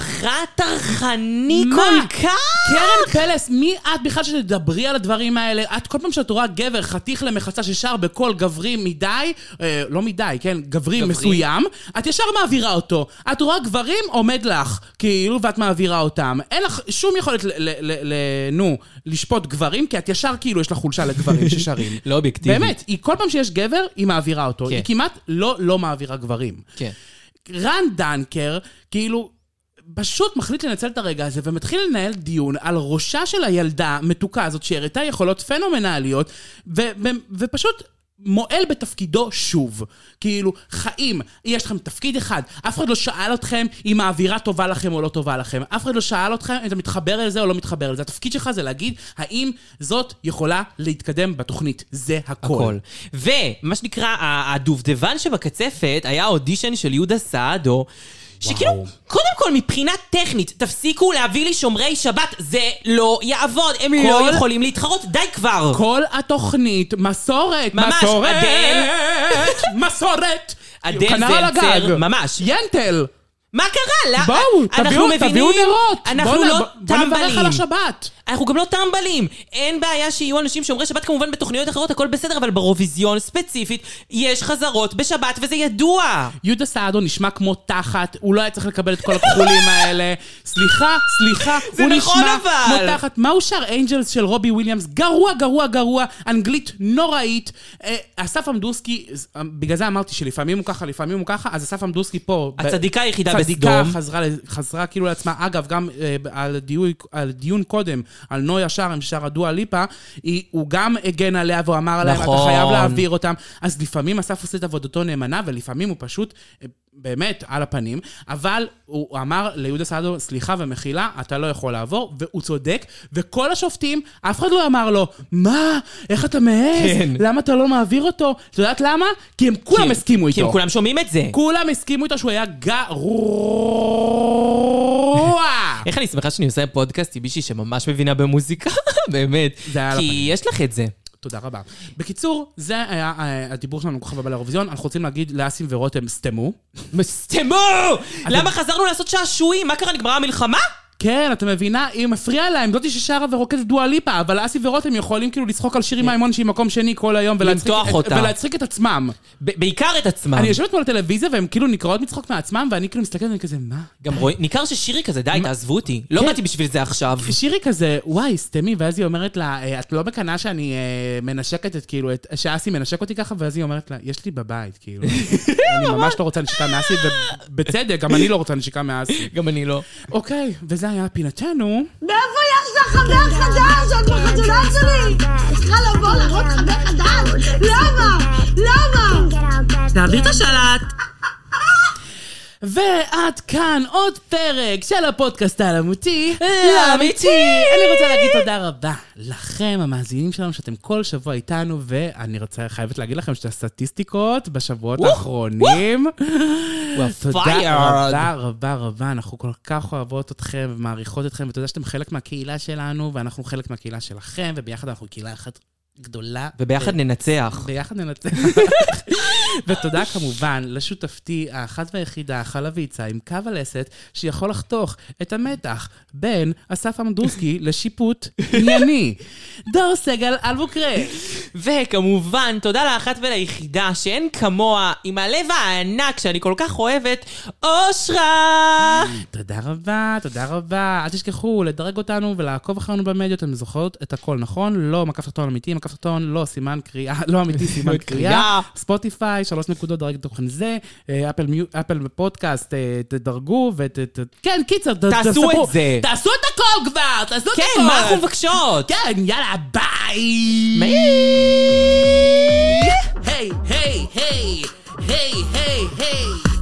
C: טרחני
D: מה?
C: כל כך.
D: קרן פלס, מי את בכלל שתדברי על הדברים האלה? את כל פעם שאת רואה גבר חתיך למחצה ששר בקול גברי מדי, אה, לא מדי, כן, גברי, מסוים, את ישר מעבירה אותו. את רואה גברים, עומד לך, כאילו, ואת מעבירה אותם. אין לך שום יכולת, ל- ל- ל- ל- נו, לשפוט גברים, כי את ישר כאילו יש לך חולשה לגברים ששרים.
C: לא אובייקטיבית.
D: באמת, היא כל פעם שיש גבר, היא מעבירה אותו.
C: כן.
D: היא כמעט לא לא מעבירה גברים.
C: כן.
D: רן דנקר, כאילו, פשוט מחליט לנצל את הרגע הזה ומתחיל לנהל דיון על ראשה של הילדה המתוקה הזאת שהראתה יכולות פנומנליות, ו- ו- ופשוט... מועל בתפקידו שוב. כאילו, חיים, יש לכם תפקיד אחד, אף אחד לא שאל אתכם אם האווירה טובה לכם או לא טובה לכם. אף אחד לא שאל אתכם אם אתה מתחבר לזה או לא מתחבר לזה. התפקיד שלך זה להגיד האם זאת יכולה להתקדם בתוכנית. זה הכל.
C: הכל. ומה שנקרא, ה- הדובדבן שבקצפת היה האודישן של יהודה סעדו. שכאילו, קודם כל, מבחינה טכנית, תפסיקו להביא לי שומרי שבת, זה לא יעבוד, הם לא
D: כל-
C: יכולים להתחרות, די כבר.
D: כל התוכנית, מסורת,
C: ממש,
D: מסורת,
C: אדל.
D: מסורת.
C: אדל
D: כנר
C: זלצר,
D: על הגג.
C: ממש.
D: ינטל,
C: מה קרה? לא-
D: בואו,
C: אנחנו
D: תביאו,
C: מבינים-
D: תביאו נרות.
C: אנחנו
D: בואו נ-
C: לא
D: בואו נברך
C: טמבלים.
D: על השבת.
C: אנחנו גם לא טמבלים. אין בעיה שיהיו אנשים שומרי שבת כמובן בתוכניות אחרות, הכל בסדר, אבל באירוויזיון ספציפית, יש חזרות בשבת וזה ידוע.
D: יהודה סעדו נשמע כמו תחת, הוא לא היה צריך לקבל את כל הכחולים האלה. סליחה, סליחה,
C: זה
D: הוא
C: נכון,
D: נשמע
C: אבל.
D: כמו תחת. מה הוא שר אנג'לס של רובי וויליאמס? גרוע, גרוע, גרוע, אנגלית נוראית. אה, אסף עמדורסקי, ז- אה, בגלל זה אמרתי שלפעמים הוא ככה, לפעמים הוא ככה, אז אסף עמדורסקי פה. ב-
C: הצדיקה היחידה
D: צדיקה
C: בסדום.
D: חזרה, ל- חזרה כאילו לעצמה. אגב, גם אה, ב- על, דיון, על דיון קודם, על נויה שר עם שרה דואה ליפה, היא- הוא גם הגן עליה והוא אמר עליה, אתה
C: נכון.
D: חייב להעביר אותם. אז לפעמים אסף עושה את עבודתו נאמנה, ולפעמים הוא פשוט... אה, באמת, על הפנים, אבל הוא אמר ליהודה סעדו, סליחה ומחילה, אתה לא יכול לעבור, והוא צודק, וכל השופטים, אף אחד לא אמר לו, מה, איך אתה מעז?
C: כן.
D: למה אתה לא מעביר אותו? את יודעת למה? כי הם כולם הסכימו לא איתו.
C: כי הם כולם שומעים את זה.
D: כן. כולם הסכימו איתו שהוא היה גרוע.
C: איך אני שמחה שאני עושה פודקאסט עם מישהי שממש מבינה במוזיקה, באמת.
D: זה היה על
C: כי יש לך את זה.
D: תודה רבה. בקיצור, זה היה אה, הדיבור שלנו כוכב הבא לאירוויזיון. אנחנו רוצים להגיד לאסים ורותם, סתמו.
C: סתמו! למה חזרנו לעשות שעשועים? מה קרה? נגמרה המלחמה?
D: כן, אתה מבינה? היא מפריעה להם, זאתי ששרה ורוקדת דואה ליפה, אבל אסי ורותם יכולים כאילו לצחוק על שירי מימון שהיא מקום שני כל היום ולהצחיק
C: כן. למתוח
D: את-
C: אותה.
D: ולהצחיק את עצמם.
C: ב- בעיקר את עצמם.
D: אני יושבת מול הטלוויזיה והן כאילו נקרעות מצחוק מעצמם, ואני כאילו מסתכלת ואני כזה, מה?
C: גם רואים, ניכר ששירי כזה, די, תעזבו אותי. לא
D: כן.
C: באתי בשביל זה עכשיו.
D: שירי כזה, וואי, סתמי, ואז היא אומרת לה, "אה, את לא מקנאה שאני אה, מנשקת את, כאילו, את, שאסי מנשק אותי ככה, ואז היא אומרת לה, יש לי בבית, כאילו. אני ממש לא רוצה נשיקה מאסי, ובצדק, גם אני לא רוצה נשיקה מאסי.
C: גם אני לא.
D: אוקיי, וזה היה פינתנו.
E: מאיפה יש לך חבר חדש? עוד בחתונה שלי! צריכה לבוא להראות חבר חדש? למה? למה?
B: תעביר את השלט.
D: ועד כאן עוד פרק של הפודקאסט האלמותי.
C: לאמיתי.
D: אני רוצה להגיד תודה רבה לכם, המאזינים שלנו, שאתם כל שבוע איתנו, ואני רוצה, חייבת להגיד לכם שאת הסטטיסטיקות בשבועות האחרונים. תודה רבה רבה רבה, אנחנו כל כך אוהבות אתכם ומעריכות אתכם, ותודה שאתם חלק מהקהילה שלנו, ואנחנו חלק מהקהילה שלכם, וביחד אנחנו קהילה אחת גדולה.
C: וביחד
D: ו-
C: ננצח.
D: ביחד ננצח. ותודה כמובן לשותפתי האחת והיחידה, חלביצה, עם קו הלסת, שיכול לחתוך את המתח בין אסף עמדורסקי לשיפוט ענייני. דור סגל אלבוקרי.
C: וכמובן, תודה לאחת וליחידה שאין כמוה, עם הלב הענק שאני כל כך אוהבת, אושרה!
D: תודה רבה, תודה רבה. אל תשכחו לדרג אותנו ולעקוב אחרינו במדיות, אתם זוכרות את הכל נכון? לא מקף תחתון אמיתי, מקף תחתון לא סימן קריאה, לא אמיתי סימן קריאה.
C: קריאה.
D: ספוטיפיי, שלוש נקודות, דרג תוכן זה, אה, אפל מיו- אפל פודקאסט, אה, תדרגו ות... ת- כן, קיצר, ת-
C: תעשו
D: תספרו.
C: את זה.
D: תעשו את הכל כבר, תעשו את הכל.
C: כן, מה אנחנו מבקשות?
D: כן, יאללה, ביי!
C: ביי.
D: היי, היי, היי, היי, היי, היי.